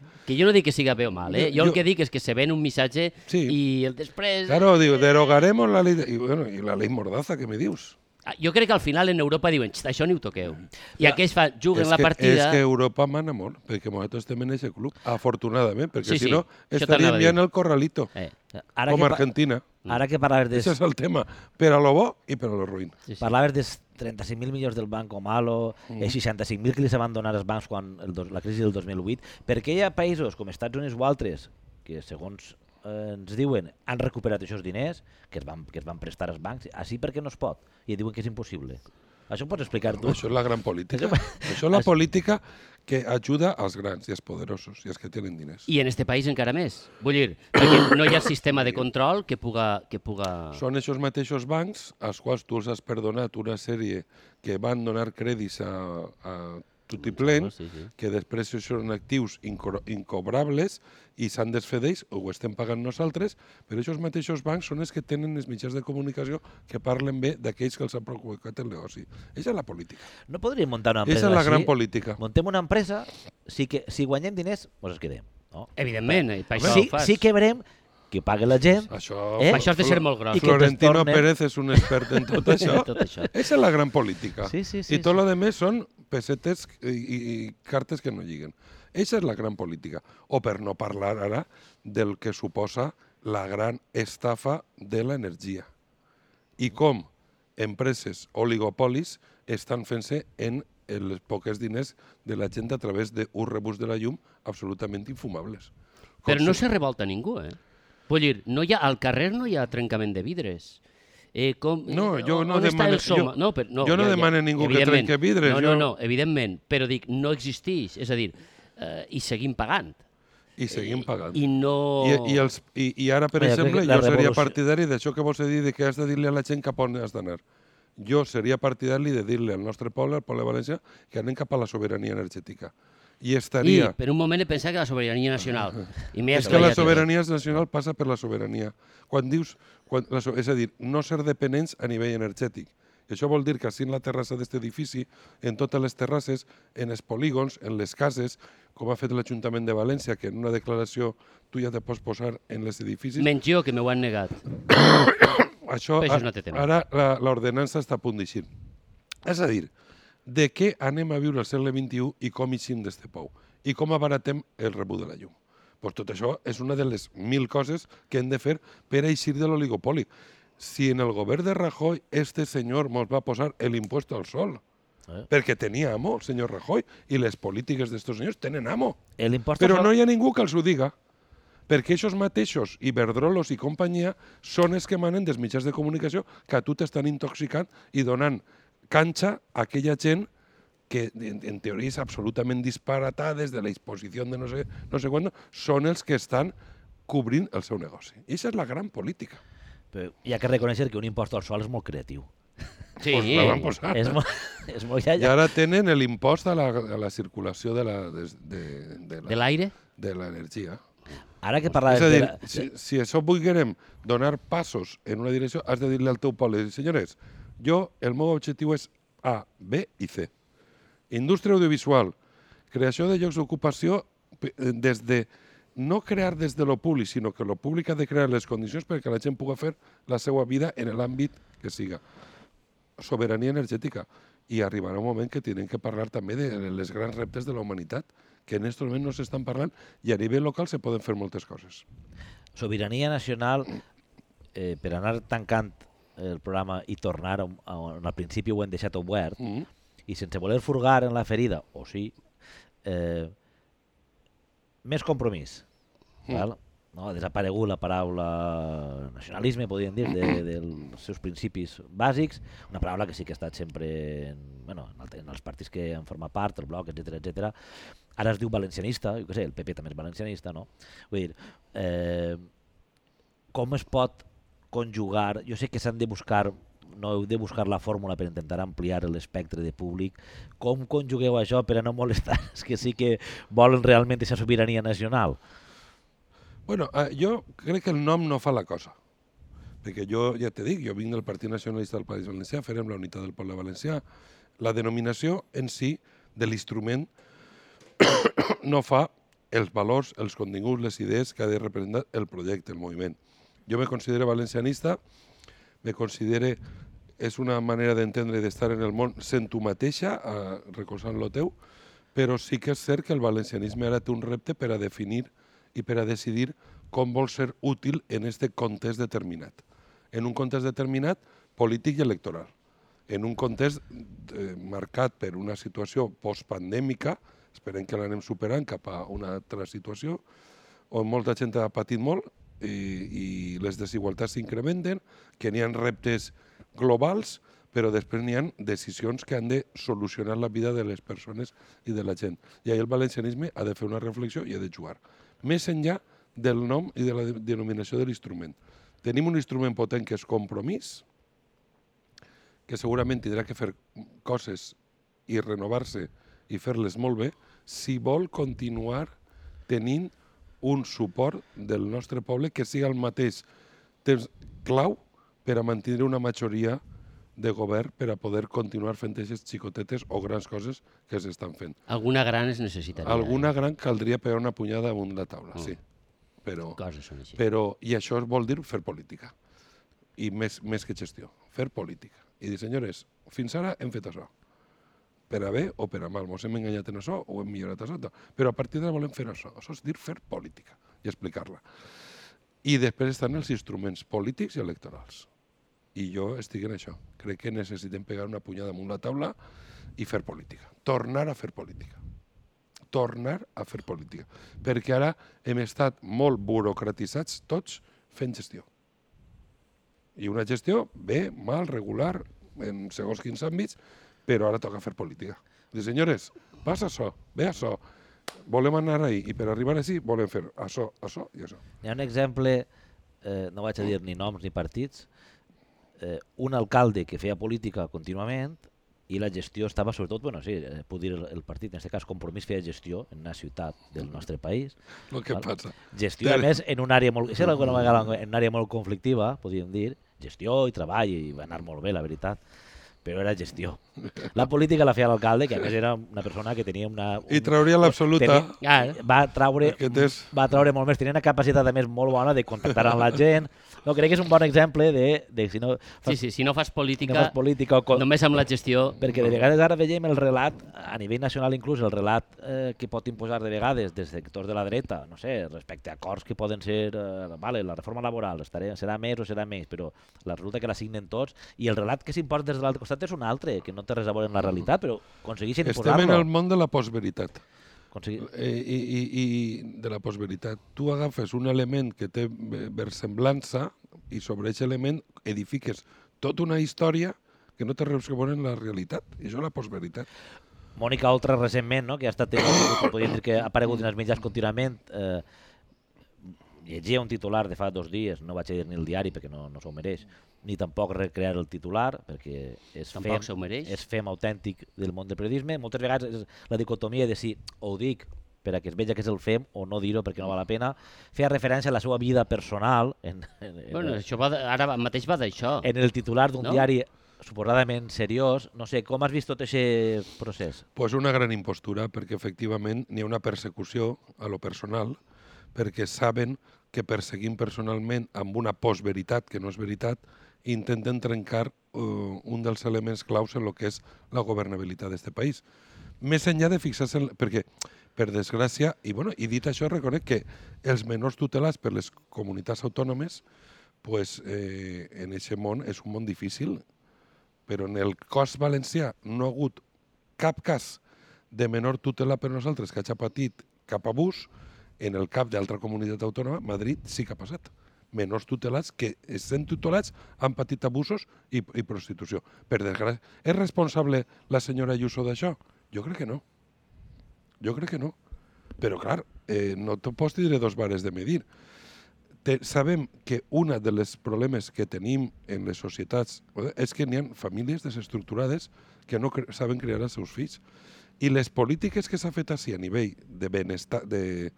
[SPEAKER 2] que la del PP. Que jo no dic que siga bé o mal, eh? Jo,
[SPEAKER 4] Jo-
[SPEAKER 2] el que dic és que se ven un missatge
[SPEAKER 4] Sí.
[SPEAKER 2] i el després...
[SPEAKER 4] claro, diu, derogaremos la ley, de, i, bueno, i la ley mordaza, que me dius?
[SPEAKER 2] Ah, Jo crec que al final en Europa diuen, "Xt, això ni ho toqueu. I aquells fa, juguen
[SPEAKER 4] és
[SPEAKER 2] la
[SPEAKER 4] que,
[SPEAKER 2] partida...
[SPEAKER 4] És que Europa mana molt, perquè nosaltres estem en aquest club, afortunadament, perquè
[SPEAKER 2] Sí,
[SPEAKER 4] si
[SPEAKER 2] sí,
[SPEAKER 4] no
[SPEAKER 2] això
[SPEAKER 4] estaríem
[SPEAKER 2] t'anava a dir.
[SPEAKER 4] ja en el corralito,
[SPEAKER 2] Eh,
[SPEAKER 3] Ara
[SPEAKER 4] com
[SPEAKER 3] que, pa-
[SPEAKER 4] Argentina.
[SPEAKER 3] ara que parlaves de,
[SPEAKER 4] Això és el tema, per a lo bo i per a lo ruïn.
[SPEAKER 2] sí, sí.
[SPEAKER 3] Parlaves dels 35.000 milions del Banco Malo, mm. 65.000 que li van donar els bancs quan el, dos- la crisi del 2008. Per què hi ha països com Estats Units o altres que, segons eh, ens diuen, han recuperat aquests diners que es van, que es van prestar als bancs? Així perquè no es pot. I diuen que és impossible. Això ho pots explicar tu?
[SPEAKER 4] Això és la gran política. Això és la política que ajuda als grans i als poderosos i als que tenen diners.
[SPEAKER 2] I en este país encara més. Vull dir, perquè no hi ha sistema de control que puga... Que puga...
[SPEAKER 4] Són aquests mateixos bancs als quals tu els has perdonat una sèrie que van donar crèdits a, a tutiplén,
[SPEAKER 2] Sí, sí.
[SPEAKER 4] que després si són actius incro- incobrables i s'han desfer d'ells o ho estem pagant nosaltres, però aquests mateixos bancs són els que tenen els mitjans de comunicació que parlen bé d'aquells que els han provocat el negoci. Eixa és la política.
[SPEAKER 3] No podríem muntar una
[SPEAKER 4] Eixa
[SPEAKER 3] empresa
[SPEAKER 4] és la
[SPEAKER 3] així?
[SPEAKER 4] gran política.
[SPEAKER 3] Montem una empresa, sí que, si guanyem diners, ens els quedem. No?
[SPEAKER 2] Evidentment, i per això
[SPEAKER 3] sí,
[SPEAKER 2] ho fas.
[SPEAKER 3] sí que verem que pague la gent.
[SPEAKER 4] Això,
[SPEAKER 3] Eh?
[SPEAKER 2] Això has de ser molt gros.
[SPEAKER 3] I que
[SPEAKER 4] Florentino
[SPEAKER 3] trastornen.
[SPEAKER 4] Pérez és un expert en tot això.
[SPEAKER 2] Tot això.
[SPEAKER 4] Esa es la gran política.
[SPEAKER 3] Sí, sí, sí,
[SPEAKER 4] y todo
[SPEAKER 3] sí.
[SPEAKER 4] lo demás son pesetes y, y- y cartes que no lleguen. Esa es la gran política. O per no parlar ara del que suposa la gran estafa de la energia. I com empreses oligopolis estan fent-se en els poques diners de la gent a través d'un rebús de la llum absolutament infumables. Com
[SPEAKER 2] Però no
[SPEAKER 4] si-
[SPEAKER 2] se revolta ningú, eh? Vull dir, no hi ha, al carrer no hi ha trencament de vidres. Eh, com,
[SPEAKER 4] No,
[SPEAKER 2] eh,
[SPEAKER 4] jo
[SPEAKER 2] on
[SPEAKER 4] no
[SPEAKER 2] està
[SPEAKER 4] demane-
[SPEAKER 2] el soma?
[SPEAKER 4] jo-
[SPEAKER 2] no, però, no,
[SPEAKER 4] jo no demane ningú que
[SPEAKER 2] evidentment.
[SPEAKER 4] trenque vidres,
[SPEAKER 2] No,
[SPEAKER 4] jo-
[SPEAKER 2] no, no, evidentment, però dic, no existeix. És a dir, eh, i seguim pagant. Eh,
[SPEAKER 4] I seguim pagant.
[SPEAKER 2] I no...
[SPEAKER 4] I, i, els, i, i ara, per
[SPEAKER 3] Vaja, crec
[SPEAKER 4] exemple,
[SPEAKER 3] que la
[SPEAKER 4] jo seria
[SPEAKER 3] revolució-
[SPEAKER 4] partidari d'això que vols dir, de que has de dir-li a la gent cap on has d'anar. Jo seria partidari de dir-li al nostre poble, al poble de València, que anem cap a la sobirania energètica. I
[SPEAKER 2] I
[SPEAKER 4] estaria...
[SPEAKER 2] per un moment he pensat que la sobirania nacional. I m'he
[SPEAKER 4] és que la
[SPEAKER 2] espatllat.
[SPEAKER 4] sobirania nacional passa per la sobirania. Quan dius... Quan, la, so- és a dir, no ser dependents a nivell energètic. I això vol dir que així en la terrassa d'aquest edifici, en totes les terrasses, en els polígons, en les cases, com ha fet l'Ajuntament de València, que en una declaració tu ja te pots posar en els edificis,
[SPEAKER 2] Menys jo, que m'ho han negat.
[SPEAKER 4] això,
[SPEAKER 2] Però això és
[SPEAKER 4] a-
[SPEAKER 2] un altre tema.
[SPEAKER 4] ara la- l'ordenança està a punt d'eixir. És a dir, de què anem a viure al segle XXI i com eixim d'este pou? I com abaratem el rebut de la llum? Pues tot això és una de les mil coses que hem de fer per eixir de l'oligopoli. Si en el govern de Rajoy este senyor mos va posar l'impuesto al sol,
[SPEAKER 3] Eh.
[SPEAKER 4] perquè tenia amo el senyor Rajoy i les polítiques d'estos senyors tenen amo.
[SPEAKER 3] El impost
[SPEAKER 4] Però
[SPEAKER 3] al-
[SPEAKER 4] no hi ha ningú que els ho diga. Perquè aquests mateixos, Iberdrolos i companyia, són els que manen dels mitjans de comunicació que a tu t'estan intoxicant i donant canxa a aquella gent que en, en teoria és absolutament disparatades de la exposició de no sé, no sé quan, són els que estan cobrint el seu negoci. I això és la gran política.
[SPEAKER 3] Però hi ha que reconèixer que un impost al sol és molt creatiu.
[SPEAKER 2] Sí,
[SPEAKER 4] Pues la van posar.
[SPEAKER 3] és molt... És molt ja,
[SPEAKER 4] I ara tenen l'impost a, la, a la circulació de la, de, de, de
[SPEAKER 2] de
[SPEAKER 4] la,
[SPEAKER 2] l'aire.
[SPEAKER 4] de l'energia.
[SPEAKER 3] Ara que parlaves
[SPEAKER 4] és a dir,
[SPEAKER 3] de... La...
[SPEAKER 4] si, si això vulguerem donar passos en una direcció, has de dir-li al teu poble, senyores, jo, el meu objectiu és A, B i C. Indústria audiovisual, creació de llocs d'ocupació pe- eh, des de no crear des de lo públic, sinó que lo públic ha de crear les condicions perquè la gent puga fer la seva vida en l'àmbit que siga. Sobirania energètica. I arribarà un moment que tindrem que parlar també de les grans reptes de la humanitat, que en aquest moment no s'estan parlant i a nivell local se poden fer moltes coses.
[SPEAKER 3] Sobirania nacional, eh, per anar tancant el programa i tornar on, on al principi ho hem deixat obert,
[SPEAKER 4] Mm.
[SPEAKER 3] i sense voler furgar en la ferida, o sí, eh, més compromís.
[SPEAKER 4] Mm.
[SPEAKER 3] Val? No, ha desaparegut la paraula nacionalisme, podríem dir, de, dels seus principis bàsics, una paraula que sí que ha estat sempre en, bueno, en, el, en els partits que en forma part, el bloc, etc etc. Ara es diu valencianista, jo què sé, el PP també és valencianista, no? Vull dir, eh, com es pot conjugar, jo sé que s'han de buscar no heu de buscar la fórmula per intentar ampliar l'espectre de públic. Com conjugueu això per a no molestar els que sí que volen realment aquesta sobirania nacional?
[SPEAKER 4] Bueno, eh, jo crec que el nom no fa la cosa. Perquè jo, ja te dic, jo vinc del Partit Nacionalista del País Valencià, farem la unitat del poble valencià. La denominació en si de l'instrument no fa els valors, els continguts, les idees que ha de representar el projecte, el moviment. Jo me considero valencianista, me considere és una manera d'entendre i d'estar en el món sent tu mateixa, eh, recolzant lo teu, però sí que és cert que el valencianisme ara té un repte per a definir i per a decidir com vol ser útil en este context determinat. En un context determinat polític i electoral. En un context eh, marcat per una situació postpandèmica, esperem que l'anem superant cap a una altra situació, on molta gent ha patit molt i, i les desigualtats s'incrementen, que n'hi ha reptes globals, però després n'hi ha decisions que han de solucionar la vida de les persones i de la gent. I ahir el valencianisme ha de fer una reflexió i ha de jugar. Més enllà del nom i de la de- denominació de l'instrument. Tenim un instrument potent que és compromís, que segurament tindrà que fer coses i renovar-se i fer-les molt bé si vol continuar tenint un suport del nostre poble que sigui el mateix temps clau per a mantenir una majoria de govern per a poder continuar fent aquestes xicotetes o grans coses que s'estan fent.
[SPEAKER 2] Alguna gran es necessitaria. eh?
[SPEAKER 4] Alguna gran caldria pegar una punyada damunt la taula, sí. Però,
[SPEAKER 2] Coses són així.
[SPEAKER 4] però, I això vol dir fer política. I més, més que gestió, fer política. I dir, senyores, fins ara hem fet això. Per a bé o per a mal. Ens hem enganyat en això o hem millorat això. tal. Però a partir d'ara volem fer això. Això és dir fer política i explicar-la. I després estan els instruments polítics i electorals. I jo estic en això. Crec que necessitem pegar una punyada amunt la taula i fer política. Tornar a fer política tornar a fer política. Perquè ara hem estat molt burocratitzats tots fent gestió. I una gestió bé, mal, regular, en segons quins àmbits, però ara toca fer política. Diu, senyores, passa això, ve això, volem anar ahí, i per arribar així volem fer això, això i això.
[SPEAKER 3] Hi ha un exemple, eh, no vaig a dir ni noms ni partits, eh, un alcalde que feia política contínuament i la gestió estava sobretot, bueno, sí, eh, puc dir el, el partit, en aquest cas Compromís feia gestió en una ciutat del nostre país,
[SPEAKER 4] El que
[SPEAKER 3] Val.
[SPEAKER 4] passa.
[SPEAKER 3] gestió,
[SPEAKER 4] Clar.
[SPEAKER 3] a més, en una àrea molt, això era alguna vegada en una àrea molt conflictiva, podríem dir, gestió i treball, i va anar molt bé, la veritat, però era gestió. La política la feia l'alcalde, que a més era una persona que tenia una...
[SPEAKER 4] I
[SPEAKER 3] un-
[SPEAKER 4] trauria l'absoluta.
[SPEAKER 3] tenia- eh,
[SPEAKER 2] Clar.
[SPEAKER 3] va traure,
[SPEAKER 4] Aquest és-
[SPEAKER 3] va traure molt més, tenia una capacitat a més molt bona de contactar amb la gent. No, crec que és un bon exemple de, de si no
[SPEAKER 2] Sí,
[SPEAKER 3] fas,
[SPEAKER 2] sí, si no fas política,
[SPEAKER 3] no fas política o co-
[SPEAKER 2] només amb la gestió...
[SPEAKER 3] perquè de vegades ara veiem el relat, a nivell nacional inclús, el relat eh, que pot imposar de vegades des de sectors de la dreta, no sé, respecte a acords que poden ser, eh, vale, la reforma laboral estaré, serà més o serà més, però la resulta que la signen tots, i el relat que s'imposa des de l'altre costat és un altre, que no té res a veure amb la realitat, però aconsegueixen
[SPEAKER 4] Estem en
[SPEAKER 3] imposar-lo.
[SPEAKER 4] el món de la postveritat.
[SPEAKER 3] Aconseguir...
[SPEAKER 4] Eh, i, i, i de la postveritat. Tu agafes un element que té ve- versemblança i sobre aquest element edifiques tota una història que no té res que veure en la realitat. I això és la postveritat.
[SPEAKER 3] Mònica Oltra recentment, no? que ha estat podríem dir que ha aparegut en els mitjans contínuament, eh, llegia un titular de fa dos dies, no vaig a dir ni el diari perquè no, no s'ho mereix, ni tampoc recrear el titular perquè és
[SPEAKER 2] Tampoc se ho
[SPEAKER 3] fem,
[SPEAKER 2] mereix.
[SPEAKER 3] és fem autèntic del món del periodisme. Moltes vegades és la dicotomia de si ho dic per a que es veja que és el fem o no dir-ho perquè no val la pena. Feia referència a la seva vida personal en, en, en,
[SPEAKER 2] Bueno, això va de, ara va- mateix va d'això.
[SPEAKER 3] en el titular d'un
[SPEAKER 2] No?
[SPEAKER 3] no? diari suposadament seriós. No sé, com has vist tot aquest procés?
[SPEAKER 4] Pues una gran impostura, perquè efectivament n'hi ha una persecució a lo personal, perquè saben que perseguint personalment amb una postveritat, que no és veritat, intenten trencar eh, un dels elements claus en el que és la governabilitat d'aquest país. Més enllà de fixar-se en... Perquè, per desgràcia, i, bueno, i dit això, reconec que els menors tutelats per les comunitats autònomes pues, eh, en aquest món és un món difícil, però en el cos valencià no ha hagut cap cas de menor tutela per nosaltres que hagi patit cap abús, en el cap d'altra comunitat autònoma, Madrid sí que ha passat. Menors tutelats que sent tutelats han patit abusos i, i prostitució. Per desgràcia, és responsable la senyora Ayuso d'això? Jo crec que no. Jo crec que no. Però, clar, eh, no te pots tindre dos bares de medir. Te, sabem que un dels problemes que tenim en les societats eh, és que n'hi ha famílies desestructurades que no cre saben criar els seus fills. I les polítiques que s'ha fet així a nivell de benestar, de,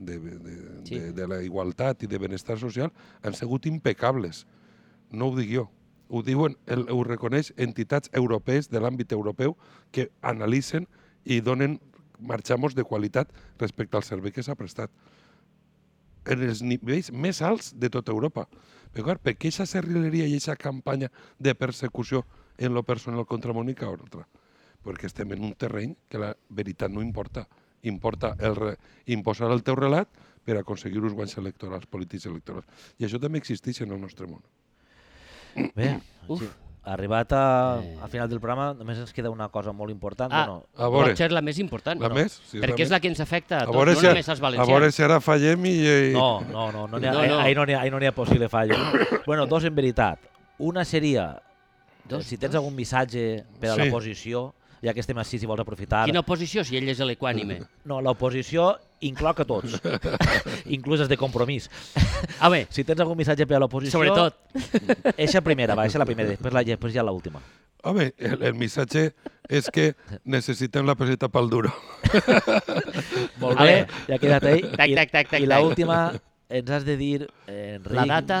[SPEAKER 4] de, de, de,
[SPEAKER 2] Sí.
[SPEAKER 4] sí. de, de la igualtat i de benestar social han sigut impecables. No ho dic jo. Ho, diuen, el, ho reconeix entitats europees de l'àmbit europeu que analitzen i donen marxamos de qualitat respecte al servei que s'ha prestat en els nivells més alts de tota Europa. Però, clar, per què aquesta serrilleria i aquesta campanya de persecució en lo personal contra Mònica Oltra? Perquè estem en un terreny que la veritat no importa. Importa el re... imposar el teu relat per aconseguir uns guanys electorals, polítics electorals. I això també existeix en el nostre món.
[SPEAKER 3] Bé,
[SPEAKER 2] Uf.
[SPEAKER 3] sí. arribat a, a final del programa, només ens queda una cosa molt important.
[SPEAKER 2] Ah,
[SPEAKER 3] bueno,
[SPEAKER 4] A veure.
[SPEAKER 2] potser la més important.
[SPEAKER 4] La més? Sí, és la
[SPEAKER 2] perquè és
[SPEAKER 4] més.
[SPEAKER 2] la que ens afecta a
[SPEAKER 4] A
[SPEAKER 2] tots,
[SPEAKER 4] veure,
[SPEAKER 2] no
[SPEAKER 4] si,
[SPEAKER 2] només als
[SPEAKER 4] a
[SPEAKER 2] valencians.
[SPEAKER 4] veure si ara fallem i... i...
[SPEAKER 3] no, no, no, no, n'hi ha-
[SPEAKER 2] No,
[SPEAKER 3] ahí-
[SPEAKER 2] no.
[SPEAKER 3] ahí no, n'hi ha, ahí no n'hi ha possible fallo. bueno, dos en veritat. Una seria,
[SPEAKER 2] Dos,
[SPEAKER 3] dos, si tens algun missatge per a
[SPEAKER 4] Sí.
[SPEAKER 3] l'oposició, ja que estem així, si vols aprofitar...
[SPEAKER 2] Quina oposició, si ell és l'equànime.
[SPEAKER 3] No, l'oposició incloc a tots, inclús els de compromís.
[SPEAKER 2] A veure,
[SPEAKER 3] Si tens algun missatge per a l'oposició...
[SPEAKER 2] sobretot,
[SPEAKER 3] Eixa primera, va, eixa la primera, després, la, després ja l'última.
[SPEAKER 4] Home, el, el missatge és que necessitem la peseta pel duro.
[SPEAKER 3] Molt
[SPEAKER 2] A veure.
[SPEAKER 3] bé, ja ha quedat ahí.
[SPEAKER 2] Tac, tac, tac, tac,
[SPEAKER 3] I
[SPEAKER 2] tac.
[SPEAKER 3] l'última, ens has de dir, eh, Enric,
[SPEAKER 2] La data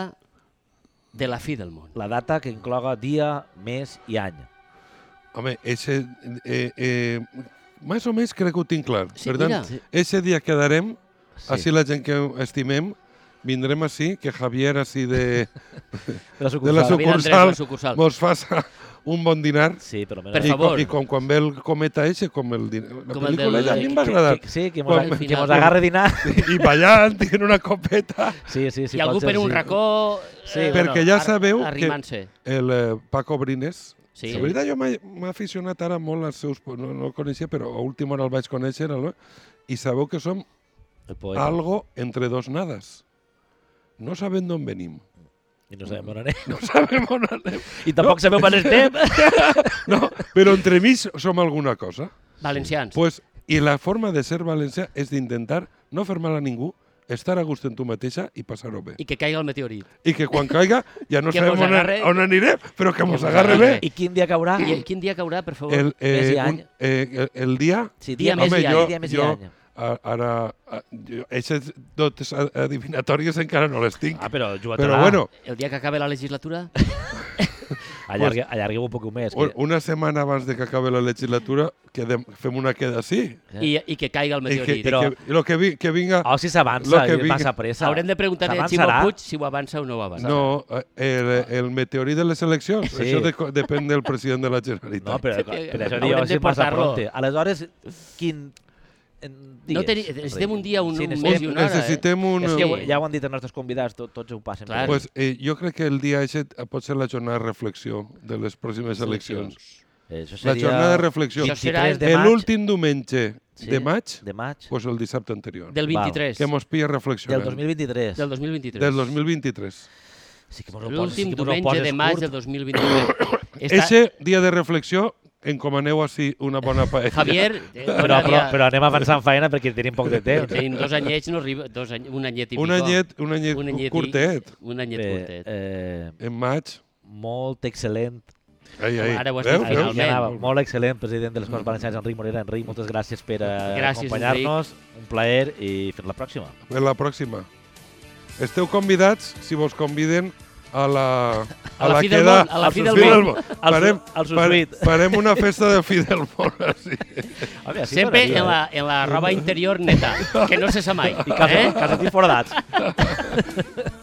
[SPEAKER 2] de la fi del món.
[SPEAKER 3] la data que incloga dia, mes i any.
[SPEAKER 4] Home, ese, eh, eh, més o menys crec que ho tinc clar.
[SPEAKER 2] Sí,
[SPEAKER 4] per tant,
[SPEAKER 2] mira.
[SPEAKER 3] Sí.
[SPEAKER 4] ese dia quedarem,
[SPEAKER 3] Sí.
[SPEAKER 4] sí. així la gent que estimem, vindrem així, que Javier així de,
[SPEAKER 3] de la
[SPEAKER 4] de la
[SPEAKER 3] sucursal.
[SPEAKER 2] sucu- Vindrà Andrés,
[SPEAKER 4] sucursal,
[SPEAKER 2] la sucursal.
[SPEAKER 4] mos faça un bon dinar.
[SPEAKER 3] Sí, però
[SPEAKER 2] Per
[SPEAKER 3] almenys.
[SPEAKER 4] I,
[SPEAKER 2] favor.
[SPEAKER 4] com, I com quan ve el cometa ese, com el dinar. La
[SPEAKER 2] Com
[SPEAKER 4] com
[SPEAKER 2] el
[SPEAKER 4] pel·lícula
[SPEAKER 2] del-
[SPEAKER 4] ja a mi em va
[SPEAKER 3] Que-
[SPEAKER 4] agradar.
[SPEAKER 3] Que, sí, que mos,
[SPEAKER 4] Quan-
[SPEAKER 3] que mos agarre dinar.
[SPEAKER 4] I ballant, i en una copeta.
[SPEAKER 3] Sí, sí, sí.
[SPEAKER 2] Si algú
[SPEAKER 3] pot ser,
[SPEAKER 2] per un
[SPEAKER 3] sí.
[SPEAKER 2] racó... eh,
[SPEAKER 3] Sí,
[SPEAKER 4] Perquè ja sabeu que-
[SPEAKER 2] Arrimant-se.
[SPEAKER 4] El eh, Paco Brines,
[SPEAKER 2] Sí.
[SPEAKER 4] La veritat, jo m'he- m'he aficionat ara molt als seus... po- No, no el coneixia, però a última hora el vaig conèixer. El, I sabeu que som
[SPEAKER 3] El poeta.
[SPEAKER 4] algo entre dos nadas. No sabem d'on venim.
[SPEAKER 3] I no sabem on anem.
[SPEAKER 4] No sabem on anem.
[SPEAKER 3] I tampoc sabem on estem.
[SPEAKER 4] No, però entremig som alguna cosa.
[SPEAKER 2] Valencians.
[SPEAKER 4] Pues, I la forma de ser valencià és d'intentar no fer mal a ningú, estar a gust en tu mateixa i passar-ho bé.
[SPEAKER 2] I que caiga el meteorit.
[SPEAKER 4] I que quan caiga ja no
[SPEAKER 2] Que
[SPEAKER 4] sabem
[SPEAKER 2] mos
[SPEAKER 4] on,
[SPEAKER 2] agarre-
[SPEAKER 4] on anirem, però que
[SPEAKER 2] mos
[SPEAKER 4] mos agarre
[SPEAKER 2] agarre.
[SPEAKER 4] bé.
[SPEAKER 3] I quin dia caurà?
[SPEAKER 2] I quin dia caurà, per favor?
[SPEAKER 4] El,
[SPEAKER 3] Més i
[SPEAKER 4] eh,
[SPEAKER 3] any.
[SPEAKER 4] un, eh, el, el dia
[SPEAKER 3] Sí,
[SPEAKER 2] dia
[SPEAKER 3] més
[SPEAKER 2] Home,
[SPEAKER 3] i any,
[SPEAKER 2] jo-
[SPEAKER 3] dia més i
[SPEAKER 4] jo-
[SPEAKER 3] any.
[SPEAKER 4] A- ara, a- jo, aquestes dotes a- adivinatòries encara no les tinc.
[SPEAKER 3] Ah, però juga
[SPEAKER 4] però bueno,
[SPEAKER 2] El dia que acabe la legislatura?
[SPEAKER 3] Allargue,
[SPEAKER 4] pues,
[SPEAKER 3] allargueu un poc més.
[SPEAKER 4] u-
[SPEAKER 3] Que...
[SPEAKER 4] una setmana abans de que acabe la legislatura quedem, fem una queda així.
[SPEAKER 3] Eh.
[SPEAKER 2] I, i que caiga el
[SPEAKER 4] I que,
[SPEAKER 2] meteorit.
[SPEAKER 4] i que, i lo que, vi, que vinga...
[SPEAKER 3] Oh, si s'avança,
[SPEAKER 4] Lo que
[SPEAKER 3] i
[SPEAKER 4] vingui.
[SPEAKER 3] passa pressa.
[SPEAKER 2] Haurem de preguntar-li a Ximo
[SPEAKER 3] S'avançarà.
[SPEAKER 2] Puig si ho avança o no ho avança.
[SPEAKER 4] No, eh, el, el meteorit de les eleccions.
[SPEAKER 3] Sí.
[SPEAKER 4] Sí. Això de, depèn del president de la Generalitat.
[SPEAKER 3] No, però,
[SPEAKER 2] Sí,
[SPEAKER 3] per això
[SPEAKER 2] haurem
[SPEAKER 3] diu
[SPEAKER 2] de
[SPEAKER 3] si passa
[SPEAKER 2] portar-lo.
[SPEAKER 3] pronte. Aleshores, quin... en-
[SPEAKER 2] No
[SPEAKER 3] digues,
[SPEAKER 2] teni- necessitem
[SPEAKER 3] Enric.
[SPEAKER 2] un dia, un-
[SPEAKER 3] sí,
[SPEAKER 2] un
[SPEAKER 3] necessitem-
[SPEAKER 2] mes i
[SPEAKER 4] Un-
[SPEAKER 2] una hora. eh?
[SPEAKER 4] necessitem un...
[SPEAKER 3] És que
[SPEAKER 2] Sí.
[SPEAKER 3] ja ho han dit els nostres convidats, tot, tots ho passen.
[SPEAKER 2] Clar.
[SPEAKER 4] Pues, eh, jo crec que el dia aquest pot ser la jornada de reflexió de les pròximes eleccions.
[SPEAKER 3] Això
[SPEAKER 4] La jornada de reflexió.
[SPEAKER 2] Això serà
[SPEAKER 3] 23 de maig.
[SPEAKER 4] L'últim diumenge
[SPEAKER 3] Sí,
[SPEAKER 4] de maig,
[SPEAKER 3] De maig.
[SPEAKER 4] pues el dissabte anterior.
[SPEAKER 2] Del
[SPEAKER 3] Val.
[SPEAKER 2] 23.
[SPEAKER 4] Que mos pilla
[SPEAKER 3] Del
[SPEAKER 4] reflexionant.
[SPEAKER 3] 2023.
[SPEAKER 2] Del 2023.
[SPEAKER 4] Del 2023.
[SPEAKER 3] Sí que mos ho poses, sí
[SPEAKER 2] L'últim
[SPEAKER 3] que mos ho
[SPEAKER 2] diumenge
[SPEAKER 3] poses
[SPEAKER 2] de maig
[SPEAKER 3] curt.
[SPEAKER 2] del 2023.
[SPEAKER 4] Esta... Ese dia de reflexió encomaneu així una bona paella.
[SPEAKER 2] Javier, eh,
[SPEAKER 3] Però,
[SPEAKER 2] dona
[SPEAKER 3] però,
[SPEAKER 2] dia-
[SPEAKER 3] però anem avançant feina perquè tenim poc de temps.
[SPEAKER 2] tenim dos anyets, no arriba, dos any, un anyet i
[SPEAKER 4] un
[SPEAKER 2] pico.
[SPEAKER 4] anyet, un anyet, un
[SPEAKER 2] i-
[SPEAKER 4] anyet curtet,
[SPEAKER 2] Un anyet
[SPEAKER 3] Eh,
[SPEAKER 2] curtet.
[SPEAKER 3] eh,
[SPEAKER 4] en maig.
[SPEAKER 3] molt excel·lent,
[SPEAKER 4] Ai, ai.
[SPEAKER 2] Ara ho has
[SPEAKER 4] Veus,
[SPEAKER 2] dit,
[SPEAKER 4] veus?
[SPEAKER 2] finalment.
[SPEAKER 3] finalment. molt excel·lent president de les Corts Valencianes, Enric Morera. Enric, moltes gràcies per eh,
[SPEAKER 2] Gràcies,
[SPEAKER 3] acompanyar-nos. Un plaer i fins la pròxima.
[SPEAKER 4] Per la pròxima. Esteu convidats, si vos conviden, a la...
[SPEAKER 2] A la fi del món, a la fi del
[SPEAKER 4] Fidelmon.
[SPEAKER 2] món.
[SPEAKER 3] Al su-
[SPEAKER 4] Farem,
[SPEAKER 3] al
[SPEAKER 4] fare-
[SPEAKER 3] susbit.
[SPEAKER 4] farem una festa de Fidelmon. Sí.
[SPEAKER 3] Home, així
[SPEAKER 2] Sempre
[SPEAKER 3] sonaria,
[SPEAKER 2] en la, en la roba interior neta, que no se sa mai.
[SPEAKER 3] eh? I casa,
[SPEAKER 2] eh?
[SPEAKER 3] eh? casa tinc foradats.